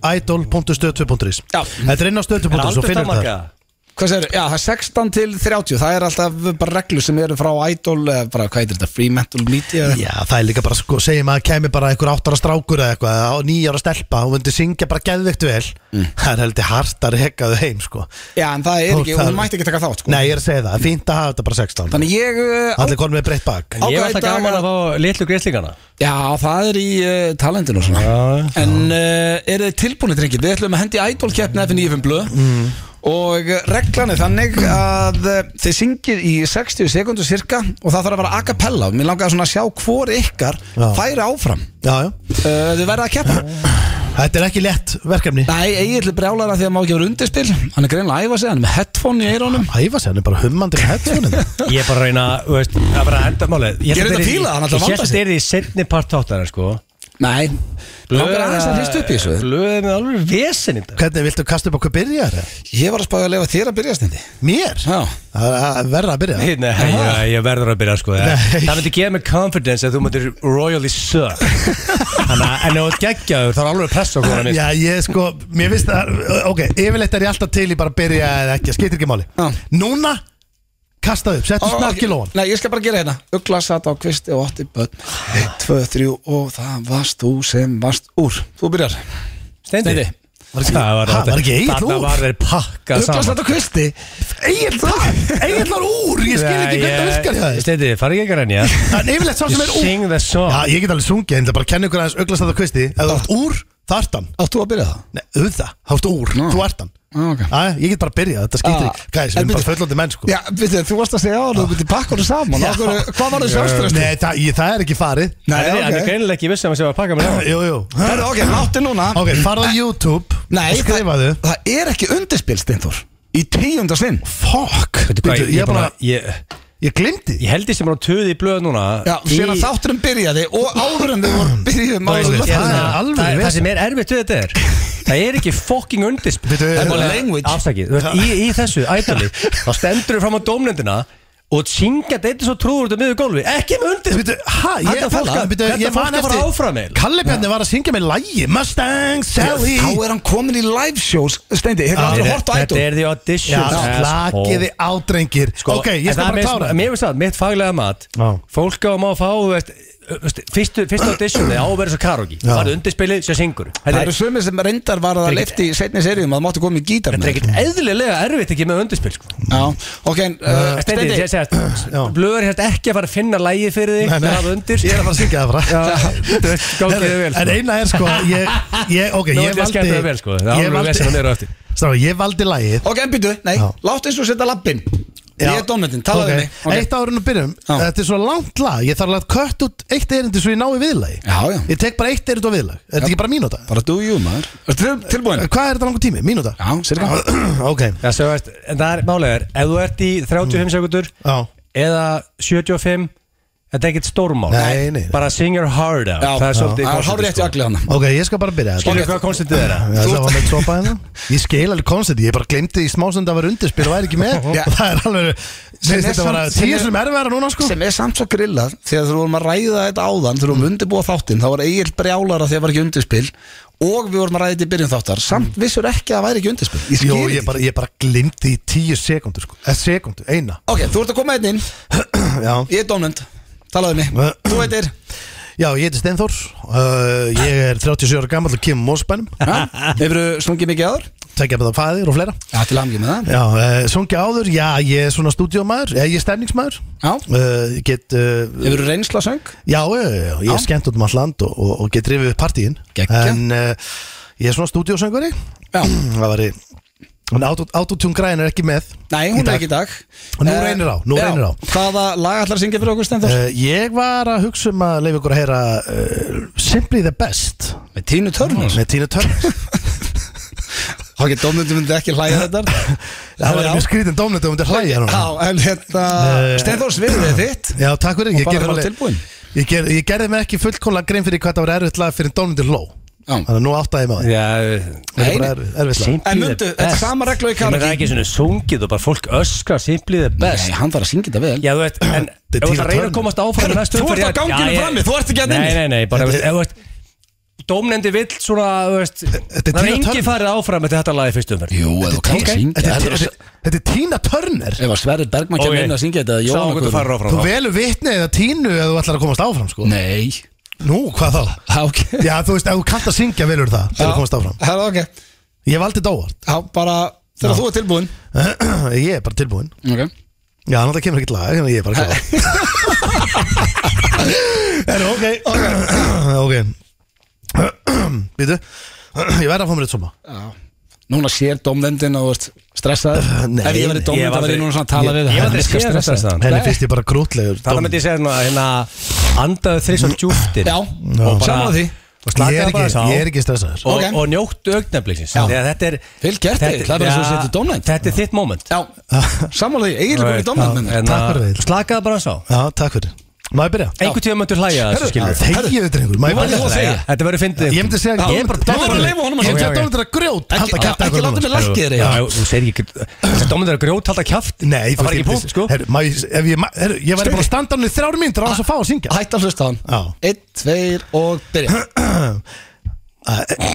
S3: idol.stöð2.is
S1: Já.
S3: Þetta er inn á
S2: Er
S3: stöð2.is og
S2: aldur
S3: finnur þetta
S2: takmarkað?
S1: Hvað segir, já, það er 16 til 30 Það er alltaf bara reglur sem eru frá Idol eða bara, hvað heitir þetta, Free Mental Media eða-
S3: Já, það er líka bara, sko, segjum að kemi bara einhver áttara strákur eða eitthvað, eða nýjára stelpa og vundi syngja bara geðvikt vel
S1: Mm.
S3: það er heldur hart að reka þau heim, sko
S1: Já, en það er
S3: Fólk
S1: ekki,
S3: þarf-
S1: hún mætti ekki taka þátt sko.
S3: Nei, ég er að segja það, það er fínt að hafa þetta bara 16
S1: Þannig ég uh, á,
S3: Allir konum með breytt bak
S2: Ég
S1: Ákvað
S2: var alltaf
S1: í dag
S2: gaman
S1: að-
S2: að fá litlu grislingana
S1: Já, það er í uh, talendinu og svona En uh, eru þið tilbúinir, drengir? Við ætlum að hendi í Idol keppni F9 blöð Og uh, reglan er þannig að uh, þið syngir í 60 sekundu cirka og það þarf að vera a cappella Mér langaði svona að sjá hvor ykkar
S3: Já.
S1: færi áfram
S3: Já, já,
S1: uh, Þið verða að keppa
S3: þetta er ekki lett verkefni
S1: Nei, eiginlega brjálæra því að maður ekki vera undirspil Hann er greinlega að æfa sig, hann er með headphone í eirónum
S3: Æfa sig, hann er bara hummandi með
S1: [laughs]
S3: headphone
S2: Ég er bara að reyna, þú veist, það er bara að enda málið
S1: Ég er þetta fíla, hann ætlar að vanda
S2: Ég held
S1: sig.
S2: þetta er í setni part áttar, sko
S1: Nei, hann er aðeins að hrist upp í þessu
S2: Blöð er með alveg vesen hérna. í þetta
S3: Hvernig, viltu kasta upp okkur byrjar?
S1: Ég var að spáði að lefa þér að byrja stendi
S3: Mér?
S1: Já,
S3: Það er að verra að byrja
S2: Nei, ég, ég verður að byrja sko
S3: Nei.
S2: Það myndi gefa mig confidence að þú myndir royally suck Þannig að en ef þú ert geggjaður þá er alveg pressa okkur
S3: Já, ég sko, mér finnst að Ok, yfirleitt er ég alltaf til í bara að byrja eða ekki, skiptir ekki máli
S1: Já.
S3: Núna, kasta upp, settu snakki lóan
S1: Nei, ég skal bara gera hérna Ugla satt á kvisti og ótti börn 1, 2, 3 og það varst þú sem varst úr Þú byrjar
S2: Steindi
S3: Var ekki-
S2: Það
S3: Ha, var ekki Egill
S2: Þarna
S3: úr?
S2: var þeir pakkað
S1: Ugla
S2: saman
S1: satt á kvisti
S3: Egillar úr, ég skil ekki hvernig það virkar hjá þér
S2: Steindi, fara ekki ekki að renja
S3: En yfirleitt sá
S2: You
S3: sem er úr
S2: sing the song
S3: Já, ég get alveg sungið, en það bara kenni ykkur aðeins auglastæða kvisti Ef þú ert úr, það ert hann
S1: Átt þú að byrja það?
S3: Nei, auðvitað, þá ert úr,
S1: Ná.
S3: þú ert hann
S1: Já, ok.
S3: Æ, Ég get bara að byrja, þetta skiptir
S1: Já.
S3: ekki Ah, Gæs, við
S1: En
S3: erum bara
S1: byrju-
S3: fullandi menn sko
S1: Já, veitu, þú varst að segja á þú byrja pakka hún saman
S3: Já.
S1: Af hverju- Hvað var þau sjálfstræst?
S3: Nei, það, ég, það er ekki farið
S2: Hann er- hann er greinilega ekki viss sem að sé að pakka með það
S3: Jú, jú
S1: Hörru, ok, láttu núna
S3: Ok, farðu á YouTube
S1: Nei,
S3: og Skrifaðu
S1: það, það er ekki undirspil, Steintor Í tíunda sinn
S3: Fuck
S2: Veitu hvað,
S3: Bíddu,
S2: ég,
S3: Ég, bara,
S2: ég,
S3: ég glimti
S2: ég held ég sem er á töði í blöð núna
S1: Já,
S2: í-
S1: síðan að þátturum byrjaði og áður en þau voru um byrjuðum
S3: Þú
S1: áður
S3: veist,
S1: en
S3: ég-
S1: lögðum.
S3: er alvöru
S2: það, það
S3: vesen.
S2: sem er erfitt við þetta er Það er ekki fucking undirspil
S3: Bíddu,
S2: Það er
S3: er-
S2: bara-
S1: language.
S2: Afsakið, þú veist, í, í þessu ædali
S3: [laughs]
S2: Þá stendur þú fram á dómnendina Og syngja þetta svo trúður út á miður gólfi Ekki með undirspil
S3: Býtu, hæ,
S2: Hann
S3: ég
S2: er að fara.
S3: Býtu,
S2: Hvernig
S3: ég
S2: fólk
S3: man
S2: að fara
S3: eftir
S2: áfram eiginlega?
S3: Kalli Bjarni var að syngja með lægi Mustang, Sally
S1: Þá er hann komin í live shows Steindi, hefur
S3: Já,
S1: aldrei
S3: þetta-
S1: hort á
S2: Þetta
S1: ædol
S2: er því
S3: Já,
S2: audition
S3: slakiði á drengir
S2: Sko,
S3: Ok, ég skal bara klára
S2: Mér finnst það, mitt faglega mat
S3: Já.
S2: Fólk á að má fá, þú veist þú veist, Fyrstu, fyrstu auditioni á að vera svo karogi
S3: Já.
S2: Það er undirspilið sem syngur
S1: Það
S2: Þetta er
S1: eru sömur sem reyndar var að leifti í setni seriðum að það máttu komið í gítar
S2: Þetta er
S1: með
S2: ekkert eðlilega erfitt ekki með undirspil sko.
S1: Já, ok, en, uh,
S2: Steindi,
S1: Steindi
S2: Eh, ég segast
S1: [clears throat]
S3: Já.
S2: Blöður hérna ekki að fara að finna lægið fyrir þig
S3: Nei, nei,
S2: Það
S1: [laughs]
S2: er undir
S3: Ég er að fara að syngja það bara
S2: Já, þú veist, gangið þið vel
S3: En
S2: sko.
S3: eina er sko Ég, ég, ok,
S2: Nú
S3: ég
S2: er þetta
S3: valdi
S2: skemmt það vel sko. Það
S3: Ég
S2: er alveg
S3: valdi
S2: vesinn að mér á eftir
S3: Strá, ég valdi lægið
S1: Ok, en býtu, nei,
S3: Já.
S1: láttu eins og setja lappin Ég er dómnendin, talaðu okay. mig
S3: okay. Eitt ára nú byrjum,
S1: Já.
S3: þetta er svo langt lag Ég þarf alveg að kött út eitt erindi svo ég nái viðlagi
S1: Já, já.
S3: Ég tek bara eitt erindi á viðlag, er þetta ekki bara mínúta?
S1: Bara do you, maður Ertu til- tilbúin?
S3: Hvað er þetta langur tími? Mínúta?
S1: Já, sér ekki
S3: ok,
S2: Já, svo veist, En það er málegar Ef þú ert í
S1: Mm.
S2: 35 sekundur
S3: já
S2: Eða 75 Þetta er ekkert stórmál
S3: Nei, nei.
S2: Bara sing your heart out
S1: Já,
S2: Það er svolítið sko.
S1: Það er hár rétt í
S2: konseptið,
S1: allir hana
S3: Ok, ég skal bara byrja þetta
S2: Skilur hvað konstantið er það?
S3: Já, það var með sopa hérna Ég skil alveg konstið, ég bara glemdi í smásund að vera undirspil og væri ekki með
S1: Já.
S3: Það er alveg,
S1: Sem
S3: syns
S1: er
S3: þetta var
S1: samt-
S3: að
S1: sem
S3: tíu
S1: er-
S3: sem erfæra núna sko
S1: sem er samt svo grillað þegar þú vorum að ræða þetta áðan þegar þú vorum undirbúa þáttinn, þá var Egil brjálara þegar var ekki undirspil og við vorum að ræða þetta í byrjun þáttar samt vissur ekki að það væri ekki undirspil ég skil
S3: Jó,
S1: ekki
S3: ég bara, ég bara glimti í tíu sekundur sko. eh, sekundu, eina
S1: ok, þú ert að koma einn inn,
S3: Já,
S1: ég er dómnend talaðu mig, þú veitir
S3: Já ég heiti Steinþór uh, Ég er 37 ára gammal og kemur mósbænum
S1: hefur þú slungið mikið áður?
S3: Tækja með það fæðir og fleira
S1: já, til hamingju með það
S3: Já, uh, sungi áður, já, ég er svona stúdíómaður eh, Ég er stemningsmaður
S1: já.
S3: uh, Ég get uh,
S1: hefur þú reynsla söng?
S3: Já, já, já, já, ég
S1: Já.
S3: er skemmt út um all land og, og, og get rifið upp partíin eh,
S1: Geggjað.
S3: En uh, ég er svona stúdíósöngvari
S1: já,
S3: Það væri En autotune græn er ekki með
S1: Nei, hún er ekki í dag
S3: Og nú
S1: Eh,
S3: reynir á, nú
S1: já.
S3: reynir á.
S1: Hvaða lag ætlar að syngja fyrir okkur stendur?
S3: Uh, ég var að hugsa um að leifa ykkur að heyra uh, Simply the Best
S1: Með Tínu Törnur
S3: með Tina
S1: [laughs]
S3: Turner
S1: Þá ekki domnundu myndi ekki hlæja þetta
S3: [laughs] Það var mjög skrítin dómnit um þetta hlæja núna
S1: Já, en hérna Stendur sviðið er þitt
S3: Já, takk fyrir,
S1: Og
S3: ég
S1: bara
S3: gerði
S1: vera
S3: alveg-
S1: tilbúin.
S3: Ég, ger, ég gerði mig ekki fullkóla grein fyrir hvað það var erfitt lag fyrir dómnundir hló
S1: Já.
S3: Þannig að nú áttaði ég maður
S2: Já,
S3: Þetta er bara
S1: Mm. Nei,
S3: erfitt- erfitt lag
S1: En mundu, þetta er sama regla og í karaoke.
S2: Það er ekki svona sungið og bara fólk öskra Simply the
S1: Nei,
S2: best
S1: hann var að syngja þetta vel
S2: Já, þú veit, en
S3: Þetta
S2: ef þú ert
S3: er
S2: að reyna
S3: Tina Turner.
S2: að komast áfram í næstu
S1: þú
S2: umferð,
S1: ert á
S2: ég-
S1: ganginum
S2: Já, ég-
S1: frammi, þú ert ekki hérna inni.
S2: Nei, nei, nei, bara, ef þú veist Dómnendi vill svona, þú veist Það
S3: Þetta er
S2: er
S3: Tina
S2: engi
S3: Turner.
S2: farið áfram eftir þetta lagi fyrst umferð
S1: Jú, eða þú kannst að syngja
S3: Þetta er-
S1: Þetta er-
S3: þetta- Þetta er Tina Turner
S1: Ef að Sverrir Bergmann kemur
S2: Ok.
S1: inn að syngja þetta
S2: Sá
S1: Jóhann
S2: hvernig þú
S1: Guðrún.
S2: farir áfram
S3: Þú velur vitni eða Tínu eða þú ætlar að komast áfram sko
S1: Nei
S3: Nú, hvað þá?
S1: Já, ok
S3: Já, þú veist, ef þú kannt að syngja velur það til að komast áfram
S1: Það er ok
S3: Ég valdi dóvart
S1: Já, bara
S3: Já.
S1: Þegar þú er tilbúin
S3: [clears throat] Ég er bara tilbúinn
S1: Ok
S3: Já, náttúrulega kemur ekkert lag, þannig að ég er bara kláð Er ok Ok [clears throat] Býtu Ég verð að fá mér eitt svona
S1: Já Núna sér domnendin og þú ert stressaður
S3: [laughs] Nei,
S1: Ef ég verið
S2: ég
S1: domnend þá
S2: hef
S1: verið
S2: aldrei-
S1: ég núna svona að tala
S2: ég-
S1: við
S2: ég hef
S1: Hann
S2: aldrei
S1: er
S2: séð
S1: stressaður.
S2: þetta staðan.
S3: Henni
S1: Nei.
S3: finnst ég bara grútlegur
S2: Það myndi ég segja hérna, hérna Andaðu þrísvart djúftir
S1: Já,
S2: Og bara-
S1: saman því
S2: Og
S3: Ég
S2: slakaðu
S3: er
S2: bara
S3: ekki,
S2: sá
S3: ég er ekki
S2: Og,
S3: stressaður
S1: Ok.
S2: og njóttu augnablikksins
S1: Já.
S2: Þegar þetta er
S1: Vel gert
S2: þetta-
S1: þig, það er bara svo
S2: Já,
S1: settur dómnefnd.
S2: Þetta er þitt moment
S1: Já, saman því, eiginlega komið domnend minn
S3: Takk fyrir Egill.
S2: Slakaðu bara sá
S3: Já, takk fyrir Má ég byrja?
S2: Einhvern tíma möndur hlæja að þessu skilur við.
S3: Þegið þetta einhver Má ég
S1: Nú var
S3: byrja?
S1: þú að segja.
S2: Þetta verður fyndið
S3: Ég myndi segja
S2: Já, Ég er bara
S1: Nú er bara að leyfa honum að
S3: Ég
S2: segja.
S3: myndi að dómur þetta grjót
S1: Ekki-
S3: Halda kæft
S1: ekki láta mig lækka þér,
S2: Já,
S1: Egill.
S2: þú segir ekki Þessi dómið er að grjót halda kjaft
S3: Nei,
S2: það var ekki punkt sko
S3: Her, má, ég, ef ég, ma- herru, ég væri bara að standa hann í þrjár mínútur á þess að fá að syngja
S1: Hætt að hlusta á hann
S3: Já.
S1: Einn, tveir og
S3: [clears throat]
S1: byrja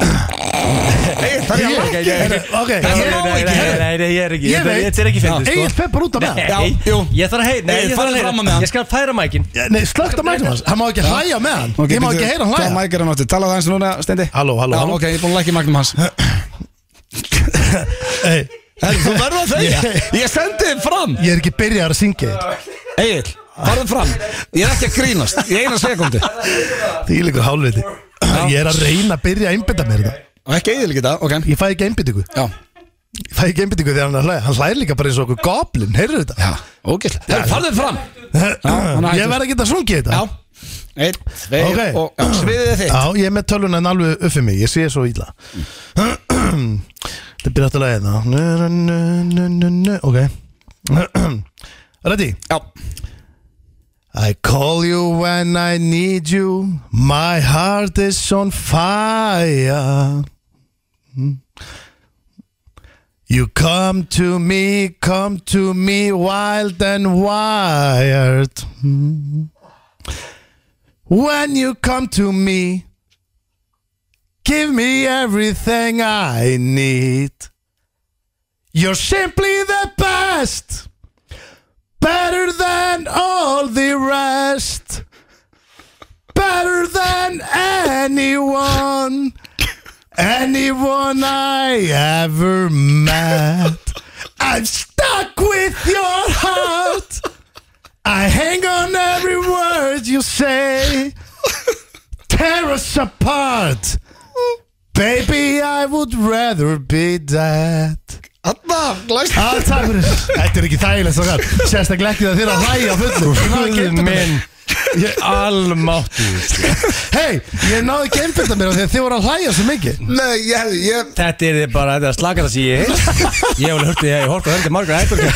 S1: Nei, það er
S3: Ég-
S1: að lækja
S3: Herru, Ok,
S2: Nei,
S3: ég má
S2: nei, nei,
S3: ekki
S2: nei, nei, nei, ég er ekki
S3: Ég veit.
S2: Þetta er ekki fyndið sko
S3: Egil Pepp er út af með hann.
S1: Já, jú.
S2: Nei, Ég þarf að heyra Nei,
S1: Egill,
S2: ég þarf
S1: farðu
S2: að
S1: fram á með hann.
S2: heyra Ég skal færa mækin
S3: Nei, slögt að mæknum hans Hann má ekki hlæja með hann Ég má ekki heyra hann
S1: Hvað
S3: hlæja
S1: mækir hann átti? Talaðu aðeins núna, Steindi
S3: Halló, halló,
S1: Já,
S3: halló.
S1: ok, ég er búin að lækja magnum hans
S3: [clears throat] Hey,
S1: Herri, Þú verður að þegja Ég sendi þið fram
S3: Ég er ekki byrjað að syngja þér
S1: Egil, farðu fram Ég er ekki að grínast Í eina sekundu
S3: Því líkur hálfviti Ég er að reyna að byrja að einbytta mér þetta
S1: Og ekki Egil ekki það, ok
S3: Ég fæ ekki einbyttingu
S1: Já,
S3: Ég fæ ekki einbyttingu þegar hann er að hlæja Hann hlæðir líka bara eins og okkur goblin Heyrðu þetta
S1: já, ógæslega Herri, farðu þið fram hann er
S3: Ég
S1: hættur.
S3: verð ekki að sungja þetta
S1: Já, einn, tveir
S3: Ok.
S1: og já, Sviðið er þitt
S3: Já, ég er með tölvuna en alveg uppið mig, ég sé svo illa Þetta byrja aftur lagið það nu, nu, nu, nu, nu, Ok [clears throat] Ready?
S1: Já,
S3: I call you when I need you My heart is on fire Hmm? You come to me, come to me wild and wired Hmm? When you come to me Give me everything I need You're simply the best Better than all the rest. Better than anyone. Anyone I ever met. I'm stuck with your heart. I hang on every word you say. Tear us apart. Baby, I would rather be dead.
S1: Anna, glæst
S3: Já, takk fyrir Þetta er ekki þægilegt svo galt Sérstaklega ekki það þér að hlæja á fullu Ég náði ekki einbetta mér.
S2: Minn Almáttu sko.
S3: Hei, ég náði ekki einbyrta mér af því að þið voru að hlæja svo mikið
S1: Nei, ég, ég
S2: Þetta er bara Þetta er að slaka það sem ég heil Ég hef alveg hörtið Ég hort og hörtið margra ættur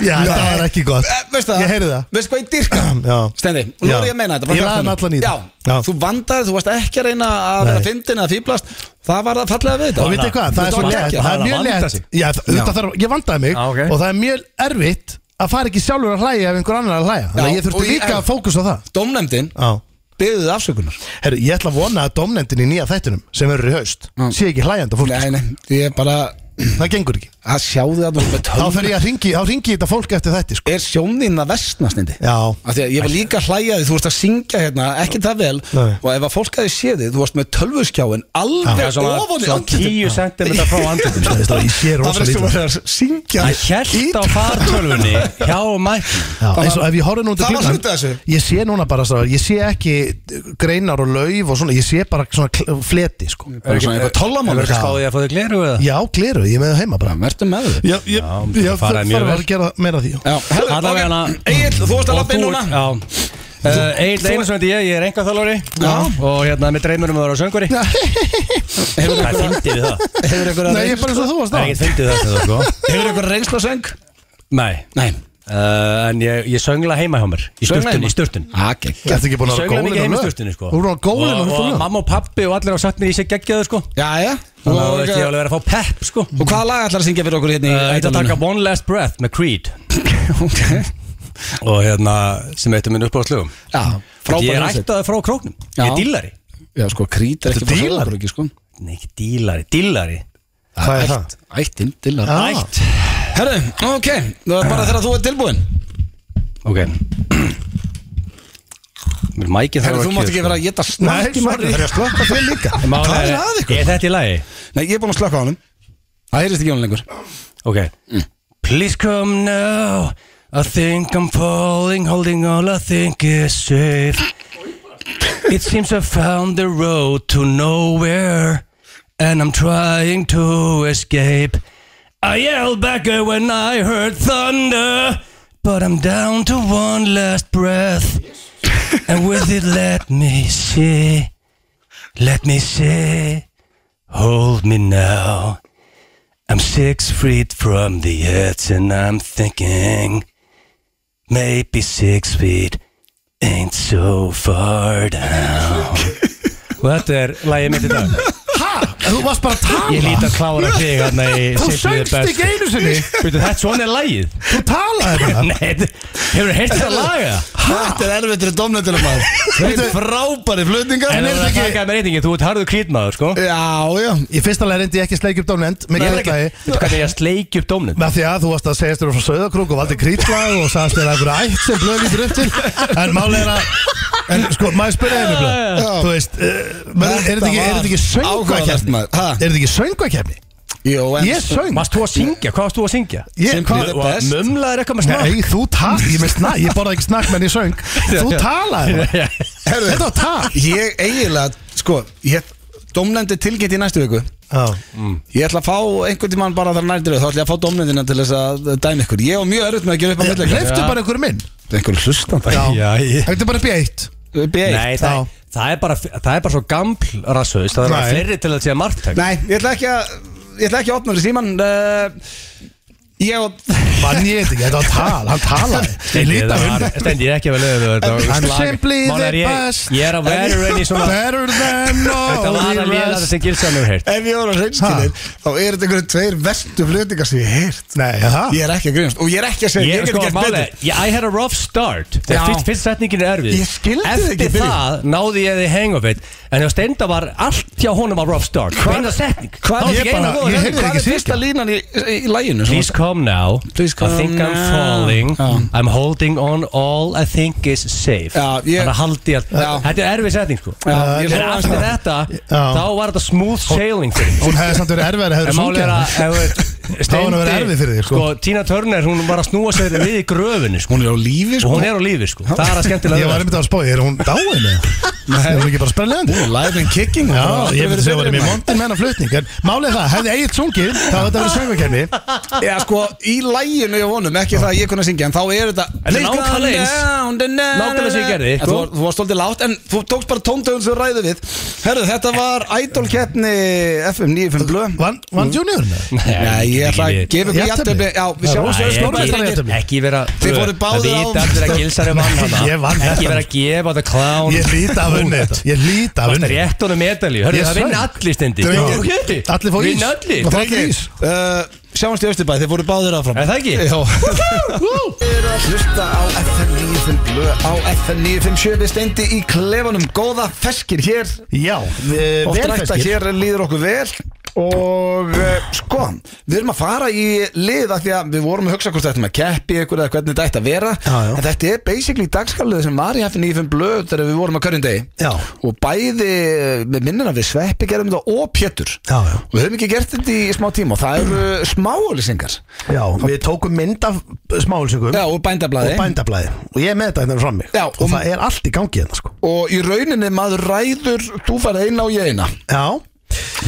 S3: Já, þetta var ekki gott
S1: Eh, Veistu það?
S3: Ég heyri það
S1: Veistu hvað ég dyrka?
S3: Já.
S1: Stendi, nú
S3: Já.
S1: er ég að meina þetta bara
S3: Ég
S1: gott
S3: lagði
S1: þannig.
S3: allan í það.
S1: Já,
S3: Já.
S1: þú vandaði, þú varst ekki að reyna að vera
S3: Nei.
S1: fyndin eða fýblast Það var það fallega við þetta
S3: Og vitið hvað, það er
S1: Þetta
S3: svo
S1: var
S3: létt
S1: geggjað.
S3: Það er
S2: Það er að
S3: mjög
S2: vanda
S3: létt
S2: sig.
S3: Já, þetta þarf, ég vandaði mig
S2: Já, ok.
S3: Og það er mjög erfitt að fara ekki sjálfur að hlæja ef einhver annar er að hlæja Þannig
S1: Já,
S3: að ég
S1: og
S3: þurfti
S1: ég-
S3: líka að fókusa á það
S1: Dómnefndin
S3: Já
S1: byggði þið afsökunar
S3: Herru, ég ætla að vona að domnendin í nýja þættinum sem verður í haust sé ekki hlæjandi á fólki
S1: Nei, nei, ég bara
S3: Það gengur ekki
S1: að sjáðu að þú ert með
S3: Þá
S1: tölv
S3: fer ég að ringi, þá ringi þetta fólk eftir þetta sko.
S1: er sjónin að vestna snindi
S3: Já,
S1: Af því að ég var líka að hlæja því, þú varst að syngja hérna, ekki það vel
S3: Nei.
S1: Og ef að fólk hefði séð þið, þú varst með tölvuskjáin alveg
S2: Já, svona-
S1: ofan í
S2: svona 10 sentimetra frá andlitum.
S3: Þú veist, ég sé rosa
S1: Það
S3: lítið.
S1: var að syngja
S2: Það hjælt á fartölfunni hjá mætti
S3: Já, eins og ef ég horfði nú út í
S1: Það var
S3: gluggann,
S1: hluti af þessu.
S3: Ég sé núna bara, strákar, ég sé ekki greinar og lauf og svona Ég sé bara svona kl- fleti sko.
S1: Það var svona eitthvað tollamál
S2: Það er skáðið að fá þig gleru eða
S3: Já, gleru, ég er með það heima bara
S1: Vertu með þau
S3: Já, ég,
S2: Já,
S3: ég, ég
S2: faraði mjög
S3: þarf
S2: vel.
S3: að gera meira af því já.
S1: Já, herðu,
S2: Alla vegana-
S1: ok Egil, þú varst að lappa inn núna
S2: Já Egil Einarsson heiti ég, ég er enga þjálfari Og hérna, mér dreymur um að vera sönguri
S1: Hefur
S2: Það fyndi við það
S1: hefur einhver
S3: Nei, ég er bara eins og þú varst
S2: Það
S3: á
S2: er ekkert fyndið það sem það sko
S1: Hefur einhver reynsla söng?
S2: Nei
S1: Nei
S2: uh, En ég, ég söngla heima hjá mér Í
S1: Söngla
S2: sturtun,
S1: heima?
S2: í sturtun
S1: Aki
S3: Ég ætti ekki búin að vera
S2: Söngla
S3: gólin
S2: mikið
S3: og
S2: heima í
S3: lög.
S2: sturtunni sko
S3: Þú voru að gólin og
S2: Og,
S3: lög.
S2: og mamma og pappi og allir á satt mér í sig geggjaðu sko
S1: Jæja
S2: Þannig að þú veist ég
S1: Og
S2: alveg verið að fá pepp sko
S1: og hvaða lag ætlar að syngja fyrir okkur hérna í
S2: Uh, Ég ætla að taka One Last Breath með Creed
S1: Ok
S2: Og hérna, sem eittum minn upp á slugum
S1: Já,
S2: Ég
S1: frábæður
S2: er ættaði frá króknum Ég
S1: Já.
S2: er dílari
S1: Já, sko, krít er ekki
S3: Ertu
S1: bara
S3: dílar?
S1: sögur ekki, sko
S2: Nei, ekki dílari, dílari
S3: Hvað er
S1: Ætt,
S3: það?
S1: ættin, dillar
S3: Ah.
S2: Ætt
S1: Herru, ok, það er bara þegar þú ert tilbúin
S2: Ok Mér mækið
S1: Herru, þú mátt ekki vera að geta
S3: Nei,
S1: snart í
S3: sorry,
S1: marri
S3: það er að slökka þér líka
S1: Hvað er að ykkur?
S2: Er þetta í lagi?
S1: Nei, ég er búin að slaka á honum Það heyrist ekki á honum lengur
S2: Ok Please come now I think I'm falling Holding all I think is safe It seems I found the road to nowhere And I'm trying to escape I yelled back when I heard thunder But I'm down to one last breath And with it let me see Let me see Hold me now I'm six feet from the edge and I'm thinking Maybe six feet ain't so far down [laughs] Og þetta er lægið mitt í dag
S3: Hæ? Þú varst bara að tala
S2: Ég lít að klára þig hann í
S3: Þú
S2: Safety the
S3: söngst
S2: Best.
S3: ekki einu sinni
S2: Veitu, þetta svona er lægið
S3: Þú talaði bara
S2: Nei, þetta- hefurðu heyrt þetta laga?
S1: Þetta er erfitt fyrir domnendina [laughs] maður Þetta er frábæri flutningar
S2: En það er
S1: Já,
S2: að taka með reytingin, þú ert harðu krýtmaður sko
S1: já
S3: Í fyrsta leið reyndi ég ekki að sleikja upp dánend Með
S2: Veitu
S3: greiðlagi
S2: hvernig ég að sleiki upp dómnin?
S3: Með því að þú varst að segjast þér frá Söðakrók og valdi krýtlag og sagðast þér að einhverja ætt sem blöð lítur upp til En máli er að En sko, maður spyrja einu blöð Þú veist, eh, maður- er þetta ekki- er þetta ekki
S1: áhugavert,
S3: söngvakefni?
S1: maður. Ha?
S3: Er þetta ekki söngvakefni?
S1: Jó, en
S3: Ég söng
S2: Varst þú að syngja? Hvað varst þú að syngja?
S3: Ég,
S1: Simply
S3: hvað,
S1: the best.
S2: Mumlaðir eitthvað með snakk?
S3: Nei, þú tala, ég, með snak, ég borða ekki snakk menn ég söng Þú um talaði bara.
S1: Herðu,
S3: Þetta var tal
S1: Ég eiginlega, sko ég, Domnendi tilgætt í næstu viku Ég ætla að fá einhvern tímann bara þar nærdur Þá ætla ég að fá domnendina til þess að dæmi ykkur Ég var mjög erfitt með að gera upp á milli
S3: Hleyftu bara einhverjum inn
S1: Einhver hlustan það
S2: Já, ég-
S3: Hættu bara upp í eitt
S2: Nei,
S1: B1
S2: það, það, er bara, það er bara svo gaml rassuðist Það er bara
S3: Nei.
S2: fleiri til að segja margtæk
S1: Nei, ég ætla ekki að Ég ætla ekki að opna fyrir síman uh, Ég og
S3: Mann ég þetta ekki, þetta var tal, hann talaði Ég
S2: Stendi,
S3: líti
S2: það
S3: að
S2: var-
S3: hunda
S2: Stendi, ég er ekki að vera leiður yfir þetta.
S3: I'm
S2: Slag-
S3: simply
S2: Mánar,
S3: the
S2: ég-
S3: best.
S2: Ég er að vera reyni svona
S3: Better than
S2: Þetta var að
S3: all the
S2: liða þetta
S3: rest
S2: sem Gilsan hefur heyrt
S1: Ef ég voru að reynskilin Þá er þetta einhverju tveir vestu flutningar sem ég heirt
S3: Nei, það
S1: Ég er ekki að grínast Og ég er ekki að segja
S2: Ég,
S1: Ég,
S2: sko,
S1: get ekki
S2: máli,
S1: betur
S2: ég, I had a rough start
S1: Já.
S2: Þegar fyrst, fyrst setningin er erfið
S1: Ég skildi það
S2: Eftir
S1: ekki í byrjun.
S2: það náði ég því hang of it En hjá Stenda var allt hjá honum var rough start Hvað er setning?
S1: Hvað-
S2: Það var
S3: ég
S2: ekki eina
S3: bara-
S2: góða
S3: ég
S2: setning.
S3: heyrði
S1: Hvað
S3: ekki
S1: er fyrsta línan í, í, í læginu? svona?
S2: Please come now
S1: Please come
S2: I think I'm
S1: now.
S2: falling
S1: Já.
S2: I'm holding on all I think is safe
S1: Já, ég-
S2: Þannig að haldi ég
S1: Já.
S2: að Þetta er erfið setning sko
S1: Já, ég
S2: En
S1: hló aðeins
S2: eftir
S1: með það.
S2: þetta
S3: Já.
S2: Þá var þetta smooth sailing fyrir mig.
S3: Hún hefði samt verið erfið að hefði
S2: En málið er
S3: sungið
S2: að ef við-
S3: Þá var það að vera erfið fyrir þig, sko.
S2: Tina Turner, hún var að snúa sér við í gröfinni sko.
S1: Hún er á lífi
S2: Og
S1: sko
S2: hún er á lífi sko. Það er að skemmtilega
S3: Ég var
S2: vera.
S3: einmitt að spá, er hún dáin eða? Er hún ekki bara sprellegandi?
S1: Live and kicking
S3: Já,
S1: Bara aldrei
S3: ég finnst
S1: verið
S3: að það var
S1: betri
S3: mjög
S1: en
S3: montin með hana flutning En málið er það, hefði eigið sungið þá hefði þetta verið söngvakefni
S1: það. Já sko, í læginu ég vonum Ekki það að ég kunna syngja En þá er þetta
S2: En þetta er nákvæmlega eins. Nákvæmlega sem ég gerði,
S1: En
S2: sko.
S1: Þú var- þú varst svolítið látt En þú tókst bara tóndögun sem þú ræði við Herðu, þetta var Idol keppni FM 95 blöð
S3: Vann-
S2: Mm.
S3: Vann juniorinn eða?
S1: Nei, ég ætla að gefa ykkur
S3: Jafntefli?
S1: jættöfli Já, við
S3: Já,
S1: sjáum
S3: rosa,
S1: svo
S2: Æ,
S3: stórmeistari
S1: stórmeistari
S2: ekki-
S3: jafntefli.
S2: Ekki vera
S1: Þið fóruð báðir á-
S2: Það vita allir að gilsari vann
S1: [laughs]
S2: hana
S3: Ég vann
S2: Ekki
S3: þetta.
S2: vera að gefa the clown
S3: Ég líti að vunni þetta Ég líti að
S2: Það er
S3: vunni
S2: rétt honum medalju Hörðu
S3: Ég
S2: það
S3: söng.
S2: vinna allir stendi
S3: Já. Allir
S2: Allir
S3: fá ís.
S2: Vinna allir
S3: Maður fá ekki
S1: Drengir,
S3: ís.
S1: uh, sjáumst í Östurbæ, þið fóru báðir áfram
S2: Er það ekki?
S1: Jó Þið eru að hlusta á FM 95 blöð á FM 957 við steindi í klefanum Góða feskir hér
S3: Já,
S1: Oft rækta
S3: velfeskir
S1: hér líður okkur vel Og uh, sko, við erum að fara í lið af því að við vorum að hugsa hvort þetta með keppi ykkur eða hvernig þetta ætti að vera
S3: Já, já.
S1: En þetta er basically dagskalluð sem var í hefni í fimm blöð þegar við vorum að körjum degi
S3: Já.
S1: Og bæði, eh, með minnina við Sveppi gerum þetta og Pétur
S3: Já, já.
S1: Og við höfum ekki gert þetta í smá tíma og það
S3: [clears throat]
S1: eru smáulisingar
S3: Já, við tókum mynd af smálsökum
S1: Já, og bændablaði
S3: og bændablaði og ég er með þetta hérna frammi
S1: Já, um-
S3: og,
S1: og-
S3: það er allt í gangi hérna sko
S1: Og í rauninni maður ræður, þú farið eina og ég eina
S3: Já,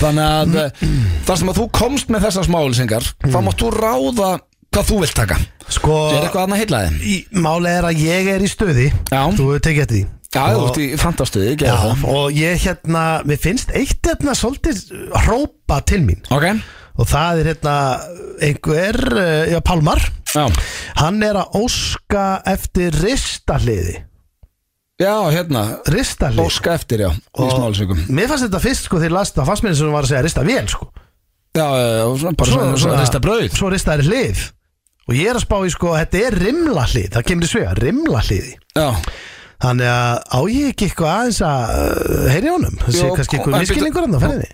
S1: Þannig að mm. þar sem að þú komst með þessar smáulisingar Þá mátt þú ráða hvað þú vilt taka
S3: sko
S1: Það er eitthvað annað heilaði
S3: í- Málið er að ég er í stöði
S1: Já.
S3: Þú hefur tekið eftir því
S1: Já, þú
S3: og,
S1: ert í fantastuði,
S3: já,
S1: gerðu það
S3: og ég hérna, mér finnst eitt hérna svolítið hrópa til mín
S1: Ok,
S3: og það er hérna einhver, eh, já Pálmar
S1: já
S3: hann er að óska eftir ristahliði
S1: Já, hérna,
S3: ristahliði
S1: óska eftir, já, í smálisökum
S3: Mér fannst þetta fyrst sko þegar ég las þetta fannst mér eins og hún var að segja rista vel sko
S1: Já, já, og svona, bara svona, svona rista brauð
S3: Svo ristaði hlið Og ég er að spá í sko, þetta er rimla hlið Það kemur í svega, rimla hliði
S1: Já,
S3: Þannig að á ég ekki eitthvað aðeins að uh, heyri honum Það sé
S1: Jó, en
S3: kannski eitthvað
S1: byrju-
S3: miskilningur hann á ferðinni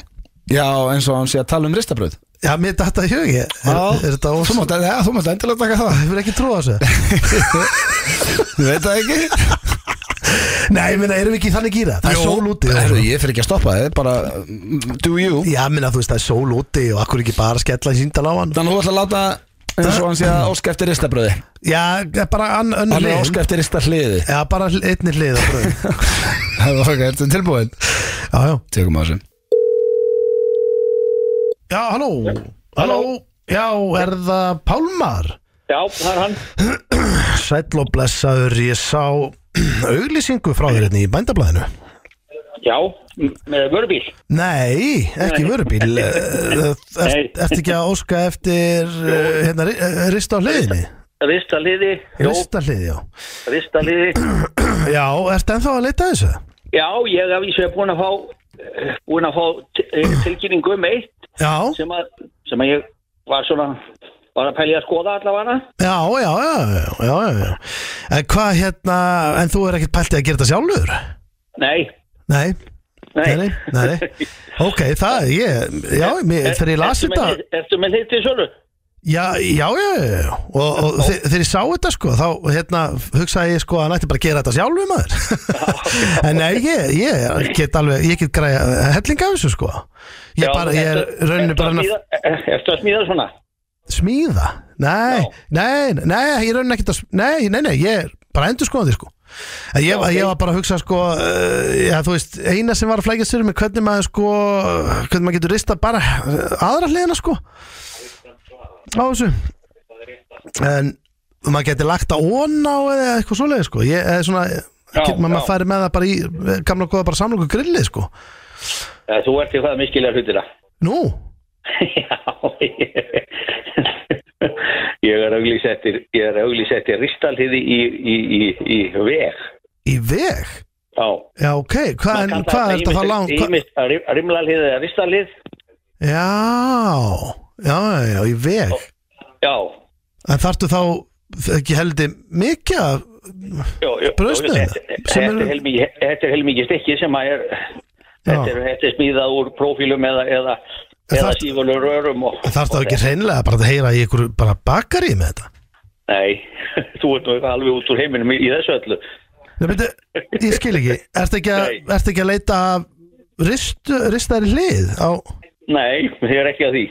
S1: já, eins og hann sé að tala um rista brauð
S3: Já, mér datta í hugi Er, er þetta ós...
S1: Þú mátt, ja, þú mátt endilega taka það
S3: Hefur ekki
S1: [laughs]
S3: trúa þessu?
S1: Ég veit það [laughs] ekki
S3: Nei, ég meina, erum við ekki þannig gýra? Það er sól úti og-
S1: Herru, ég fyrir ekki að stoppa þið, bara mm, do you
S3: Já, ég meina, þú veist, það er sól úti og akkur ekki bara skella í síndal á hann
S1: Þannig að þú ætla að láta eins og hann sé að óska eftir rista brauði
S3: Já, bara ann- önnur
S1: Hann er að
S3: hlið
S1: óska eftir rista hliði
S3: Já, bara hl- einni hlið á bröðum
S1: [laughs] Ok, ertu tilbúin?
S3: Já, já
S1: Tökum á þessu
S3: Já, halló Halló Já, er það Pálmar?
S4: Já, það er hann.
S3: Sæll og blessaður, ég sá [clears throat] auglýsingu frá þér hérna í bændablaðinu
S4: Já, m- með vörubíl.
S3: Nei, ekki vörubíl
S4: [laughs]
S3: Eh,
S4: Nei.
S3: ert- Ertu ekki að óska eftir eh, hérna, ri- eh, rista á hliðinni?
S4: Rista liði. Jó,
S3: Rista hliði, já
S4: rista liði.
S3: Já, ertu ennþá að leita að þessu?
S4: Já, ég hef ísveið búin að fá, eh, búin að fá t- eh, tilkynningu um eitt
S3: Já,
S4: sem að, sem að ég var svona, var að pælja að skoða allavega.
S3: já, já, já, já, já, já, já. En hvað hérna, en þú er ekkert pæltið að gera þetta sjálfur?
S4: Nei,
S3: Nei,
S4: nei.
S3: nei, nei, nei. Ok, það, ég, já, mér, þegar ég las
S4: Eh, Ertu
S3: þetta
S4: með- Ertu með hitt í sölu?
S3: Já, já, já, já, já. og, og þe- þegar ég sá þetta sko, þá hérna hugsaði ég sko að hann ætti bara að gera þetta sjálfu maður [laughs] En nei, ég, ég get alveg, ég get græja helling af þessu sko Ég
S4: Já,
S3: bara, ég er
S4: ertu-
S3: rauninu
S4: ertu
S3: bara
S4: að
S3: að
S4: smíða- eh, Ertu að smíða svona?
S3: smíða Nei,
S4: Já.
S3: nei, nei, ég er rauninu ekkert að, sm- nei, nei, nei, ég er bara endur skoðandi sko En ég,
S4: Já, ok.
S3: ég var bara að hugsa sko, uh, já þú veist, eina sem var að flækja sér með hvernig maður sko, hvernig maður getur rista bara aðra hliðina sko á þessu en maður getur lagt að óna á eða eitthvað svoleið sko ég er svona,
S4: Já,
S3: getur maður
S4: já.
S3: að færi með það bara í gamla góða bara samlokku grillið sko
S4: Eh, Þú ert í hvaða miskilega hlutina.
S3: nú,
S4: Já, ég, ég er auglýs eftir, ég er auglýs eftir ristalhiði í, í, í, í veg.
S3: í veg
S4: Já.
S3: já ok, hvað en- hvað er þetta þá langt hva,
S4: Ímist að rimlalhið eða ristalhið.
S3: já, já, já, já, í veg
S4: Já.
S3: en þartu þá ekki heldur mikið að
S4: Jó, jó,
S3: Brauðsneiðina, sem
S4: Þetta
S3: eru-
S4: er helmingi, þetta er helmingi stikki sem að er,
S3: Já.
S4: þetta er, þetta er smíðað úr profílum eða, eða, eða
S3: þarft-
S4: sífurlur rörum og...
S3: þartu þá ekki hreinlega bara að heyra í ykkur bara bakari með þetta
S4: Nei, [laughs] þú ert nú alveg út úr heiminum í, í þessu öllu.
S3: Nei, beti, ég skil ekki, ertu ekki, að-
S4: Nei.
S3: ertu ekki að leita að ristu, ristaðri hlið á,
S4: Nei, ég er ekki að því.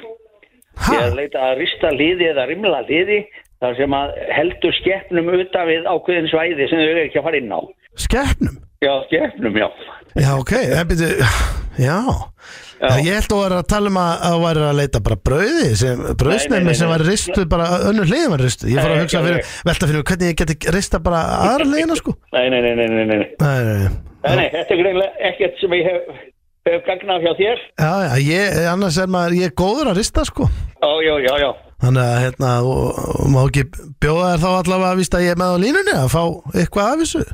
S3: ha?
S4: Ég er að leita að rista liði eða rimla liði þar sem að heldur skeppnum utan við ákveðin svæði sem þau eru ekki að fara inn á.
S3: skeppnum
S4: Já, skeppnum, já.
S3: Já, ok, það byrju Já,
S4: Já.
S3: já. ég held að vera að tala um að að væri að leita bara brauði sem,
S4: Nei, nei,
S3: brauðsnemi
S4: nei,
S3: sem
S4: nei.
S3: var ristu bara önnur hliðin var ristu Ég fór
S4: Nei,
S3: að hugsa
S4: ekki
S3: fyrir, velta fyrir mér hvernig ég geti rista bara aðra hliðina sko
S4: Nei, nei, nei, nei, nei, nei.
S3: Nei, nei, nei
S4: Nei, nei, þetta er greinlega ekkert sem ég hef, hef gagnað hjá þér.
S3: Já, já, ég, annars er maður, ég er góður að rista sko
S4: Já, já, já, já.
S3: Þannig að hérna, og, og má ekki bjóða þér þá allavega að vísta að ég er með á línunni að fá eitthvað af þessu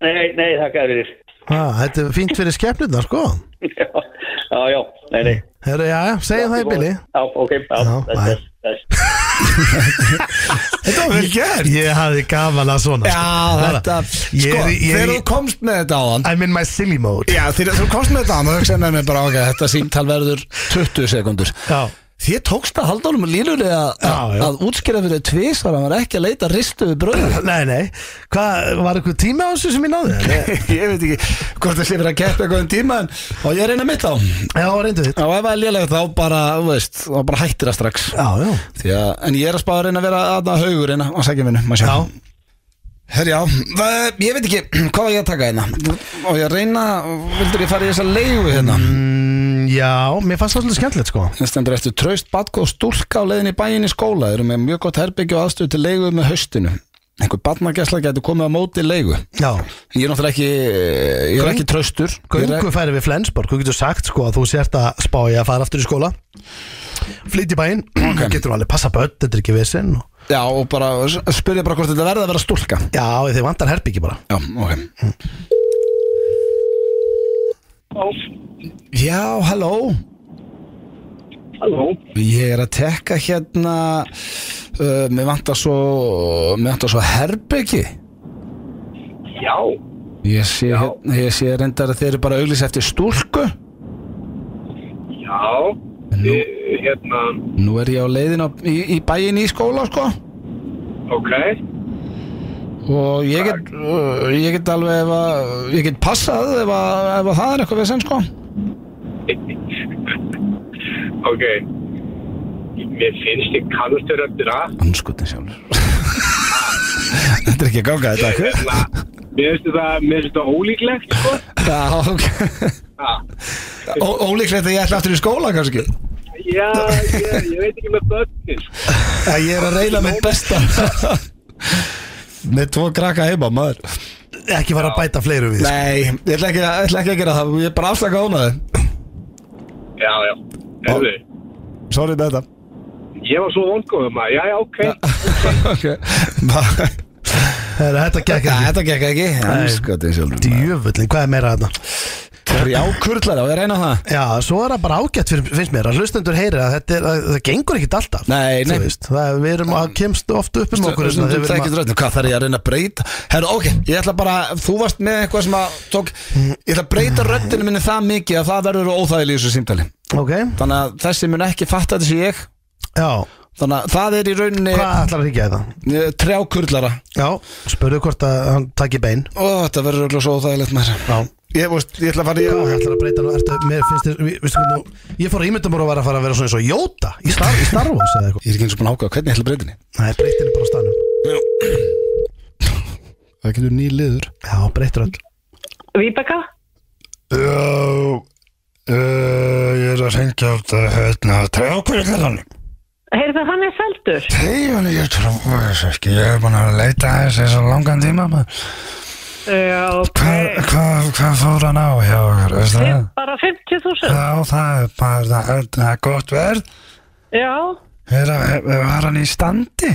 S4: Nei, nei, þakka þér fyrir. [laughs]
S3: Ah, þetta er fínt fyrir skepnirna, sko
S4: já, já, já, nei, nei
S3: Herru, já, já, segjum það í bili
S4: Já, ok, já,
S3: Já,
S4: þess,
S3: bye.
S4: þess, þess
S1: Þetta var vel gert
S3: Ég hafði gaman að svona sko.
S1: Já, þetta
S3: Ég
S1: Sko,
S3: er í- ég er
S1: þegar
S3: í-
S1: þú komst með þetta á hann
S3: I'm in my silly mode
S1: Já, þegar þú komst með þetta á hann, þú hugsaði með mér bara ok, þetta símtal verður 20 sekundur
S3: Já,
S1: Þér tókst að halda honum lílunni að,
S3: Já, já.
S1: að útskýra fyrir tvisar að hann var ekki að leita ristu við bröðu
S3: nei, nei Hvað, var eitthvað tími á þessu sem ég náði? Nei.
S1: [laughs] Ég veit ekki hvort það sé fyrir að keppa eitthvað um tíma en, og ég reyna mitt á Já,
S3: Já, reyndu þitt
S1: ef það er lélega þá bara, þú veist, þá bara hættir það strax
S3: Já, já
S1: Því að, en ég er að spá að reyna að vera aðna haugur reyna að segja minni, maður sjá
S3: Já.
S1: Herjá, það, ég veit ekki hvað var ég að taka hérna og ég reyna, vildur ég fara í þessa leigu hérna
S3: Mm, Já, mér fannst það svolítið skemmtilegt, sko
S1: Það stendur eftir traust badgóð stúlka á leiðin í bæin í skóla eru með mjög gott herbyggju og aðstöðu til leigu með haustinu einhver badnagesla getur komið að móti leigu
S3: Já,
S1: ég er náttúrulega ekki eh, ég er
S3: Göngu-
S1: ekki traustur Ég er-
S3: göngu færi við Flensborg Þú getur sagt, sko, að þú sért að spá ég að fara aftur í skóla Flyt í bæinn [clears throat] okay. Getur alveg passa börn, þetta er ekki vissin og...
S1: Já, og bara s- spurði bara hvort þetta verði að vera stúlka
S3: Já, þið vantar herbyggi bara
S1: Já, ok Já, halló
S4: Halló
S1: Ég er að tekka hérna uh, Mér vantar svo Mér vantar svo herbyggi
S4: Já,
S1: Ég sé, hérna, ég sé reyndar að þeir eru bara auglýs eftir stúlku
S4: já
S1: Nú,
S4: Hérna,
S1: nú er ég á leiðin á, í, í bæin í skóla sko
S4: ok
S1: og ég get, uh, ég get alveg ef að, ég get passað ef, að, ef að það er eitthvað við sem sko
S4: Ok Mér finnst ég kannast þér eftir að
S1: Anskutin sjálfur Þetta er ekki að ganga þetta
S4: hérna, mér finnst þetta, mér finnst þetta ólíklegt, sko.
S1: Já, ok
S4: Ha.
S1: Ó, Ólíklegt að ég ætla aftur í skóla kannski
S4: Já, ég, ég veit ekki með börnin, sko.
S1: Já, ég er að reyna mitt besta Með tvo krakka heima, maður
S3: Ekki fara að bæta fleiru við sko.
S1: Nei, ég ætla ekki, að- ætla ekki að gera það Ég er bara afslaka ánaði
S4: Já, já. Erðu,
S1: Sorry með þetta
S4: ég var svo vongóðum að, já, já, ok.
S1: Ok Bara-
S3: Herra, Þetta gekk
S1: Já,
S3: ekki
S1: Þetta gekk ekki Skotin sjálfur
S3: Djöfullin, hvað er meira þarna?
S1: Þrjá kurlar á, ég reyna það
S3: Já, svo er það bara ágætt fyrir, finnst mér að hlustendur heyri að þetta er, að, það gengur ekkit alltaf
S1: Nei, nei.
S3: Þú veist, það, Við erum að kemst oft upp um
S1: Stundum
S3: okkur hérna, þegar við erum
S1: þekkist röddin. Hvað þarf ég að reyna að breyta Herra, ok, ég ætla bara Þú varst með eitthvað sem að tók Ég ætla að breyta röddinu minni það mikið að það verður óþægileg í þessu símtali
S3: að- Ok,
S1: Þannig að þessi mun ekki fatta þessi ég
S3: já,
S1: Þannig að það er í rauninni
S3: hvað ætlar að ríkja það?
S1: eh, Þrjá kurlara
S3: Já, spurðu hvort að hann taki bein
S1: Ó, þetta verður öll svo óþægilegt maður
S3: Já,
S1: Ég, veist, ég ætla að fara í
S3: hvað ætlar að breyta nú? Ertu, mér finnst þér, vi- veistu hvernig nú Ég fór að ímyndum að vera að fara að vera svona eins og Jóta í Star, í Star Wars eða eitthvað
S1: Ég er ekki eins og búin að ákvæða hvernig ég ætla að breyta henni
S3: Nei, breytin er bara á stanum
S1: Það getur ný liður
S3: Já, breytir öll
S5: Víbeka?
S1: Já, uh, ég er að reyngja á þetta hérna Trjákvöldan
S5: Heyrðu það hann er seldur?
S1: Þegar ég trú þess ekki Ég er búin að leita að þessi svo langan tíma maður.
S5: Já, ok.
S1: Hvað hva, hva fór hann á hjá okkur, veistu það?
S5: Fimm- Bara 50.000?
S1: Já, það er bara það, er- það er gott verð
S5: Já,
S1: er, er, Var hann í standi?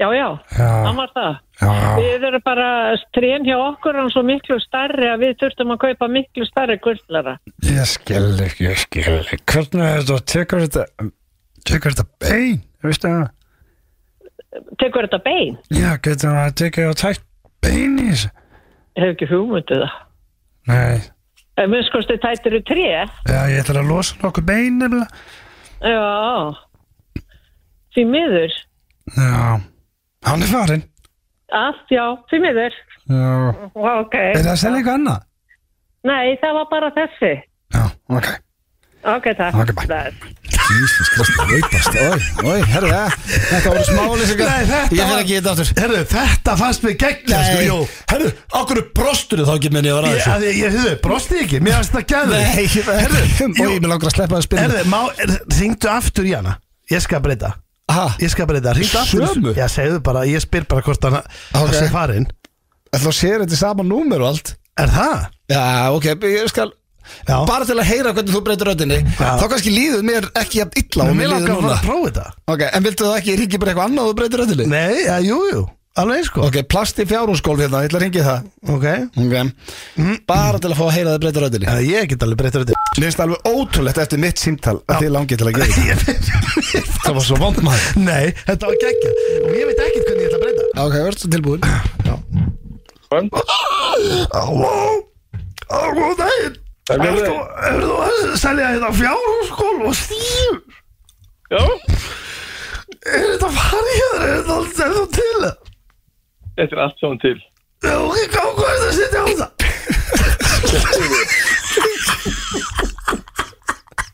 S5: já, já, hann var það.
S1: Já,
S5: Við erum bara, trén hjá okkur er hann svo miklu starri að við þurftum að kaupa miklu starri gullara.
S1: ég skil ekki, ég skil ekki Hvernig er þetta, tekur þetta Tekur þetta bein, veistu það?
S5: Tekur þetta bein?
S1: Já, getur hann að tekið og tækt bein í þessu?
S5: Ég hef ekki hugmyndið það.
S1: Nei,
S5: En minnst kosti tættir í tré?
S1: já, ég ætla að losa nokkuð bein nefnilega.
S5: Já, því miður.
S1: Já, hann er farinn.
S5: Allt, já, því miður.
S1: Já,
S5: Ok.
S1: er það að selja eitthvað annað?
S5: Nei, það var bara þessi.
S1: Já, ok.
S5: Ok, takk.
S1: Ok, bye.
S5: Bless.
S1: Ísfins, Kristi, veitast. Ói, ói, herru, ja. þetta voru smálýsingar.
S3: Nei, þetta
S1: Ég fer
S3: var-
S1: ekki í þetta aftur.
S3: Herðu, þetta fannst mér gegna sko, Jó,
S1: herru, okkur brostur þá ekki minni að vera
S3: ég, að ég, ég, ég brosti ekki, mér fannst það gæður
S1: Nei, herru, ói, mér langar að sleppa það að spila.
S3: Erðu, má, er, ringdu aftur í hana Ég skal breyta
S1: Ha,
S3: Ég skal breyta, ringdu aftur
S1: Sömu?
S3: Já, segðu bara, ég spyr bara hvort hann
S1: Ok.
S3: okay. sé farinn
S1: þá sér þetta sama númer og allt.
S3: Er það?
S1: Já, ok, ég skal...
S3: Já
S1: Bara til að heyra hvernig þú breytir röddinni
S3: Já.
S1: Þá kannski líður mér ekki jafn illa og
S3: Mér
S1: mér
S3: langar
S1: líður
S3: að fara
S1: núna
S3: að prófa þetta
S1: Ok, en viltu það ekki ríkja bara eitthvað annað og breytir röddinni?
S3: Nei, já, jú, jú alveg eins sko
S1: Ok, plast í fjárhúsgólf hérna, ég ætla að ringi það
S3: Ok
S1: Ok Bara til að fá að heyra þið breyta röddinni
S3: Eh, Ég get alveg breyttur þetta
S1: Mér finnst alveg ótrúlegt eftir mitt símtal að þið langið til að
S3: [laughs]
S1: gera þetta Það var svo vond maður
S3: Nei, þetta var geggja Og ég veit ekkert hvernig ég ætla að breyta
S1: Ok, verður svo tilbúin
S3: Halló Halló, daginn
S6: Ertu-
S3: Er þú að selja þetta fjárhúsgólf og stíu?
S6: Já,
S3: Er þetta farið hér? Er þetta er þú til?
S6: þetta er allt saman til
S3: Já, ok, hvað hvað er þetta að setja á það?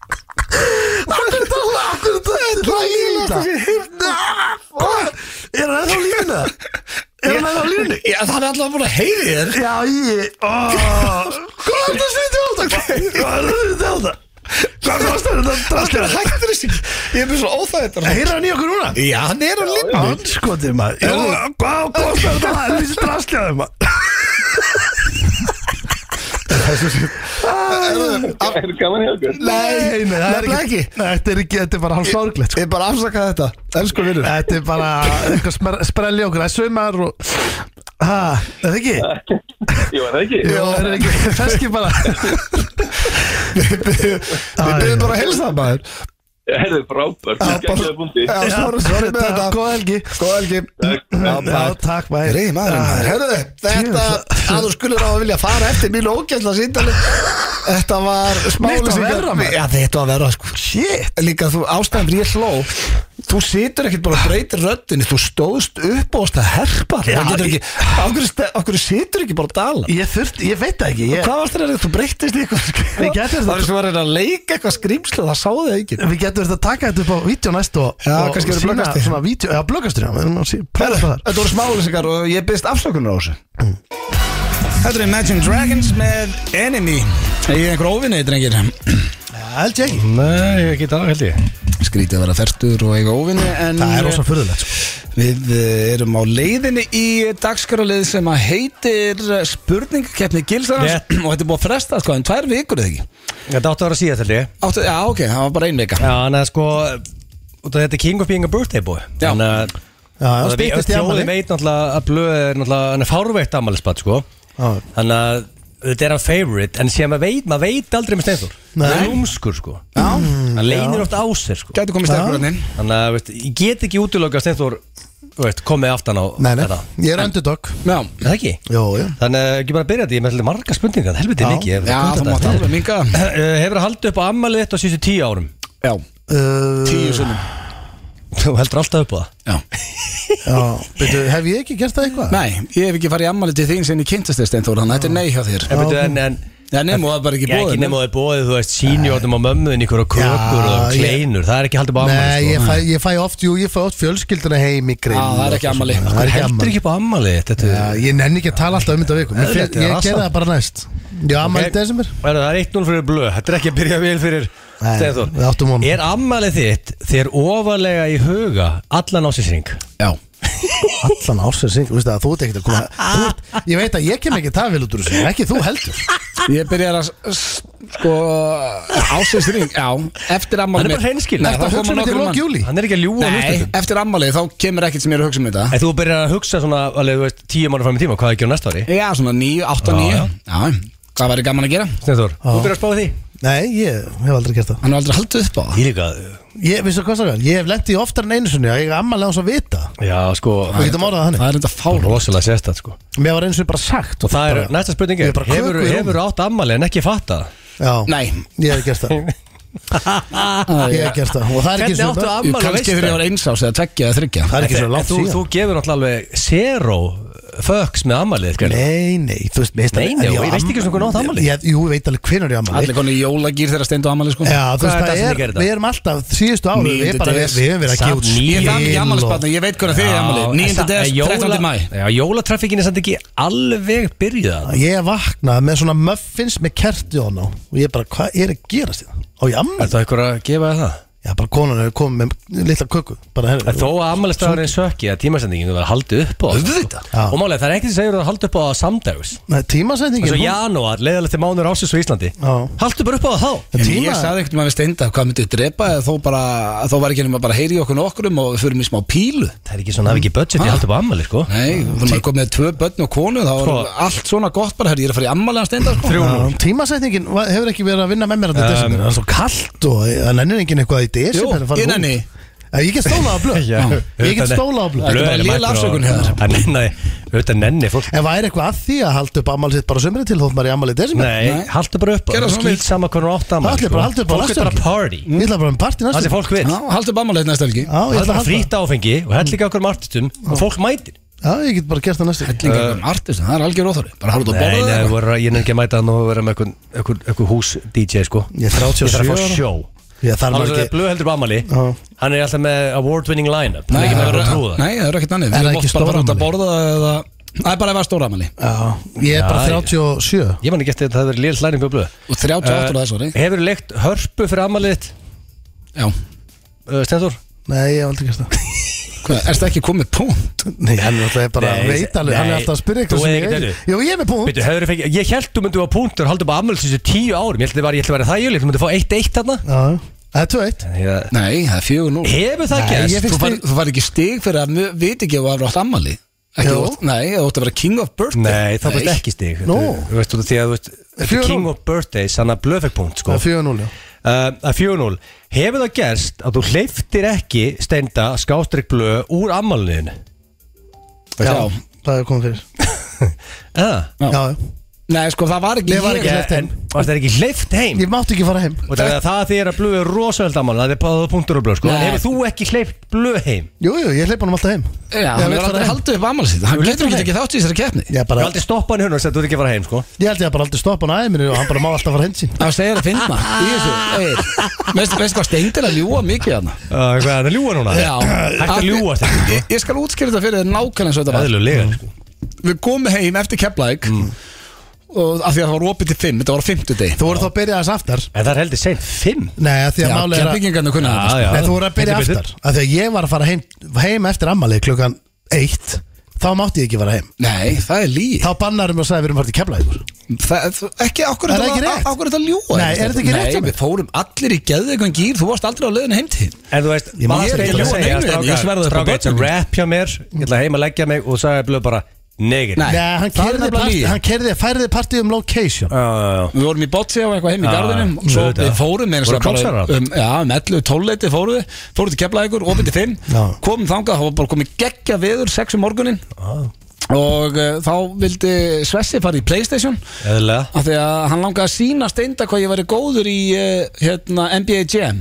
S3: Akkur þetta, akkur þetta Þetta er ílast að sér hýrna Er það þá lína? Er það þá lína?
S1: Já, það er alltaf búin að heyri þér
S3: Já, ég ó, Hvað er þetta að setja á það? Hvað er þetta að setja á það? Hvað kostar þetta
S1: Það
S3: drastlið?
S1: hættir þessi Ég er mjög svo óþægittur
S3: Heyra hann í okkur núna?
S1: Já, hann er á limmi
S3: Anskotir maður Já, Hvað kostar þetta að helvisa drastlið maður?
S6: Það er gaman hjá okkur
S1: Nei,
S3: Nei, nei, það er
S1: nefnilega
S3: ekki
S1: ekki.
S3: Nei, Þetta er ekki, þetta er bara hálf sorglegt sko.
S1: Ég bara afsaka þetta, elsku vinnur
S3: Þetta er bara eitthvað smer- sprelli okkur Það er sumar og Ha, er það ekki?
S6: Jú, er það ekki?
S3: Jó, er það ekki Feski bara
S1: Við byrjum bara að helsa það maður
S6: Herðu, frábær,
S1: Já, bara-
S6: gæmlega búndi
S1: Já, sorry, sorry með þetta
S3: Góð helgi
S1: Góða helgi Já,
S3: Já,
S1: bara-
S3: takk Ah, maður
S1: Reyði maðurinn maður, herðu Þetta að þú skulir á að vilja fara eftir mínu ógæsla síndali Þetta var
S3: Neitt að
S1: smálega
S3: verra, maður.
S1: Já, þetta var verra sko Shit Líka þú ástæðan fyrir ég hló Þú situr ekkert bara og breytir röddinni Þú stóðst upp og ást að herpa
S3: Já,
S1: Það getur
S3: ég-
S1: ekki Akkur, akkur situr ekki bara að dala
S3: Ég þurft, ég veit það ekki ég,
S1: Hvað varst þér að þú breytist í eitthvað
S3: Við getum
S1: Það
S3: þetta-
S1: var eins og var að reyna að leika eitthvað skrýmslu Það sáðu þið ekki
S3: Við getum þetta að taka þetta upp á vídeo næst og,
S1: Já,
S3: og
S1: kannski verður
S3: sýna
S1: blöggastríð.
S3: svona vídeo, Já, blöggastri Já, við erum að sí- prófa það þar
S1: Þetta voru smálusingar og ég byrst afslökunar á þessu Þetta er Imagine Dragons með Enemy Ég er einhver óvinni, drengir
S3: Held ég ekki
S2: Nei, ég get það, held ég
S1: Skrítið að vera þertur og eiga óvinni En
S3: Það er ósvað furðulegt sko.
S1: við eh, erum á leiðinni í dagskrálið sem að heitir spurningkeppni Gilsarans
S2: Rétt.
S1: og þetta er búið að fresta sko, en tvær vikur eða ekki
S2: Þetta áttu að vera síðast, held ég
S1: Áttu, Já, ok, það var bara ein vika
S2: Já, en það sko út af Þetta er King of Being a Birthday boy
S1: Já.
S2: Þannig að-
S3: Já,
S2: þannig að
S3: styttist í
S2: við- Þjóðin
S3: afmæli.
S2: veit náttúrulega að blöð er náttúrulega Hann er fárveitt ammælisbad, sko
S3: Já.
S2: Þannig að þetta er hann favorite En sem að veit, maður veit aldrei með Steinþór
S3: Nei. Mm,
S2: Það er lúmskur, sko Hann leynir oft á sér, sko
S1: Gæti komið sterkur hann inn
S2: Þannig að, veist, ég get ekki útlöka Steinþór Veist, komið aftan á
S3: Nei, nei,
S2: þetta
S3: ég er underdog
S1: Já,
S2: Er Það ekki?
S3: Jó, já
S2: Þannig að ekki bara að byrja þetta, ég er með svolítið marga spurningar, helviti
S3: Já.
S2: mikið
S1: já það mátt alveg
S2: [clears throat]
S1: minga
S2: Hefur það Eh, haldið upp á ammalið þetta á síðustu tíu árum?
S1: Já,
S3: Uh,
S1: tíu sunnum
S2: Þú heldur alltaf upp á það?
S1: Já.
S3: Já, byrju, hef ég ekki gert það eitthvað?
S1: Nei, ég hef ekki farið í ammali til þín sem ég kynntist þér Steinþór, þannig að þetta er nei hjá þér
S2: En, okay. en, en
S1: Já, nefnum það er bara ekki
S2: ég er ekki
S1: bóðið
S2: nema að það er bóðið, þú veist, sínjórnum á mömmuðin ykkur og kökur
S3: Já,
S2: og kleinur, það er ekki haldið upp á
S3: Nei,
S2: ammalið
S3: ég
S2: sko.
S3: fæ, ég fæ oft, jú, ég fæ oft fjölskylduna heim í grill
S1: Já, Ah, það er
S3: og
S1: ekki
S3: eitthvað
S1: afmæli.
S3: svona.
S1: Af
S3: Það er ekki
S2: Heldur
S3: ammali
S2: ekki upp á ammalið þetta
S3: Já, ég nenni ekki að tala alltaf um þetta viku Mér
S2: Eðlilegt,
S3: fer-
S2: það er
S3: Ég gerði
S2: raskat.
S3: það bara næst Já, ammali í desember
S2: Herra, Það er 1-0 fyrir blöð, þetta er ekki að byrja vel fyrir
S3: Nei,
S2: Steinþór.
S3: við áttum honum.
S2: Er ammalið þitt þér ofalega í huga allan ásinsring?
S1: Já,
S3: Allan ásinsing, þú veist það, þú ert ekkert að koma þú ert, Ég veit að ég kem ekki að tafa vel út úr þessu Ekki þú heldur
S1: ég byrjar að s- s- sko ásins já, eftir
S2: Hann
S1: ammali
S2: er bara hreinskilinn.
S1: Nei, það
S2: Ertu
S3: Það
S1: koma
S3: hugsa mér til
S1: nokkur
S3: lók
S1: mann
S3: júli
S2: Hann er ekki að ljúga
S1: Nei,
S2: hlustendum.
S1: eftir ammali þá kemur ekkert sem ég er að hugsa um þetta
S2: En þú byrjar að hugsa svona, alveg, þú veist, tíu mánu fram í tíma, hvað er að gera næsta ári?
S1: Já, svona nýju, átta,
S2: Já,
S1: nýju
S2: já.
S1: Já, hvað væri gaman að gera?
S2: Steinþór, þú byrjar að spá í því?
S3: Nei, ég hef aldrei gert það
S1: Hann er aldrei haldið upp á það
S2: Ég líka,
S3: Ég, veistu hvað það er, ég hef lent í oftar en einu sunni Ég er ammali á þess að vita
S2: já, sko,
S3: Við getum orðað þannig
S1: Það er enda fár
S2: rosalega sérstætt, sko.
S3: Mér var eins og bara sagt
S2: Og það er,
S3: bara-
S2: næsta spurning
S3: Ég er
S2: er,
S3: bara
S2: hefur,
S3: köku í
S2: hefur átt ammali en ekki fatta það?
S3: Já,
S1: Nei,
S3: ég hef
S2: [laughs]
S3: gert það Ég hef gert það Og það er
S2: Hvernig
S3: ekki svona-
S2: áttu
S1: Jú,
S2: ammali,
S1: kannski
S2: veist
S1: þegar ég var eins ás eða tveggja eða þryggja
S3: Það er ekki
S2: En
S3: svo langt
S2: þú,
S3: síðan
S2: þú gefur náttúrulega alveg zero fucks með ammalið Nei,
S3: Nei, nei, þú veist
S2: Nei, nei, og ég veist ekki svona hvernig átt afmæli.
S3: Ég- Jú, ég veit alveg hvernig ég ammali
S1: Allir konu í jólagýr þegar steindu ammali sko
S3: Já, þú
S2: Hvað
S3: veist,
S2: er
S3: það
S2: það sem
S3: er,
S2: þið gerið
S3: við
S2: það?
S3: erum alltaf síðustu ára Við
S1: Níundi
S3: erum bara,
S1: des.
S3: við við höfum verið að gefa út
S2: Samt
S1: Ég er það ekki
S3: skil
S1: ammali
S3: og-
S1: ég veit hvernig þið er ammali 9. des, 13. mæ
S2: Já, jólatraffikin er samt ekki alveg byrjað
S3: Ég vaknaði með svona muffins með kerti á ná Og ég bara, hvað er að gerast þetta? Á ég
S2: Er
S3: ammali?
S2: það eitthvað að gefa þér það?
S3: Já, Já, bara konan er komið með litla köku bara, herri,
S2: En þó að ammælistagurinn sökki að tímasendingin var haldið upp á
S7: Auðvitað.
S3: Já.
S2: Og málega, það er ekkert sem segir að haldið upp á samdags
S3: Nei, tímasendingin
S2: Eins og
S3: hún-
S2: janúar, leiðalegt til mánuður ásins á Íslandi
S3: Já.
S2: Haldið bara upp á það þá
S3: En
S7: En
S3: tíma-
S7: ég sagði ekkert maður við steinda hvað myndið drepa eða þó bara, þó var ekki nema bara að heyri okkur okkurum og við förum í smá pílu
S2: Það er ekki svona, hafi ekki budget í
S7: Ah.
S2: haldið upp á ammæli, sko
S7: Nei, þú maður komið með tvö börn og konu þá
S2: Sko-
S7: er allt svona gott bara, herri, ég er að fara í ammalega steinda sko.
S3: Já, Tímasetningin va- hefur ekki verið að vinna með mér þetta um, desember, það er svo kallt og það nennir enginn eitthvað í
S7: Jú,
S3: desember að fara
S7: ég
S3: út.
S7: nenni.
S3: Eh, Ég get stólað á blöð
S2: [laughs] [laughs] Já.
S3: Ég get stólað á blöð
S7: Blöð. bara
S2: er
S7: léleg
S2: mættur og-
S7: afsökun hérna.
S2: En nei, auðvitað nenni fólk
S3: En væri eitthvað að því að halda upp ammálið sitt bara sömurinn til þótt maður í ammálið í desember
S2: Nei,
S7: Nei.
S2: haldu bara upp á
S7: Gerðu
S2: það
S7: svona við.
S2: Skýt sama hvernig átt að
S3: Það ætlir bara að halda upp á
S2: Fólk er
S3: næstu
S2: bara party
S3: helgi. Ég ætla bara um partí
S2: Það
S3: næstu
S2: sem fólk vil
S7: Já, haldum ammalega næsta helgi
S1: Ah.
S2: Það
S3: Já, ég ætla
S2: er
S3: að halda
S2: frýtt áfengi og hell ekki okkur martutum Og fólk mætir
S3: Já, ég get bara gert það næstu helgi.
S7: Hellinga um artist, það er algjör óþóri Bara harðu að
S2: Nei, nei,
S7: borða það
S2: voru, ég nefn ekki að mæta hann og vera með einhvern- einhvern einhvern hús DJ sko
S3: Ég er 37
S2: Ég þarf að fá
S3: ára.
S2: sjó
S3: Ég þarf
S2: Hann er
S3: maður
S2: ekki...
S3: ekki
S2: blöð heldur bamali
S3: Já.
S2: Hann er alltaf með award winning line-up Hann
S7: Nei,
S2: er ekki með
S7: það
S2: að
S7: er-
S2: trúða
S7: nei, það er ekkert annir
S3: Er það
S7: Þú
S3: ekki
S7: mátt bara fara út að
S3: stóramæli?
S7: borða eða Það er bara að vera stóra amali
S3: Já, ég er
S2: Já,
S3: bara
S2: já.
S3: 37
S2: Ég man ekki eftir að það hefur verið liðið læning á blöð
S7: Og 38 á þessu ári
S2: Hefur leikt hörpu fyrir amalið
S7: Já,
S2: uh, Stenþór?
S3: Nei, ég hef aldrei gert það
S7: Hvað, erstu ekki komið punkt?
S3: Nei, hann er alltaf bara
S2: Nei,
S3: veit alveg Hann er
S2: nei.
S3: alltaf að spyrja
S2: Þú hefur
S3: eitthvað sem ég
S2: ekkert
S3: veit
S2: verið.
S3: Jú, ég er með punkt
S2: Bíddu, hefurðu fengið- Ég held þú myndið á punktur Haldið bara amalið þessu tíu árum Ég held að ég ætla að vera þægjuleg Þú myndið fá 1-1 þarna
S3: Já, það er 2-1
S2: Ég-
S7: Nei, það er fjögur nú
S2: Hefur það
S3: ég
S2: gerst?
S3: fékk
S7: Þú fær-
S3: stig.
S7: þú fær ekki stig fyrir að mu- viti ekki að þú hefur átt ammali Ekki
S3: Jú.
S7: þú átt- Nei, þú átt að vera king of birthday
S2: Nei, það bæst ekki stig
S3: Nú.
S2: Þú veist, þú veist, því að þú veist Þetta
S3: Fjögur
S2: er King
S3: núll.
S2: of Birthdays, hann að blöðfekpunkt sko.
S3: Það er 4-0, já
S2: Uh, að 4-0 Hefur það gerst að þú hleyftir ekki steinda skástrík blöð úr ammálniðinu?
S7: Já.
S3: Það er komið fyrir
S2: Uh,
S7: Já.
S3: Já, já
S7: Nei, sko, það var ekki
S3: Nei, var ekki hleypt heim.
S2: Það er ekki hleyft heim
S3: Ég mátti ekki fara heim
S2: Og það, það því er að blöð er rosalega ammálnið Það er báða punktur og blöð sko.
S7: Nei.
S2: Hefur þú ekki hleyft blöð heim?
S3: Jú, jú, ég hleypa hann alltaf heim
S7: Já,
S3: Ég
S7: hann
S3: vil
S7: er
S3: fara
S7: aldrei
S3: heim.
S7: haldið upp ammali sitt Hann getur ekki ekki þátt í þessari keppni
S3: Ég,
S2: Ég
S3: bara,
S2: hef aldrei stoppað hann í hún og sagt þú ert ekki að fara heim sko.
S3: ég held ég að bara aldrei stoppa hann aðeins minni og hann bara má alltaf fara heim sín
S7: Það segir að finna
S3: Ah.
S7: í þessu Egill. Veistu veistu hvað steindir að ljúa mikið hann
S2: uh, Hvað er það ljúa núna?
S7: Já.
S2: Hægt að ljúa þetta sko.
S7: Ég skal útskýra þetta fyrir þér nákvæmlega eins og þetta var
S2: Eðlulega sko.
S7: Við komum heim eftir Keflæk og af því að það var opið til 5, þetta var á 50 deg
S3: Mm. Þú voru þá að byrja aðeins aftar
S2: En það er heldur seint Fimm
S3: Nei, að því
S7: Já,
S3: að máli er að
S7: keflingarnir kunna
S2: Já,
S7: þetta sko.
S2: já.
S3: Nei, þú voru að byrja
S2: Heldur betur.
S3: aftar að Því að ég var að fara heim, heim eftir ammali klukkan 1 Þá mátti ég ekki fara heim
S7: Nei, það er lí
S3: Þá bannarum við og sagði við erum farið til kemla ykkur
S7: Það, þú- ekki, okkur
S3: Er það ekki rétt?
S7: Okkur þetta ljúa
S3: Nei, er þetta ekki rétt hjá
S7: Nei,
S3: mér?
S7: við fórum allir í geðveikon gýr Þú varst aldrei á leiðinu heim til þín.
S2: En þú veist,
S3: Ég má
S2: maður er
S3: ekki
S2: ekki að
S7: ljúga
S2: segja
S7: neinu,
S2: strákar,
S7: ég svaraði upp á
S2: strákar, þetta er
S7: börnin.
S2: rap hjá mér Ég ætla heim að leggja mig og sagði blöð bara Negir
S7: Nei,
S3: Nei, hann
S7: það er
S3: keyrði
S7: nefnilega
S3: partí-
S7: lygi.
S3: hann keyrði, færði partíð um location
S2: Þú
S7: Við vorum í botsi á eitthvað heim í
S2: Já,
S7: garðinum
S2: já,
S7: Svo
S2: auðvitað.
S7: við fórum eins og
S2: Voru
S7: bara
S2: klásarar?
S7: um, Já, um 11, 12 leiti fórum við Fórum til Keflavíkur, opið til 5
S3: Já.
S7: Komum þangað, þá var bara komið geggja veður 6 um morgunin Og uh, þá vildi Svessi fara í Playstation
S2: Eðlilega
S7: Af því að hann langaði að sína Steinda hvað ég væri góður í uh, hérna, NBA Jam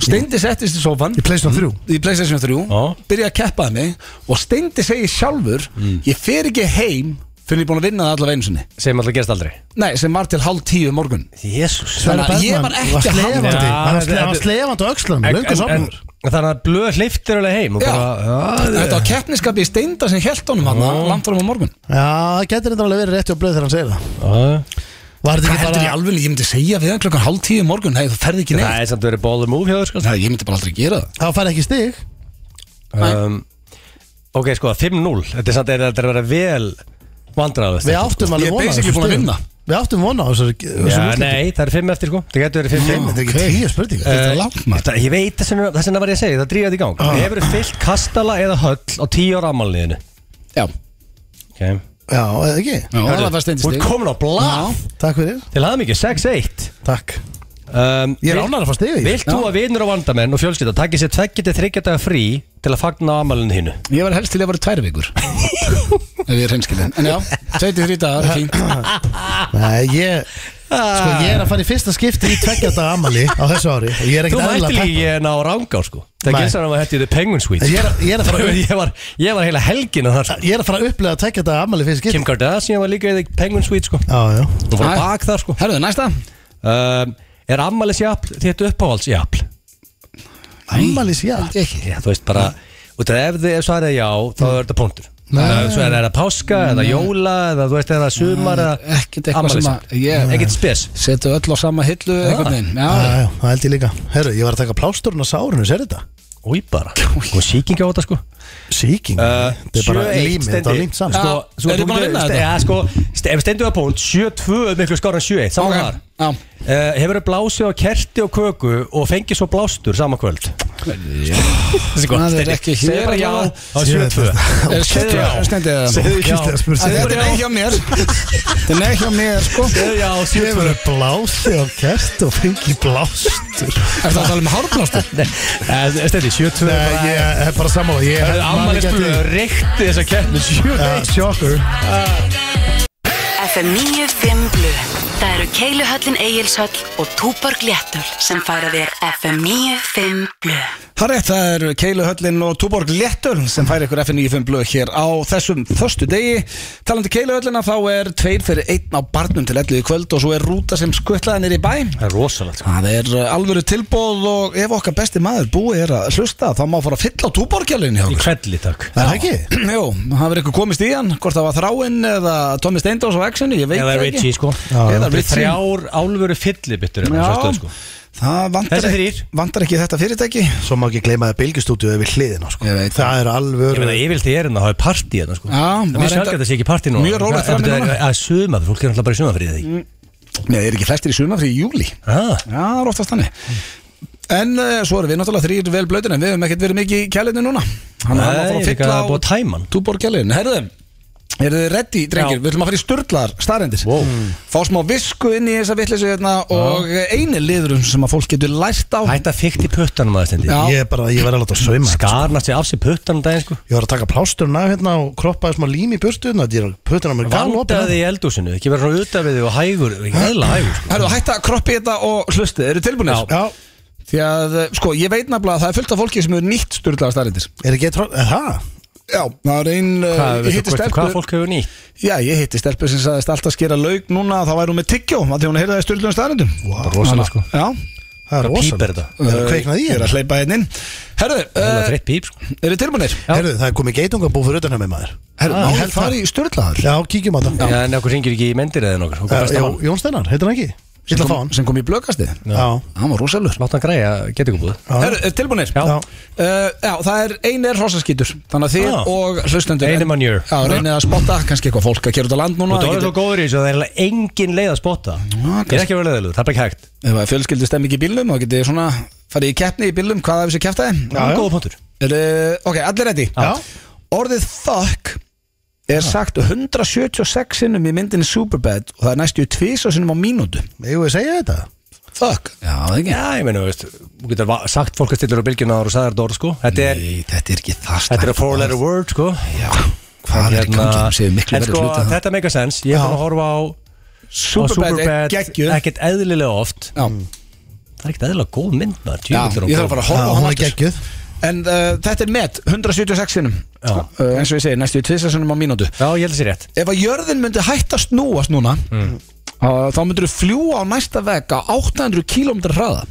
S7: Steindi settist í sofan
S3: Í
S2: Mm.
S3: Playstation 3
S7: í Playstation 3
S2: Já. Mm.
S7: byrja að keppaði mig og Steindi segir sjálfur ég fer ekki heim fyrir ég er búin að vinna það allaveg einu sinni
S2: Sem alltaf gerst aldrei
S7: Nei, sem var til hálf tíu um morgun
S2: Jésús
S7: Þannig að ég var ekki að halda-
S2: Já,
S3: halda Hann var
S2: þetta-
S3: sle- hann var slefandi á öxlunum, löngu sopnur
S2: Þannig að blöð hleyftir alveg heim og
S7: Já.
S2: bara,
S7: Þetta var keppniskapi í Steinda sem held honum hann langt fram á morgun
S3: Já, það getur þetta alveg verið rétt hjá blöð þegar hann segir
S2: já.
S3: það Var þetta
S7: Hvað
S3: ekki
S7: heldur ég
S3: bara
S7: alveg, ég myndi segja við hann klokkan hálf tíu um morgun Nei, þú ferð ekki
S2: Það
S7: neitt
S2: er samt verið baller move hjá þér sko
S7: Nei, ég myndi bara aldrei gera það
S3: Þá færði ekki stig
S2: um, Ok, sko, 5-0 Þetta er samt er þetta er að vera vel vandræðu
S3: Við áttum
S7: Ég
S3: alveg vona á
S7: er basically
S3: þessum
S7: búin að
S3: stigum.
S7: vinna.
S3: Við áttum vona á þessari
S2: Já,
S3: þessum úrslitum.
S2: nei, það er 5 eftir sko Það getur verið 5-5
S3: Þetta er ekki tíu spurningar
S7: Þetta er
S2: Eh,
S7: langt, maður.
S2: þetta- Ég veit þess vegna þess vegna var ég að segja, það drífaði í gang
S3: Ah.
S2: Hefur þú fyllt kastala eða höll á 10 ára ammálniðinu?
S7: Já,
S2: Okay.
S3: Já, eða ekki
S7: Já það var Steindi
S2: Þú ert
S7: stig
S2: komin á blað
S3: Takk fyrir
S2: Til aðeins mikið, 6-1
S3: Takk
S2: um,
S3: Ég er
S2: vil-
S3: ánægður að fá stig
S7: [laughs]
S3: í.
S2: Vilt þú að vinur og vandamenn og fjölskylda Takki sér 2-3 daga frí Til að fagna amalinu hínu
S7: Ég var helst til að vera tvær vikur
S2: [laughs]
S7: Ef ég er hreinskilin En já, 23 dagar, fínt
S2: [coughs]
S3: Nei, ég
S2: Ah,
S3: Sko, ég er að fara í fyrsta skipti í tveggjata amali á þessu ári og Ég er
S2: Þú
S3: ekkert
S2: mætti
S3: eðlilega
S2: líka ná rángá sko Það
S3: Nei.
S2: gerst hann að maður hætti í The Penguin Suite
S3: peppa [laughs] ég, er- ég er að fara að upp-
S2: ég, var, ég var heila helgin að það sko
S3: ég er að fara að upplega að tveggjata amali fyrsta skipti
S2: Kim Kardashian var líka í The Penguin Suite sko
S3: Já, já
S2: Hún var
S7: Æ.
S2: bak þar sko
S7: Herðu, næsta
S2: um, Er amalisjafl þitt uppáhaldsjafl?
S3: Amalis, já
S7: Ekki
S2: Já, þú veist bara Út af ef þið ef svarið er já, þá er þetta punktur Nei. Svo er það páska, eða jóla, eða þú veist, eða sumar, eða
S8: Ekkert eitthvað sem að
S2: ammælisdag.
S8: ég
S2: Ekkert spes.
S8: setu öll á sama hillu einhvern veginn Já,
S3: Já, já, það held ég líka Herru, ég var að taka plásturinn á sárinu, sér þetta?
S2: Új bara, og síkinga á þetta sko Uh,
S3: Sýking, Eh,
S2: Eh,
S3: þetta er bara
S2: 7-1
S3: límið, þetta
S2: Steindi.
S3: er límt saman
S2: sko,
S8: Já, eru
S2: þú
S8: búin að
S2: getur-
S8: vinna
S2: ste-
S8: þetta?
S2: Ja, sko, ste- ef stendur það punkt 7-2 er miklu skóra en 7-1 Saman
S8: Ok,
S2: þar
S8: já.
S2: uh, Hefur þau blásið á kerti og köku og fengið svo blástur sama kvöld Þessi gott,
S8: Það er
S2: Steindi.
S8: ekki
S2: Segðu
S8: hér
S2: bara já
S8: allavega.
S2: á 7-2
S3: [laughs]
S8: er stendur
S2: já.
S8: það
S3: Segðu ekki þetta spurning
S8: Þetta er neitt hjá mér Þetta er neitt hjá mér sko
S2: Segðu já á
S3: Ég
S2: 7-2
S3: verið blási á kert og fengi blástur
S8: Er það að tala um hárblástur?
S2: Eh, Steindi, 7-2
S3: Nei, ég er bara sammála Ég
S2: Það er
S3: man ekki
S2: afmælisbröð,
S3: eftir því.
S2: reykti þessa kerti
S3: Já,
S2: 7-1
S3: Sjokkur
S9: FM 95 Blu Það eru Keiluhöllin Egilshöll og Túborg Léttul sem færa þér FM 95 Blu
S7: Það er rétt, það er Keilu Höllin og Túborg Lettur sem færi ykkur FN95 blöð hér á þessum förstu degi. Talandi Keilu Höllina þá er tveir fyrir einn á barnum til ellu í kvöld og svo er rúta sem skuttlaði nýri bæ.
S2: Það er rosalegt sko.
S7: Það er uh, alvöru tilbóð og ef okkar besti maður búi er að hlusta þá má fara að fylla á Túborgjálinn hjá
S2: Í
S7: okkur.
S2: kvelli takk
S3: Það er ekki
S7: [clears throat] Jú, það verður ykkur komist í hann, hvort það var þráinn eða Tommy Steindós á X-inu, ég veit
S2: Eða
S7: það
S2: Richie
S7: ekki.
S2: sko Þetta
S7: Eða
S2: er
S7: Richie.
S2: Þrjár hérna, álfuru fyllibittur
S7: Já,
S2: Já
S7: það vantar,
S2: Þessi
S7: ekki,
S2: þrír.
S7: vantar ekki þetta fyrirtæki.
S3: Svo má ekki gleyma það bylgjustúdíu yfir hliðina sko.
S7: Ég veit
S3: Það er
S2: Ég
S3: alvöru
S2: veit að yfirleitt er hérna, það er partí hérna sko Það
S7: Já, það
S2: er
S7: er
S2: mjög sjálfgætt
S7: enda-
S2: að það sé ekki partí núna
S7: Mjög rólegt
S2: Það-
S7: fram í
S2: það er-
S7: núna. Mm.
S2: Það er sumað, fólk er náttúrulega bara í sumafrið því
S7: Nei, er ekki flestir í sumafri í júli.
S2: ah,
S7: Já, það er oftast þannig En uh, svo erum við náttúrulega þrýr vel blöytin En við hefum ekkert verið mikið í kjælinu núna
S2: Nei,
S7: Þannig að það var að
S2: líka
S7: fylla á
S2: búið að tæma hann.
S7: Túborg kjælinu, herðu Eru þið reddi, drengir?
S2: Já.
S7: Við ætlum að fara í sturglar staðrendir wow. Fá smá visku inn í þessa vitleysu hérna Og eh, eini liðurum sem að fólk getur lært á
S2: Hætta fyrkt í puttanum aðeins stendi
S7: Já.
S3: Ég er bara, ég verið að láta sauma þetta, sko.
S2: Skarnast sig af sér puttanum daginn sko
S3: Ég var að taka plásturinn af hérna og kroppaði smá lím í burtu hérna, Þetta er puttin á mér galopin
S2: Vandaði í eldúsinu, ekki vera svona utaf við þig og hægur Ekki eðla hægur sko
S7: Herðu, hætta að kroppi þetta og hlusti Eru tilbúinir?
S3: Já,
S7: Því að, eh, sko, ég veit nefnilega að það er fullt af fólki sem eru nýtt sturglar staðrendir
S3: er ekki eitthvað Er það?
S7: Já, það er ein eh,
S2: Hvað,
S7: ég
S2: veistu
S7: hitti
S2: hvort-
S7: stelpu-
S2: hvað fólk hefur nýtt?
S7: Já, ég hitti stelpu sem sagðist alltaf skera lauk núna að það væri hún með tyggjó að því hún heyrðaði styrlunum um staðarindum
S3: Wow. Rosalega, sko.
S7: Já
S3: Það
S2: Hvað
S3: er
S2: píp er
S3: rosalega
S2: þetta?
S3: Það er kveiknað í
S7: Ég er
S3: hérna
S7: að hleypa hérna inn Herðu,
S2: Eðla
S7: uh,
S2: þreitt píp sko
S7: eru tilbúinir?
S3: Herðu, það er komið geitungabú fyrir utan hjá mig maður
S7: Herðu,
S3: Ah,
S7: ah,
S3: ég
S7: náðu
S3: held
S7: fara í styrlaðar
S3: Já, kíkjum á það
S2: Já, en okkur ringir ekki í mendir eða nokkur
S7: Eh,
S2: Okkur besta á hann
S3: Jón Steinar, heitir hann ekki? Ég ætla að fá hann
S7: sem kom í blökastið
S3: Já,
S7: Hann var rosalur
S2: Látt hann græja, getur ekki búið
S7: Herðu, eru tilbúinir?
S2: Já.
S3: já
S7: Uh, já, það er eini er hrossaskítur Þannig að þið
S2: Ah.
S7: og hlustendur
S2: Eini
S7: en-
S2: manure.
S7: Já, reynið að spotta kannski eitthvað fólk að kera út á land núna
S2: Og það er svo góður í þessu að það er eiginlega engin leið að spotta Ég er ekki að vera leiðilegur, það er bara ekki hægt
S7: Ef það er fjölskyldu í bílum þá getið þið svona farið í keppni í bílum hvað af þessu keftaði
S2: Góða punktur
S7: Eru, ok, allir ready
S2: Já.
S7: Orðið fuck
S3: Ah.
S7: er sagt 176 sinnum í myndinni Superbad og það er næstu tvisa sinnum á mínútu
S3: Eigum við að segja þetta?
S7: Fuck Já, það er ekki
S2: Já, ég meina, þú veist, þú getur va- sagt fólk að stillur á bylgjuna ára og sagði þetta orð, sko Þetta er,
S7: Nei, þetta er Hérna, ekki það
S2: þetta er a
S7: slæmt.
S2: four letter word, sko Hérna,
S7: Já, hvað er ekki kannski Það séu miklu
S2: En
S7: verið
S2: sko,
S7: hluta það
S2: þetta meika sens Ég er búin að horfa á á
S7: Superbad er
S2: Superbad
S7: geggjuð Já,
S2: ekkert eðlilega oft
S7: já,
S2: Það er ekkert eðlilega góð mynd, maður
S7: ég
S2: djöfull er hún
S7: þarf
S2: góð.
S7: að fara að
S3: Já,
S7: horfa á sko.
S3: hún
S7: hann
S3: er
S7: aftur
S3: geggjuð
S7: En uh, þetta er met, 176 sinnum
S2: Já.
S7: uh, Eins og ég segi, næstu tvisa sinnum á mínútu
S2: Já, ég held þessi rétt
S7: Ef að jörðin myndi hætta að snúast núna
S2: Mm.
S7: uh, Þá myndir þú fljúa á næsta veg á 800 km hraða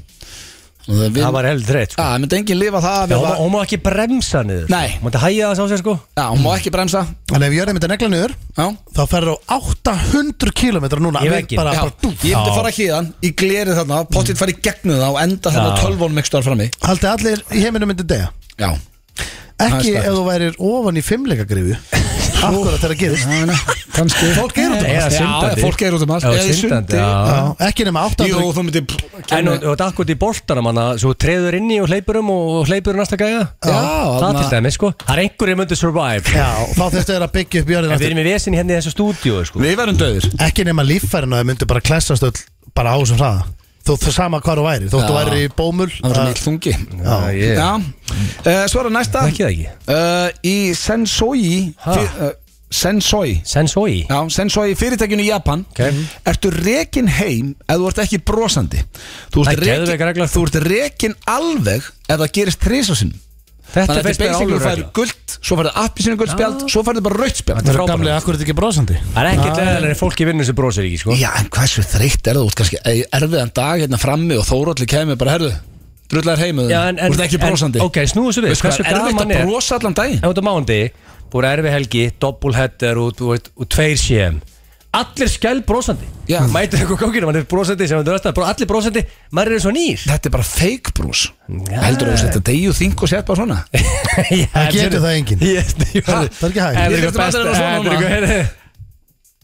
S7: Það
S2: Það var held þreitt,
S7: Já,
S2: sko
S7: það myndi enginn lifa það að
S2: Já,
S7: við
S2: hún má-
S7: var-
S2: hún má ekki bremsa niður sko.
S7: Nei.
S2: Hún mátti hægja það sá sér, sko
S7: Já, hún má ekki bremsa
S3: En ef ég er einmitt að negla niður
S7: Já
S3: Þá ferður á 800 km núna
S2: Í
S3: Við
S2: vegginn.
S3: bara,
S7: Já,
S3: bara dúf
S7: ég myndi fara ekki í þann, ég gleri þarna, pottitt fari gegnum það og enda þarna
S2: Já.
S7: tölvónum ykkur stóðar frammi
S3: Haldið allir í heiminum myndi degja
S7: Já Það
S3: Ekki
S7: er staðfest.
S3: ef þú værir ofan í fimmleikagrifu Akkurat þegar það gerist
S7: Kannski Fólk er út um
S2: Eða
S7: allt
S2: syndandi.
S7: Já, fólk er út um allt
S2: Já,
S7: Eða í
S2: syndandi,
S7: sundi.
S2: já.
S3: Já, Ekki nema
S7: Jú,
S3: 800
S7: þú myndi
S2: En og- og þetta akkur í boltanum hann að svo treður inn í og hleypur um og hleypur um næsta gæja Það
S7: þarna-
S2: til dæmi, sko Það er einhverjum myndi survive
S3: Já, og þá þurftu þeir að byggja
S2: En
S3: upp
S2: við
S3: jörðin
S2: erum í vesin hérna í þessu stúdíu, sko
S7: Við verðum döður
S3: Ekki nema líffærin að það myndi bara klessast öll Bara á þessum hraða Þú þú sama hvað þú væri Þóttu þú
S7: Já.
S3: væri í bómul
S7: Það verður
S3: að-
S7: mjög þungi
S3: Já.
S2: ég-
S7: Já Eh, Svara næsta
S2: Ekki það ekki
S7: Eh, Í Sensoi
S2: Ha?
S7: fyr- eh, Sensoi
S2: Sensoi
S7: Já, Sensoi fyrirtækinu í Japan
S2: Ok.
S7: Ertu rekin heim ef þú ert ekki brosandi Þú
S2: Það er geðveik regla.
S7: þú ert rekin alveg ef það gerist þrísasinn
S2: Þetta
S7: Þannig að
S2: finnst
S7: þetta
S2: mér
S7: er basically þú
S2: alveg
S7: færðu
S2: regla
S7: gult Svo færðu appisinu gult spjald Svo færðu bara rautt spjald
S2: Þetta er frábært.
S3: akkurat ekki brosandi
S2: Það er ekkert leðilega en fólk í vinnu sem brosir ekki sko.
S7: Já, en hversu þreytt er það út kannski ei, erfiðan dag hérna frammi og þórólli kemur bara herðu Drullar heim með þeim. Þú ert ekki brosandi
S2: en, Ok, snúðu svo við
S7: Veist hvað,
S2: Hversu
S7: er erfitt
S2: gaman
S7: að
S2: er
S7: brosa allan daginn
S2: Ef þú mándi Búið erfi helgi, doppelheader og, og, og, og tveir CM Allir skæl brósandi
S1: Já.
S2: Mætur eitthvað kókinu, mann er brósandi sem hann er alltaf Allir brósandi, maður er eins og nýr
S1: Þetta er bara fake brús
S2: Já.
S1: Heldur þú að þetta degju þing og sett bara svona
S2: [laughs] Það
S3: getur það enginn.
S2: Það
S3: það er ekki hægt.
S2: Það er
S1: Ég
S2: eitthvað
S1: þurfti
S2: besta
S1: að vera svona
S2: Það er
S1: núna.
S2: eitthvað heyrðu,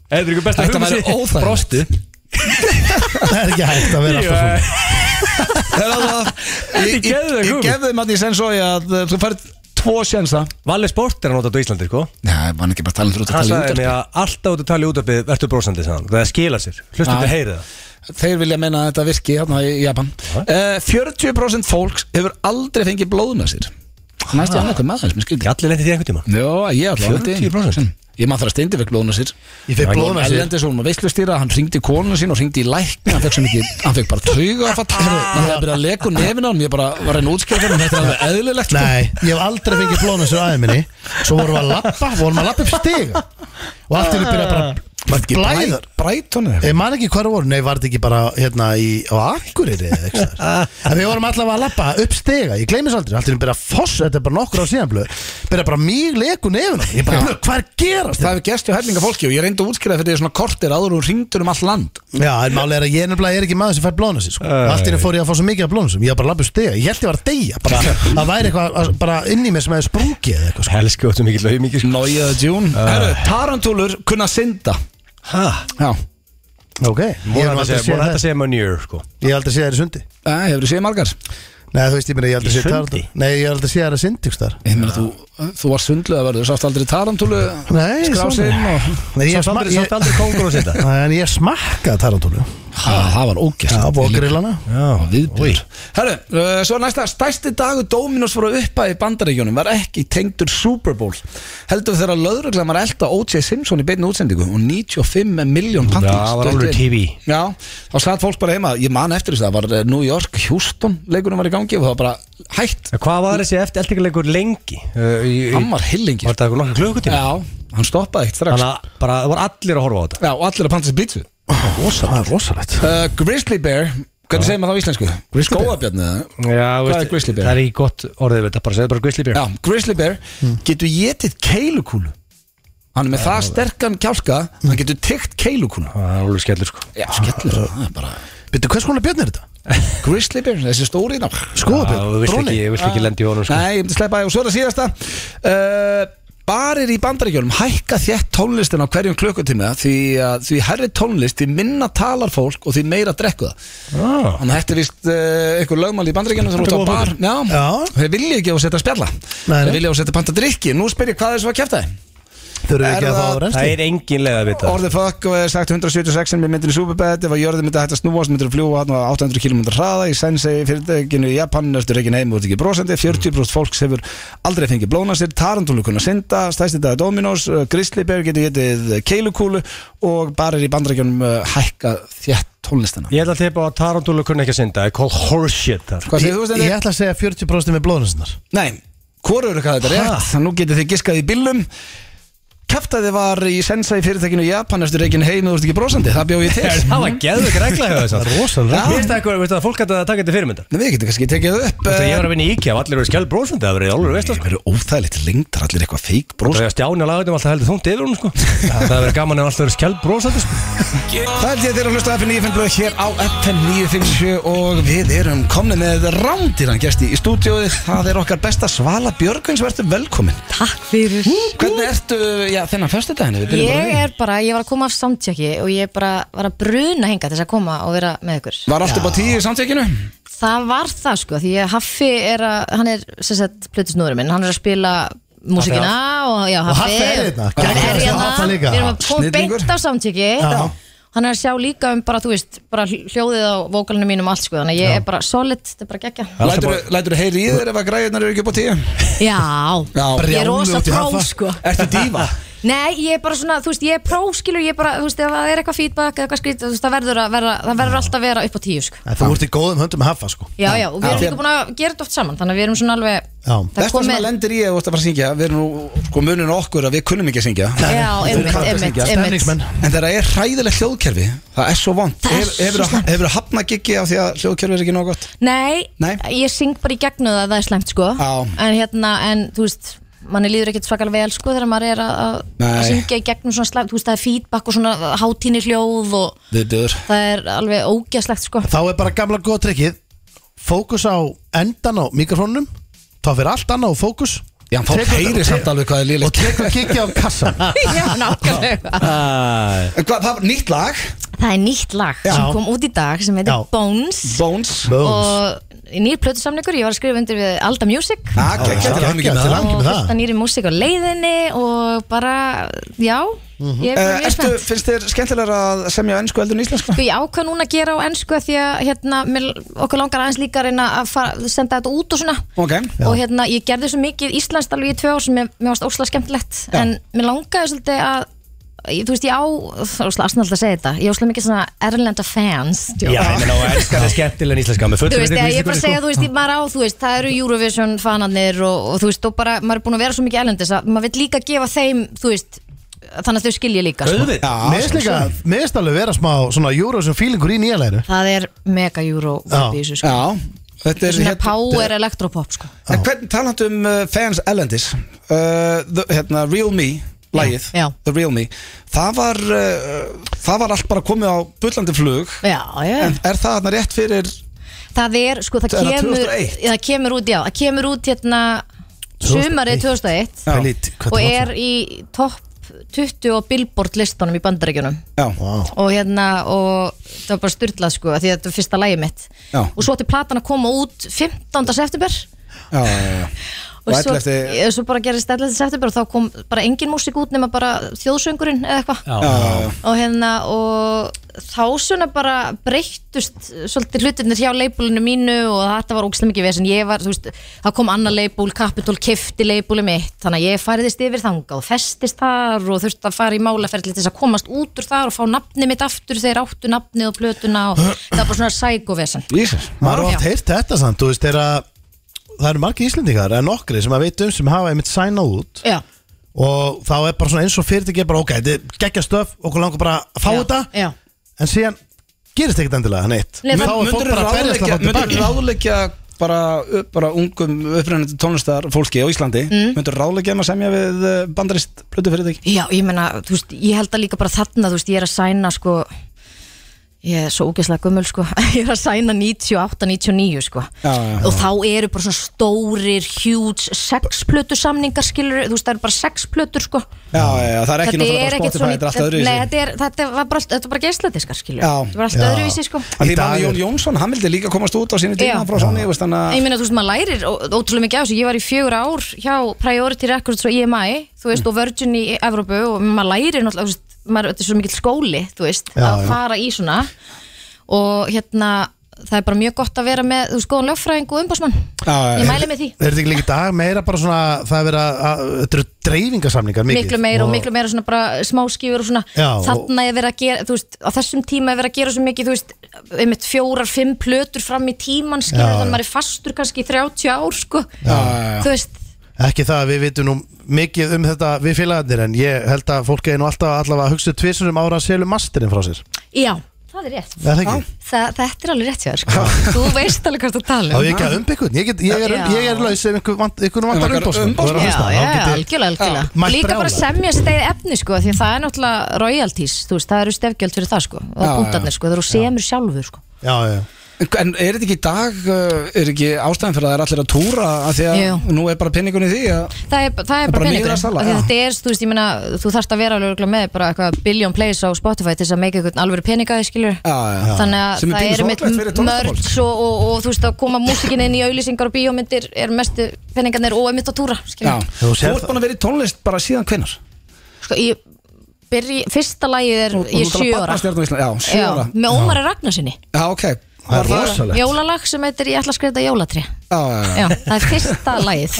S2: Það er eitthvað besta
S1: Þetta væri
S2: hugmynd-
S1: óþægilegt.
S2: Brostu
S3: Það er ekki hægt að vera alltaf svona
S2: Þetta er
S1: Ég
S2: geðveik
S1: ég
S2: hugmynd.
S1: gef þeim að því sen svo að uh, þú færð tvo sjensa
S2: Valli Sport er að nota þetta á Íslandi, sko
S1: Já, ég vann ekki bara að tala um þrjótt
S2: Hann
S1: að tala
S2: sagði
S1: um
S2: mig að alltaf út að tala í útarpið Vertu brósandi, sagði hann Það skila sér Hlustum
S1: Já.
S2: við heyrið það
S1: Þeir vilja meina að þetta virki hérna í Japan uh, 40% fólks hefur aldrei fengið blóðna sér Næstu annað hver maður sem er
S2: Ekki
S1: skrítið
S2: allir lendið því einhvern tíma
S1: Jó, ég ætla
S2: 40%?
S1: Ég maður þarf að steindi vekk blóðna sér
S3: Ég fekk blóðna sér
S1: Ellendi svo hún var veislustýra, hann ringdi konu sín og ringdi í lækni, hann fekk svo mikið, hann fekk bara tauga að fatta, hann hefði byrjað að leka úr nefina hann, ég bara var henni útskjöfum, þetta er alveg eðlilegt sko.
S3: Nei, ég hef aldrei fengið blóðna sér aðeins minni Svo vorum við að lappa, vorum að lappa upp stiga Og allt er að byrja bara að blæða
S1: Bræt hann
S3: Ég man ekki hvað það voru, nei, var þetta ekki bara hérna í, á Akureyri eða eitthvað staðar? En við vorum allavega að lappa upp stiga, ég gleymis aldrei Allt er bara að foss, þetta er bara nokkur á síðan blöð Byrja bara mýg leku nefn Ég bara, blöð, hvað er að gerast?
S1: Það hefur gæst hjá hellinga fólki og ég reyndi að útskýra fyrir því svona kortir áður og ringdur um all land
S3: Já, en málega er að ég er nefnilega er ekki maður sem fær blóðna sér sko. Allt er að fór ég að fá svo mikið af blóðna sér Ég var bara að lappa upp stiga, ég held ég var að deyja [laughs] bara, Það væri eitthvað að- bara inn í mér sem hefði sprungið eða eitthvað sko.
S2: Helski óttu mikill og mikill
S1: Nóiða djún
S7: Uh.
S1: Herru, tarantúlur kunna synda
S2: Hæ?
S1: Já,
S3: Ok, ég hef nú aldrei séð
S2: Móna þetta
S3: það.
S2: hérna segja manjur, sko
S3: Ég hef aldrei séð þær í sundi
S7: Eh,
S1: það hefur séð margar
S3: Nei, þú veist, ég meina, ég hef aldrei
S2: Í
S3: séð
S2: sundi?
S3: tarantúl Nei, ég hef aldrei séð þær að syndi ykkur þar
S1: Ég meina þú, þú var sundluð að verður, þú sást aldrei tarantúlu
S3: Nei,
S1: skrásinn
S3: svona.
S1: og
S3: Nei, ég
S2: Sátt
S3: sma-
S2: aldrei, sátt
S3: ég-
S2: aldrei kóngur og setja
S3: [laughs] Nei, en ég smakkaði tarantúlu Já,
S1: ha, Það var ógæst
S3: bókarillana
S1: Viðbjör Herru, uh, svo næsta Stærsti dagur Dominos voru uppa í bandaríkjónum Var ekki tengdur Super Bowl Heldur þegar löðruglega var elda O.J. Simpson í beinni útsendingu Og 95 miljón pandir
S2: Já, það var alveg TV.
S1: Já, þá satt fólk bara heima Ég man eftir þess að það var eh, New York, Houston Leikunum var í gangi og það var bara hætt
S2: Hvað var þessi eftir eldingarleikur lengi? Uh, í, í,
S1: Hann var hillingi
S2: var þetta eitthvað nokkuð klukkutíma?
S1: Já, hann stoppaði eitt strax
S2: Þannig að bara, það var allir að horfa á þetta
S1: Já, og allir að panta sér pítsu
S3: Það er rosalegt
S1: uh, Grizzly Bear Hvernig segir maður það á íslensku? Skóabjarni eða?
S2: Já,
S1: veist,
S2: Það
S1: það
S2: er
S1: er
S2: ekki gott orðið við þetta, bara segðu bara grizzly bear
S1: Já, Grizzly Bear
S2: Mm.
S1: getur getið keilukúlu Hann er með það sterkan kjálka
S2: Mm.
S1: Hann getur tyggt keilukúlu
S2: Það er alveg skellur sko
S1: Já, skellur það er bara
S3: Býttu, hvers konar björn er þetta?
S1: Grizzly Bear, þessi stóri ná
S2: Já,
S3: Skoðabjörn,
S2: Þú vilt
S3: dróni
S2: ekki, vilt ekki lendi í honum sko
S1: Nei, ég myndi sleppa það og svo er það síðasta uh, Barir í bandaríkjólum hækka þétt tónlistin á hverjum klukkutíma því, að- því herri tónlist, því minna talar fólk og því meira drekku það
S2: ah.
S1: Þannig að þetta er vist uh, eitthvað lögmál í bandaríkjana sem
S2: Þetta
S1: út á
S2: er góð
S1: bar Já,
S3: Já.
S1: þeir vilja ekki á að setja spjalla
S3: Nei, nei.
S1: Þeir vilja á að setja panta drikki Nú spyr ég hvað þessu var að kæfta þeim
S3: Þau eru
S1: Er
S3: ekki að fá
S1: það-
S2: Það
S3: reynsli
S2: er engin leið að vita
S1: Orðið fuck og hefði sagt 176 með myndin í Superbad ef að jörðin myndi hægt að snúa sem myndir að fljúa hann á 800 km hraða í Sensei fyrirtækinu í Japan ertu reikin heim og ert ekki brosandi 40% fólks hefur aldrei fengið blóna sér Tarantúlu kunna synda, stæsti dag Dominos uh, Grizzly Bear getur getið keilukúlu og barir í bandrækjunum uh, hækka þjætt tónlistina
S2: Ég ætla að teipa á að Tarantúlu kunni ekki að synda Það er called horseshit þar
S1: Hvað segir þú
S3: Ég
S1: stendir?
S3: ég ætla að segja 40% með blóðnarsinnar
S1: Nei, hvorur eru hvað þetta er
S2: Ha?
S1: rétt Þannig nú getið þið giskað í bílum Kæftæði var í Sensei fyrirtækinu í Japan eftir reikin heim og þú ert ekki brosandi Það bjóð [laughs] ég til
S2: Það var geðvögg regla hjá þess að
S3: Rosalega.
S2: Mér finnst það eitthvað, veistu það, fólk hætti að taka þetta fyrirmyndar
S1: Nei, við getum kannski tekið það upp
S2: Þú veist að ég var að vinna í IKEA og allir eru skjálf brósandi Það verið alveg veist það sko
S1: Það eru óþægilegt lengdar, allir eitthvað feik bros
S2: Það er að stjána lagatum alltaf heldur þungt yfir hún sko Það verið gaman ef alltaf verið skjálf brósandi sko
S1: Það er því að þeir eru að hlusta á FM 957 hér á FM 957 og við erum komni með rándýran gesti í stúdíóið Það er okkar besta Svala Björgvins, verður velkomin
S10: Takk fyrir
S1: Hvernig ertu, já, þennan föstudaginu? við byrjum bara á
S10: Ég
S1: því.
S10: er bara, ég var að koma af samtjöki og ég bara var að bruna hinga til þess að koma og vera með ykkur
S1: Var allt upp á tíu í samtækinu?
S10: Það var það sko, því að Haffi er að, hann er sem sagt plötusnúðurinn minn, hann er að spila músikina og já, Haffi
S3: Haffi er hérna,
S10: Hann er
S3: geggjaður,
S10: hérna,
S3: Haffa
S10: við
S3: líka.
S10: erum að koma
S1: Snillingur.
S10: beint af samtjöki
S3: Já.
S10: Hann er að sjá líka um bara, þú veist, bara hljóðið á vókalinu mínum og allt sko, þannig að ég er bara solid, þetta er bara geggja
S1: Lætur þú heyri í þér ef að græðunar eru ekki upp á tíu?
S10: Já,
S1: Já,
S10: ég er rosa
S3: út í
S10: pró
S3: Haffa.
S10: sko
S1: Ertu dífa?
S10: Nei, ég er bara svona, þú veist, ég er próskilur, ég er bara, þú veist, ef það er eitthvað feedback eða eitthvað skrýt, þú veist, það verður, að vera, það verður alltaf að vera upp á tíu, sko.
S3: En Þú ert í góðum höndum með hafa sko
S10: Já, já, og við erum líka búin að gera þetta oft saman, þannig að við erum svona alveg,
S3: Já.
S10: það
S1: Þetta sem að
S10: komið,
S1: lendir í að þú ert að fara að syngja Við erum nú, sko munun okkur að við kunnum ekki að syngja
S10: já, einmitt, einmitt, einmitt.
S3: Stemningsmenn
S1: En þegar það er hræðilegt hljóðkerfi Það er svo vond
S10: Það er svo
S1: Hefur
S10: slæmt.
S1: það hafnað giggi af því að hljóðkerfi er ekki nóg gott
S10: Nei,
S1: Nei.
S10: ég syng bara í gegnum það, það er slæmt, sko,
S1: Já.
S10: en hérna, en, þú veist, manni líður ekkert svakalega vel sko þegar maður er að- að að
S7: Nei.
S10: syngja í gegnum svona slag, þú veist það er feedback og svona hátíni hljóð og
S7: Viðbjöður
S10: það er alveg ógæslegt sko
S3: Þá er bara gamla góða trikkið Fókus á endan á mikrofónum Þá fyrir allt annað á fókus
S7: Já, hann fólk
S3: Tekur-
S7: heyri samt alveg hvað er
S3: Og
S7: líðilegt
S3: tekur kikið á
S10: [laughs]
S3: kassan
S10: [laughs] Já, nákvæmlega
S2: Æ,
S7: En hvað, það var nýtt lag
S10: Það er nýtt lag
S3: Já.
S10: sem kom út í dag sem heitir
S3: Já.
S10: Bones
S7: Bones
S3: Bones.
S10: og nýr plötusamningur, ég var að skrifa undir við Alda Music
S7: Já, gekkja til
S3: Já,
S7: hann
S3: geggjað,
S7: ekki með
S3: til
S7: það
S3: hamingju.
S10: og
S3: með það.
S10: fyrsta nýri músík á leiðinni og bara, já ég er bara
S7: Eh,
S10: mjög
S7: Ertu,
S10: spennt
S7: finnst þér skemmtilega að semja á ennsku eldur en íslensku?
S10: Sko ég ákvað núna að gera á ennsku af því að hérna, mér- okkur langar aðeins líka að reyna að fara, senda þetta út og svona
S7: Ok
S10: og hérna ég gerði svo mikið íslenskt alveg í tvö ár sem mér, mér varst óslega skemmtilegt
S7: Já.
S10: en mér langaði svolítið að ég- þú veist ég á, það er óslega aðsnallt að segja þetta ég á óslega mikið svona erlenda fans
S2: Já, ég meina, og elskar það skemmtilega en íslenska sko. með
S10: þú
S2: fullum
S10: veist,
S2: virðingu
S10: ég,
S2: fyrir
S10: ég bara
S2: íslenskunni,
S10: að segja, þú veist, ég bara á, þú veist, það eru Eurovision fanarnir og, og þú veist, og bara, maður er búin að vera svo mikið elendis að maður vil líka gefa þeim, þú veist, þannig að þau skilja líka, sko.
S2: Auðvitað.
S3: Meðist líka, meðist alveg vera smá svona Eurovision feelingur í nýja læru
S10: Það er mega Euro
S3: Já.
S10: í þessu, sko.
S7: Já Þetta er
S10: Svona
S7: hérna-
S10: power elektropop, sko.
S7: En hvernig talandu um uh, fans Ellendis uh, the, hérna, Real Me Lægið,
S10: Já.
S7: The Real Me Það var, uh, það var allt bara komið á bullandi flug
S10: Já, já.
S7: En er það hérna rétt fyrir
S10: það er, sko, það
S7: Er það
S10: kemur
S7: 2001?
S10: það kemur út, já, það kemur út hérna sumarið 2001
S7: Já.
S3: Lít,
S10: og er í topp 20 og billboard listunum í bandaríkjunum
S7: Já,
S10: og hérna og það var bara styrlað sko af því að þetta var fyrsta lægi mitt
S7: Já.
S10: og svo átti platan að koma út 15. september
S7: já, já, já.
S10: og,
S7: Og
S10: svo,
S7: 11.
S10: ég, svo bara gerist 11. september og þá kom bara engin músík út nema bara þjóðsöngurinn eða eitthvað
S2: Já,
S10: og hérna og þá svona bara breyttust svolítið hlutirnir hjá leibulinu mínu og þetta var ógstlega mikið vesen ég var, þú veist, þá kom annað leibul Capitol kifti leibuli mitt, þannig að ég færiðist yfir þanga og festist þar og þurfti að fara í málaferðli til þess að komast út úr þar og fá nafni mitt aftur þegar áttu nafnið og plötuna og það var bara svona sækovesen
S7: Jesus
S3: Maður
S10: Já.
S3: har oft heyrt þetta samt, þú veist, þegar að- það eru margir íslendingar en nokkri sem að veit um sem hafa einmitt sænað út
S10: Já,
S3: og þá er bara svona eins og fyrirtæki er bara ok, þetta er geggja stöf, okkur langar bara að fá
S10: Já,
S3: þetta
S10: já.
S3: en síðan gerist ekkert endilega neitt þá
S10: Nei, það-
S3: er fólk
S7: Myndur
S3: bara að berjast
S7: ráðleggja,
S3: að fá
S7: myndirðu
S3: tilbaka
S7: ráðleggja bara, bara ungum upprennandi tónlistar fólki á Íslandi mm. Myndur ráðleggja um að semja við uh, bandarist blötu fyrir þig?
S10: Já, ég meina, þú veist, ég held að líka bara þarna, þú veist, ég er að sæna, sko, ég er svo ógeðslega gömul, sko, [laughs] ég er að sæna 98, 99, sko,
S7: Já, já, já.
S10: og þá eru bara svona stórir, huge sexplötu samningar, skilur, þú veist, það eru bara sexplötur, sko.
S7: Já, já, já, það er ekki náttúrulega bara Spotify, þetta er allt öðru í
S10: nei, þetta er, þetta var bara, allt- þetta var bara geisladiskar, skilur,
S7: Já.
S10: þetta var allt
S3: Já.
S10: öðruvísi, sko.
S7: Því
S3: Í dag
S7: manni
S3: er-
S7: Jón Jónsson, hann vildi líka komast út á sínu
S10: Já.
S7: tíma frá Sony, veist hann að
S10: Ég meina, þú veist, maður lærir ó- ótrúlega mikið af þessu. Ég var í fjögur ár hjá Priority Records og EMI, þú
S7: Mm.
S10: veist, og Virgin í Evrópu og maður lærir náttúrulega, þú veist, maður, þetta er svo mikill skóli, þú veist,
S3: Já,
S10: að
S3: já.
S10: fara í svona og hérna, það er bara mjög gott að vera með, þú veist, góðan lögfræðing og umbásmann.
S7: Já, já,
S10: Ég mæli með því.
S3: Er þetta ekki líka í dag meira bara svona það er verið að, að þetta eru dreifingarsamlingar mikið
S10: miklu meira og, miklu meira svona bara smáskífur og svona
S3: Já, og-
S10: þarna er verið að gera, þú veist, á þessum tíma er verið að gera svo mikið, þú veist, einmitt fjórar, fimm plötur fram í tíman, skilur
S3: Já,
S10: þannig
S3: já.
S10: maður er fastur kannski í 30 ár, sko,
S7: já, já.
S10: þú veist,
S3: Ekki það að við vitum nú mikið um þetta við félagarnir en ég held að fólk er nú alltaf allavega að hugsa tvisur um ára að selja masterinn frá sér
S10: já, það er rétt.
S3: Er það ekki?
S10: Þa, þetta er alveg rétt hjá þér sko. Þú veist alveg hvað þú
S3: Þá
S10: tala
S3: er
S10: um
S3: ég ekki að umbyggun, ég, get- ég er,
S10: Já.
S3: ég er laus ef einhver vant- einhverjum
S7: Ef
S3: vantar
S7: einhver
S3: umbásmann og er að
S10: Já,
S3: hlusta.
S10: já,
S3: Þá getið-
S10: algjörlega, algjörlega
S3: Mætt
S10: Líka bara
S3: brjálaður.
S10: semja sitt eigið efni sko Því að það er náttúrulega royalties þú veist, Það eru stefgjöld fyrir það sko
S7: Já,
S10: Og búntarnir sko, þegar þú semur sjálfur sko
S3: Já, já,
S7: En er þetta ekki í dag, uh, er ekki ástæðan fyrir að það er allir að túra að því að
S10: Jú.
S7: nú er bara pinningunni því að
S10: Það er, það er
S7: bara
S10: bara
S7: miðað sala,
S10: peningurinn
S7: já.
S10: Þetta er, þú veist, ég meina Þú þarft að vera alveg örugglega með bara eitthvað billion plays á Spotify til þess að make eitthvað alveg peninga þig skilur
S7: Já, já, já.
S10: Þannig að
S7: Sem er
S10: það
S7: pínu
S10: eru mitt
S7: sorglegt fyrir tónlistarfólk.
S10: mörds og, og, og þú veist að koma músikin inn í auðlýsingar og bíómyndir er mestu peningarnir og emitt að túra skilur.
S7: Já,
S3: Þú
S7: þú
S3: sér
S7: ert
S3: það.
S7: búin að vera í tónlist bara síðan hvenar
S10: sko, ég byrji, fyrsta lagið er
S7: Og
S10: ég
S7: þú
S10: er
S7: ert alveg
S10: sjö ára
S7: barnastjarna á Íslandi, Já, sjö
S10: Já,
S7: ára
S10: með Ómari Ragnarsinni
S7: Já, ok
S3: það er
S7: Var
S3: rosalegt
S10: jólalag sem heitir Ég ætla að skreita jólatri
S7: Já, já, já.
S10: Já, það er fyrsta
S7: [laughs]
S10: lagið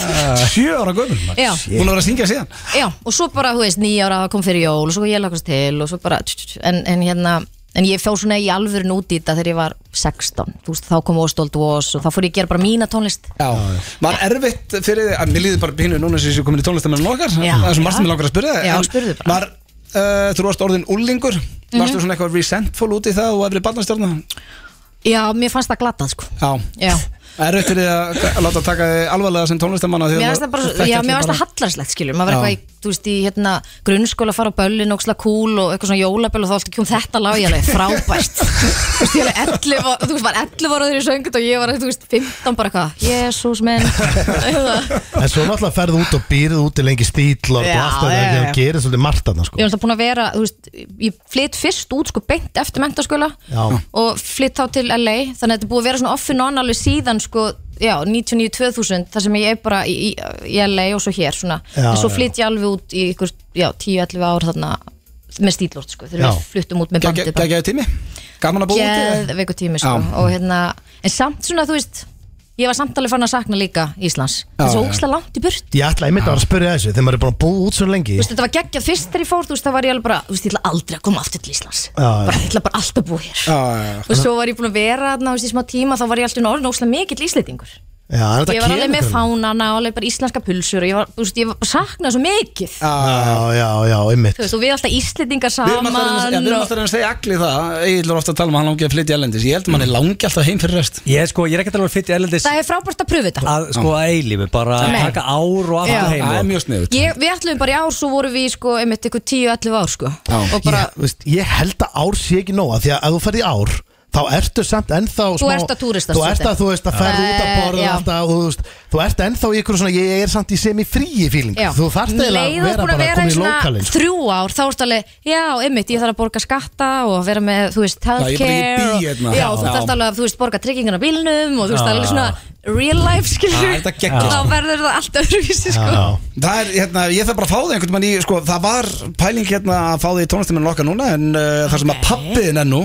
S7: Sjö ára gömul maður.
S10: Já.
S7: Búin að vera að syngja síðan
S10: Já, og svo bara, þú veist, nýja ára það kom fyrir jól og svo ég lagast til og svo bara tch, tch, tch, en, en hérna, en ég fór svona í alvöru út í þetta þegar ég var 16 þú veist, þá kom Óstold Vos og þá fór ég að gera bara mína tónlist
S7: Já, var erfitt fyrir þig að mér líður bara pínu núna sem ég sé komin í tónlistamennan okkar
S10: Já.
S7: það er svo margt
S10: Já.
S7: sem ég langar að spyrja þig,
S10: Já,
S7: en
S10: spurðu bara. Mhm.
S7: Var, uh, þú varst orðin úlingur varstu svona eitthvað resentful út í það og efri barnastjörna
S10: Já, mér fannst það glatað, sko
S7: Já,
S10: Já,
S7: Er auðvitað fyrir þig að láta taka þig alvarlega sem tónlistamanna
S10: Mér finnst það bara, já, mér finnst það hallarslegt skilur maður var
S7: Já.
S10: eitthvað í, þú veist, í hérna, grunnskóla að fara á böllin, óksla kúl og eitthvað svona jólaböll og þá alltaf kjum þetta lag ég alveg [laughs] frábært þú veist, ég alveg 11, var- þú veist, var 11 ára þegar ég söngið og ég var, þú veist, 15 bara eitthvað Jésús menn [laughs] ég
S3: En svo náttúrulega ferðu út og býrðu út í lengi stíl og
S10: Já,
S3: allt það
S10: já,
S3: þegar
S10: já.
S3: þú gerir svolítið margt þarna sko
S10: var alltaf búin að vera, þú veist, ég flytt fyrst út sko beint eftir mentaskóla
S3: Já.
S10: og flytt þá til LA þannig að þetta er búið að vera svona off and on alveg síðan sko, já, 99-2000 þar sem ég er bara í, í, í LA og svo hér svona,
S3: Já,
S10: en svo
S3: já.
S10: flytt ég alveg út í ykkur, já, 10-11 ár þarna með stílort sko,
S3: Já.
S10: þegar við fluttum út með bandi bara,
S7: Gægjaðu tími Gaman að búa út
S10: geðveiku tími sko og hérna, en samt svona þú veist ég var samt alveg fann að sakna líka Íslands það er svo ókslega langt í burt
S3: Ég ætla einmitt að vera að spyrja þessu þegar maður er búin að búa út svo lengi
S10: Þú veist, þetta var geggjað fyrst þegar ég fór, þú veist, það var ég alveg bara, þú veist, ég ætla aldrei að koma aftur til Íslands.
S3: já.
S10: bara, ég ætla bara alltaf að búa hér. Og svo var ég búin að vera þarna, þú veist, í smá tíma, þá var ég alltaf orðin óslega mikill íslendingur.
S3: Já, en þetta
S10: Ég var alveg
S3: kemur
S10: með
S3: hvernig.
S10: fánana og alveg bara íslenska pulsur og ég var, þú veist, ég var- saknaði svo mikið.
S3: Já, já, já, einmitt
S10: Þú veist, og við alltaf íslendingar
S7: Við erum alltaf að reyna- já, við
S10: saman
S7: erum
S10: og...
S7: alltaf að reyna að segja allir það Egil er ofta að tala um að hann langi að flytja elendis Ég held að mann er langi alltaf heim fyrir rest
S2: Ég, sko, ég er ekkert alveg fyrir erlendis
S10: Það er frábært að pröfu þetta.
S2: að sko að eilífi, bara að
S10: Nei.
S2: taka ár og
S10: Já.
S2: aftur heim
S7: Það er
S2: og-
S7: mjög sniðut
S10: Ég, við ætlum bara í ár, svo vorum við, sko, einmitt ykkur 10-11 ár, sko. Og bara,
S3: ég, veist, ég held að ár sé ekki nóga því að ef þú ferð í ár þá ertu samt ennþá
S10: Þú ert að túrista
S3: þú ert
S10: svolítið.
S3: að þú veist að ferð út að
S10: Eh,
S3: borða
S10: já.
S3: alltaf, þú, veist, þú ert ennþá í ykkur svona ég er samt í semifríi fíling
S10: Já.
S3: þú þarft eiginlega
S10: Leið
S3: að
S10: þú ert
S3: vera
S10: búin að
S3: bara
S10: vera
S3: komin
S10: í
S3: í
S10: svona
S3: lokalinn sko.
S10: Þrjú ár, þá ertu alveg Já, einmitt, ég þarf að borga skatta og vera með, þú veist,
S7: ég bara ekki
S10: healthcare
S7: bý
S10: og-
S7: hérna.
S10: Já,
S7: Já.
S10: þú þarft alveg að, þú veist, borga tryggingana bílnum og þú veist, það er alveg svona real life, skilur
S7: Já, þetta er geggjað,
S10: Þá verður það allt öðruvísi, sko
S3: Já.
S7: Það er, hérna, ég þarf bara að fá þig einhvern veginn í, sko, það var pæling hérna að fá þig í tónlistamennu okkar núna en uh, þar sem að pappiðin er nú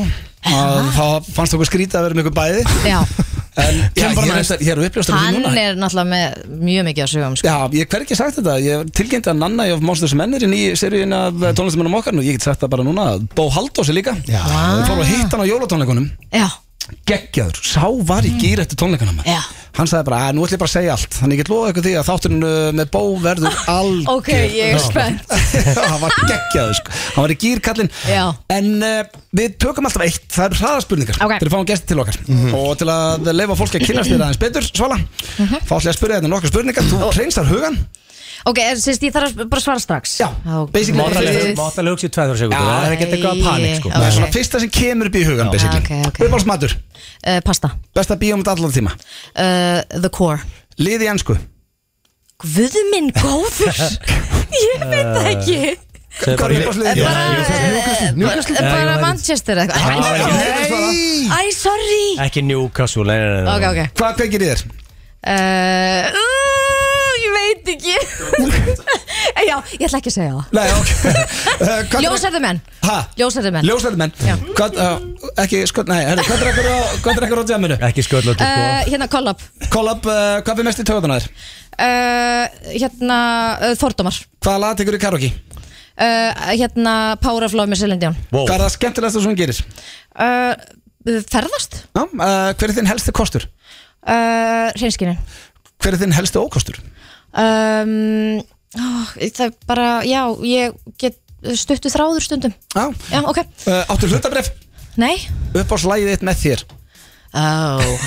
S7: að þá fannst okkur skrítið að vera með ykkur bæði
S10: Já,
S7: en já, ég,
S3: Kemur bara
S7: er
S3: næst.
S7: reyndar- ég er uppljóstur því
S10: hann
S7: núna
S10: er náttúrulega með mjög mikið að sögum, sko
S7: Já, ég hver ekki sagt þetta, ég tilgjöndi að Nanna ég of Monsters and Men er inn í seríun af tónlistamennum okkar og ég get sagt það bara núna að Bó Haldós er líka
S3: Já.
S7: Ég fór að hitta hann á jólatónleikunum
S10: Já,
S7: geggjaður, sá var í gýr eftir tónleikana maður
S10: Mm. Já.
S7: hann sagði bara, að nú ætlum ég bara að segja allt þannig ég get lofa ykkur því að þátturinn uh, með bó verður
S10: [laughs]
S7: [laughs] algjör
S10: ok, ég er spennt
S7: hann var geggjaður sko. hann var í gýr kallinn
S10: Já.
S7: en uh, við tökum alltaf eitt, það eru hraðaspurningar
S10: Ok. Mhm.
S7: til að fáum gesti til okkar og til að leifa fólki að kynast þér aðeins betur Svala, mm
S10: Mhm.
S7: -hmm. fá allir að spyrja þetta nokkar spurningar þú reynsar hugan
S10: Ok, er- sem sagt, ég þarf að bara að svara strax
S7: Já, basically-
S10: Guð.
S2: Máttalega hugsa í 2-3 sekundur
S7: Já.
S2: Það er ekkert eitthvað að panik sko
S10: Ok.
S7: það er svona fyrsta sem kemur upp í hugan basically
S10: ok, ok.
S7: uppáhaldsmatur,
S10: Eh, Pasta,
S7: besta bíómynd allar tíma
S10: Eh, The Core
S7: liði ennsku,
S10: Guðu minn góður [laughs] Ég veit það ekki
S2: Segðu
S7: hvað
S2: bara-
S7: er uppáhaldsliðið?
S3: Já,
S10: bara-
S3: ég sagði Newcastle, Newcastle. Ah,
S10: Eh,
S2: Nei,
S10: Bara
S2: ég veit.
S10: Manchester eða eitthvað Æ,
S3: Nei.
S10: Æ, sorry
S2: Ekki Newcastle nei, nei, nei, nei.
S10: Ok, ok
S7: hvað kveikir í þér?
S10: uh, uh, Ég veit [laughs] ekki Já, ég ætla ekki að segja það
S7: Nei, ok Eh, hvað-
S10: Ljósærðu menn
S7: Ha?
S10: Ljósærðu menn
S7: Ljósæðir menn
S10: Já.
S7: Hvað, uh, ekki, sko, nei, herri, hvað er ekkur á, hvað er ekkur á djaminu?
S2: Ekki sköldlötu sko
S10: uh, Hérna, Collab
S7: Collab, uh, hvað fyrir mest í töðuna þér?
S10: uh, Hérna, uh, Þordómar
S7: Hvaða lag tekur í karaoke?
S10: uh, Hérna, Power of Love með Selindján
S2: Wow.
S7: Hvað er það skemmtilegsta sem hún gerir?
S10: uh, Ferðast
S7: Já, uh, hver er þinn helsti kostur?
S10: uh, Hreinskinin
S7: Hver er þinn helsti ókostur?
S10: um, ó, Það er bara, já, ég get stuttu þráður stundum
S7: Já,
S10: Já, ok
S7: uh, áttu hlutabref
S10: Nei
S7: upp á slæðið þitt með þér
S10: Ó,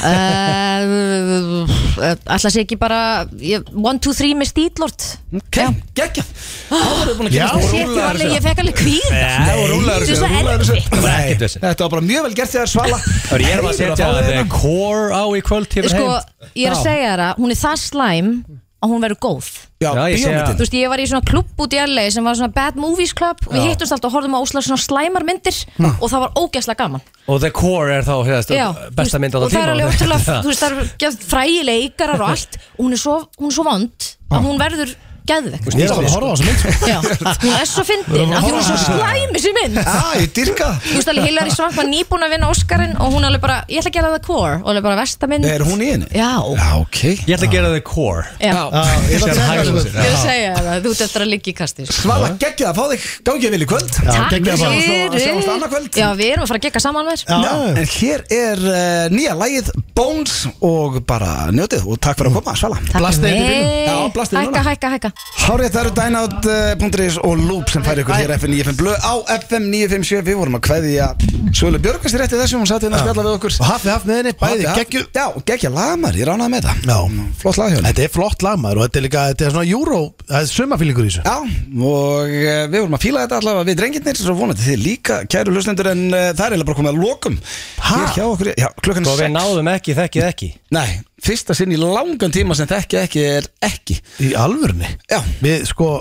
S10: eh, Ætla sé ekki bara 1, 2, 3 með stílort
S7: Ok, geggjað Það voru búin að
S3: Já.
S7: kynast þér.
S10: Sétt ég var alveg, ég fekk alveg kvíða
S2: sko. Nei,
S7: Rúllaður
S10: Þetta er
S7: þessu,
S10: svo
S7: rúllaður þessu.
S2: Það var
S7: Nei,
S2: ekkert vesen.
S7: Þetta var bara mjög vel gert þegar svala
S2: Það er ég að setja
S7: Heiður að fá
S2: The
S7: þig.
S2: Core á í kvöld hefur
S10: Sko,
S2: heim
S10: ég er að segja þér að hún er það slæm að hún verður góð
S7: Já,
S2: Já, ég sé að-
S7: bíómyndin
S10: Þú veist, ég var í svona klubb út í LA sem var svona Bad Movies Club og við hittumst alltaf og horfðum á óslag svona slæmar myndir og það var ógeðslega gaman
S2: Og The Core er þá hefðast,
S10: Já,
S2: uh, besta mynd á
S10: þú
S2: það tíma
S10: veist, Og það er
S2: [laughs]
S10: alveg ótrúlega, þú veist, það eru gefn frægilega ykkar og allt og hún er svo, hún er svo vond að hún verður geðvekk
S3: Ég er alveg að horfa á þessu mynd sko.
S10: Já, hún er svo fyndin að því hún er svo slæmi sem minn
S7: Já, ég dyrka það.
S10: Þú veist alveg Hilary Swank var nýbúin að vinna Óskarinn og hún alveg bara, ég ætla að gera það core og alveg bara vestaminn
S7: Er hún í henni?
S10: Já,
S7: Já, ok
S2: Ég ætla að gera The Core
S10: já,
S3: Já, ég ætla að
S2: Sem
S3: segja
S2: hægir sér.
S3: þessu mynd.
S10: ég vil segja það, þú ert eftir að liggja í kastis
S7: Svala, geggjað að fá þig Gangið vel í kvöld
S3: Já,
S10: Takk
S3: geggjað bara.
S7: Sjáumst- sjáumst annað kvöld.
S10: Já, við erum að fara að gegga saman með
S3: Já.
S7: Já, en hér er uh, nýja lægið Bones og bara njótið og takk fyrir að koma, Svala
S10: Takk
S3: Blasta þetta
S10: fyrir
S3: í bílnum.
S10: mig.
S7: Já, blasta í núna.
S10: Hækka, hækka, hækka
S7: Hárið það eru Dynout.is og Loop sem færi ykkur hér FM 95 blöð á FM 957 Við vorum að kveðja Svölu Björgast rétti þessum Hún satt hérna að spjalla við okkur
S3: Og hafði haft með henni, bæði
S7: Hafði-
S3: geggju
S7: Já, geggja lagmar, ég ránaði með það
S3: Já.
S7: Flott laghjörn
S3: Þetta er flott lagmaður og þetta er líka, þetta er svona júró, það er sumafílingur í þessu
S7: Já, og eh, við vorum að fíla þetta allavega við drengirnir Svo vonandi þið líka, kæru hlustendur En eh, það er eiginlega bara komið að lokum
S3: Ha?
S7: Hér hjá okkur, já, klukkan
S2: Og
S7: er
S2: Sko, við
S7: 6
S2: náðum ekki, þekkið ekki
S7: Nei, fyrsta sinn í langan tíma sem þekki ekki er ekki
S3: Í alvörni
S7: Já,
S3: Við sko,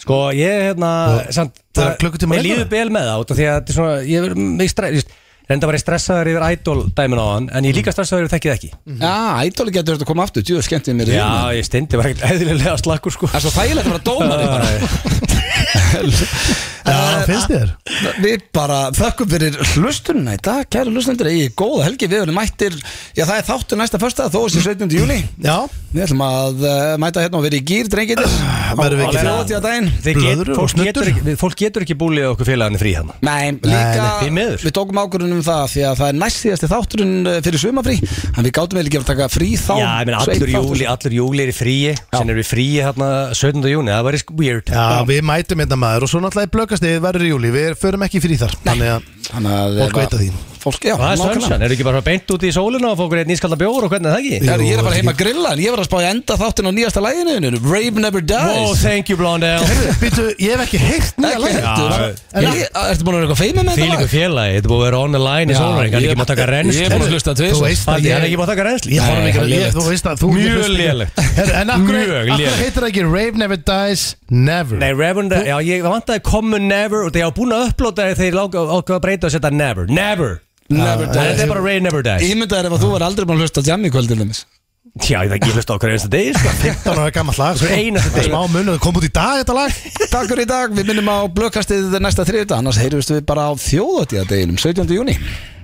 S2: Sko ég hérna
S3: Og-
S2: samt,
S3: það er klukkutíma
S2: Ég líður
S3: lengra.
S2: vel með það út af Því að þetta er svona Ég er mig stress Reynda var ég stressaður yfir idol dæmin á hann En ég er líka stressaður yfir þekkið ekki
S3: Mhm.
S7: já, ædóli getur þetta að koma aftur Djú, skemmtið mér í hérna.
S2: Já ég stendi var ekkert eðlilega slakkur sko
S7: Það er svo þægilegt að vera dómari
S3: [laughs]
S7: bara.
S3: já, finnst þér?
S7: Við bara þökkum fyrir hlustununa í dag Kæru hlustundur, ég er góða helgi Við erum mættir, já það er þáttur næsta fyrsta Þó þessi 17. júni
S3: Já,
S7: Við ætlum að uh, mæta hérna og vera í gýr drengir
S3: Verðum við ekki það?
S7: þjóðatíða daginn
S2: Þeir get,
S3: Blöðrur og
S2: fólk,
S3: snuddur.
S2: getur, ekki- við- fólk getur ekki búlið okkur félaginni frí hann
S7: Nei,
S2: nei,
S7: líka,
S2: því miður.
S7: við tókum ákvörðunum um það því að það er næst síðasti þátturinn eh, fyrir sumafrí en við gátum vel ekki að taka frí þá
S2: Já, ég meina
S7: svo einn
S2: allur
S7: þáttur.
S2: júli, allur júli er í fríi Sen er við fríi hérna 17. júni Það var weird
S3: já, við mætum hérna maður og svo náttúrulega í blökastegi verður í júli, við förum ekki fyrir þar Þannig að
S7: Þannig að
S3: Fólk
S7: eh,
S3: veit að því.
S7: Fólk, já,
S2: Og það er
S7: nákvæmlega.
S2: sunshine, er ekki bara beint út í sóluna og fá okkur eitt nýskalda bjór og hvernig er það ekki?
S7: Herru, Ég er að fara
S3: Jú,
S7: heima að grilla en ég var að spá í að enda þáttin á nýjasta læginu þínu, Rave Never
S2: Wow,
S7: Dies
S2: thank you Blondell
S3: Býtu, ég hef ekki heyrt nýja
S7: Ekki
S3: lægið
S7: heldur.
S3: Já,
S7: Ég- Ertu búin að vera eitthvað feimið með þetta
S2: Fýlingu
S7: lag?
S2: félagi, þetta er búið að vera on the line í sólring Hann er ekki mátt taka rennsli
S7: Ég er búin að hlusta
S3: Þú
S7: tvis
S3: veist
S2: Hann er
S3: að ég
S2: ekki mátt taka rennsli
S3: Ég horf
S2: Nei, hann
S3: ekki að
S2: er
S3: ég,
S2: lélegt.
S3: þú veist að þú
S2: Mjög
S3: hlustar ekki.
S2: lélegt.
S3: Herru, En af hverju
S2: Mjög
S3: af hverju
S2: lélegt.
S3: heitir það ekki Rave Never Dies Never
S2: Nei, Reverend, já, ég vantaði Common Never og þegar ég var búin að upplóta þegar þeir lágu ákveða að breyta og setja Never Never
S7: Never
S2: Nei, Þetta er
S7: Dies
S2: bara Ray Never Dies
S7: Ímyndaður ef að þú var aldrei búin að hlusta jam í kvöld til dæmis
S2: Já, ég þekki ég hlusta okkur einasta degi, [laughs] sko
S3: 15 ára gammal lag sko.
S2: Einasta
S3: Það er
S2: degi.
S3: smá munur, það kom út í dag þetta lag
S7: Takk fyrir í dag, við minnum á blökkastið næsta þriðdag annars heyrjumst við bara á þjóðatíðadeginum 17. júni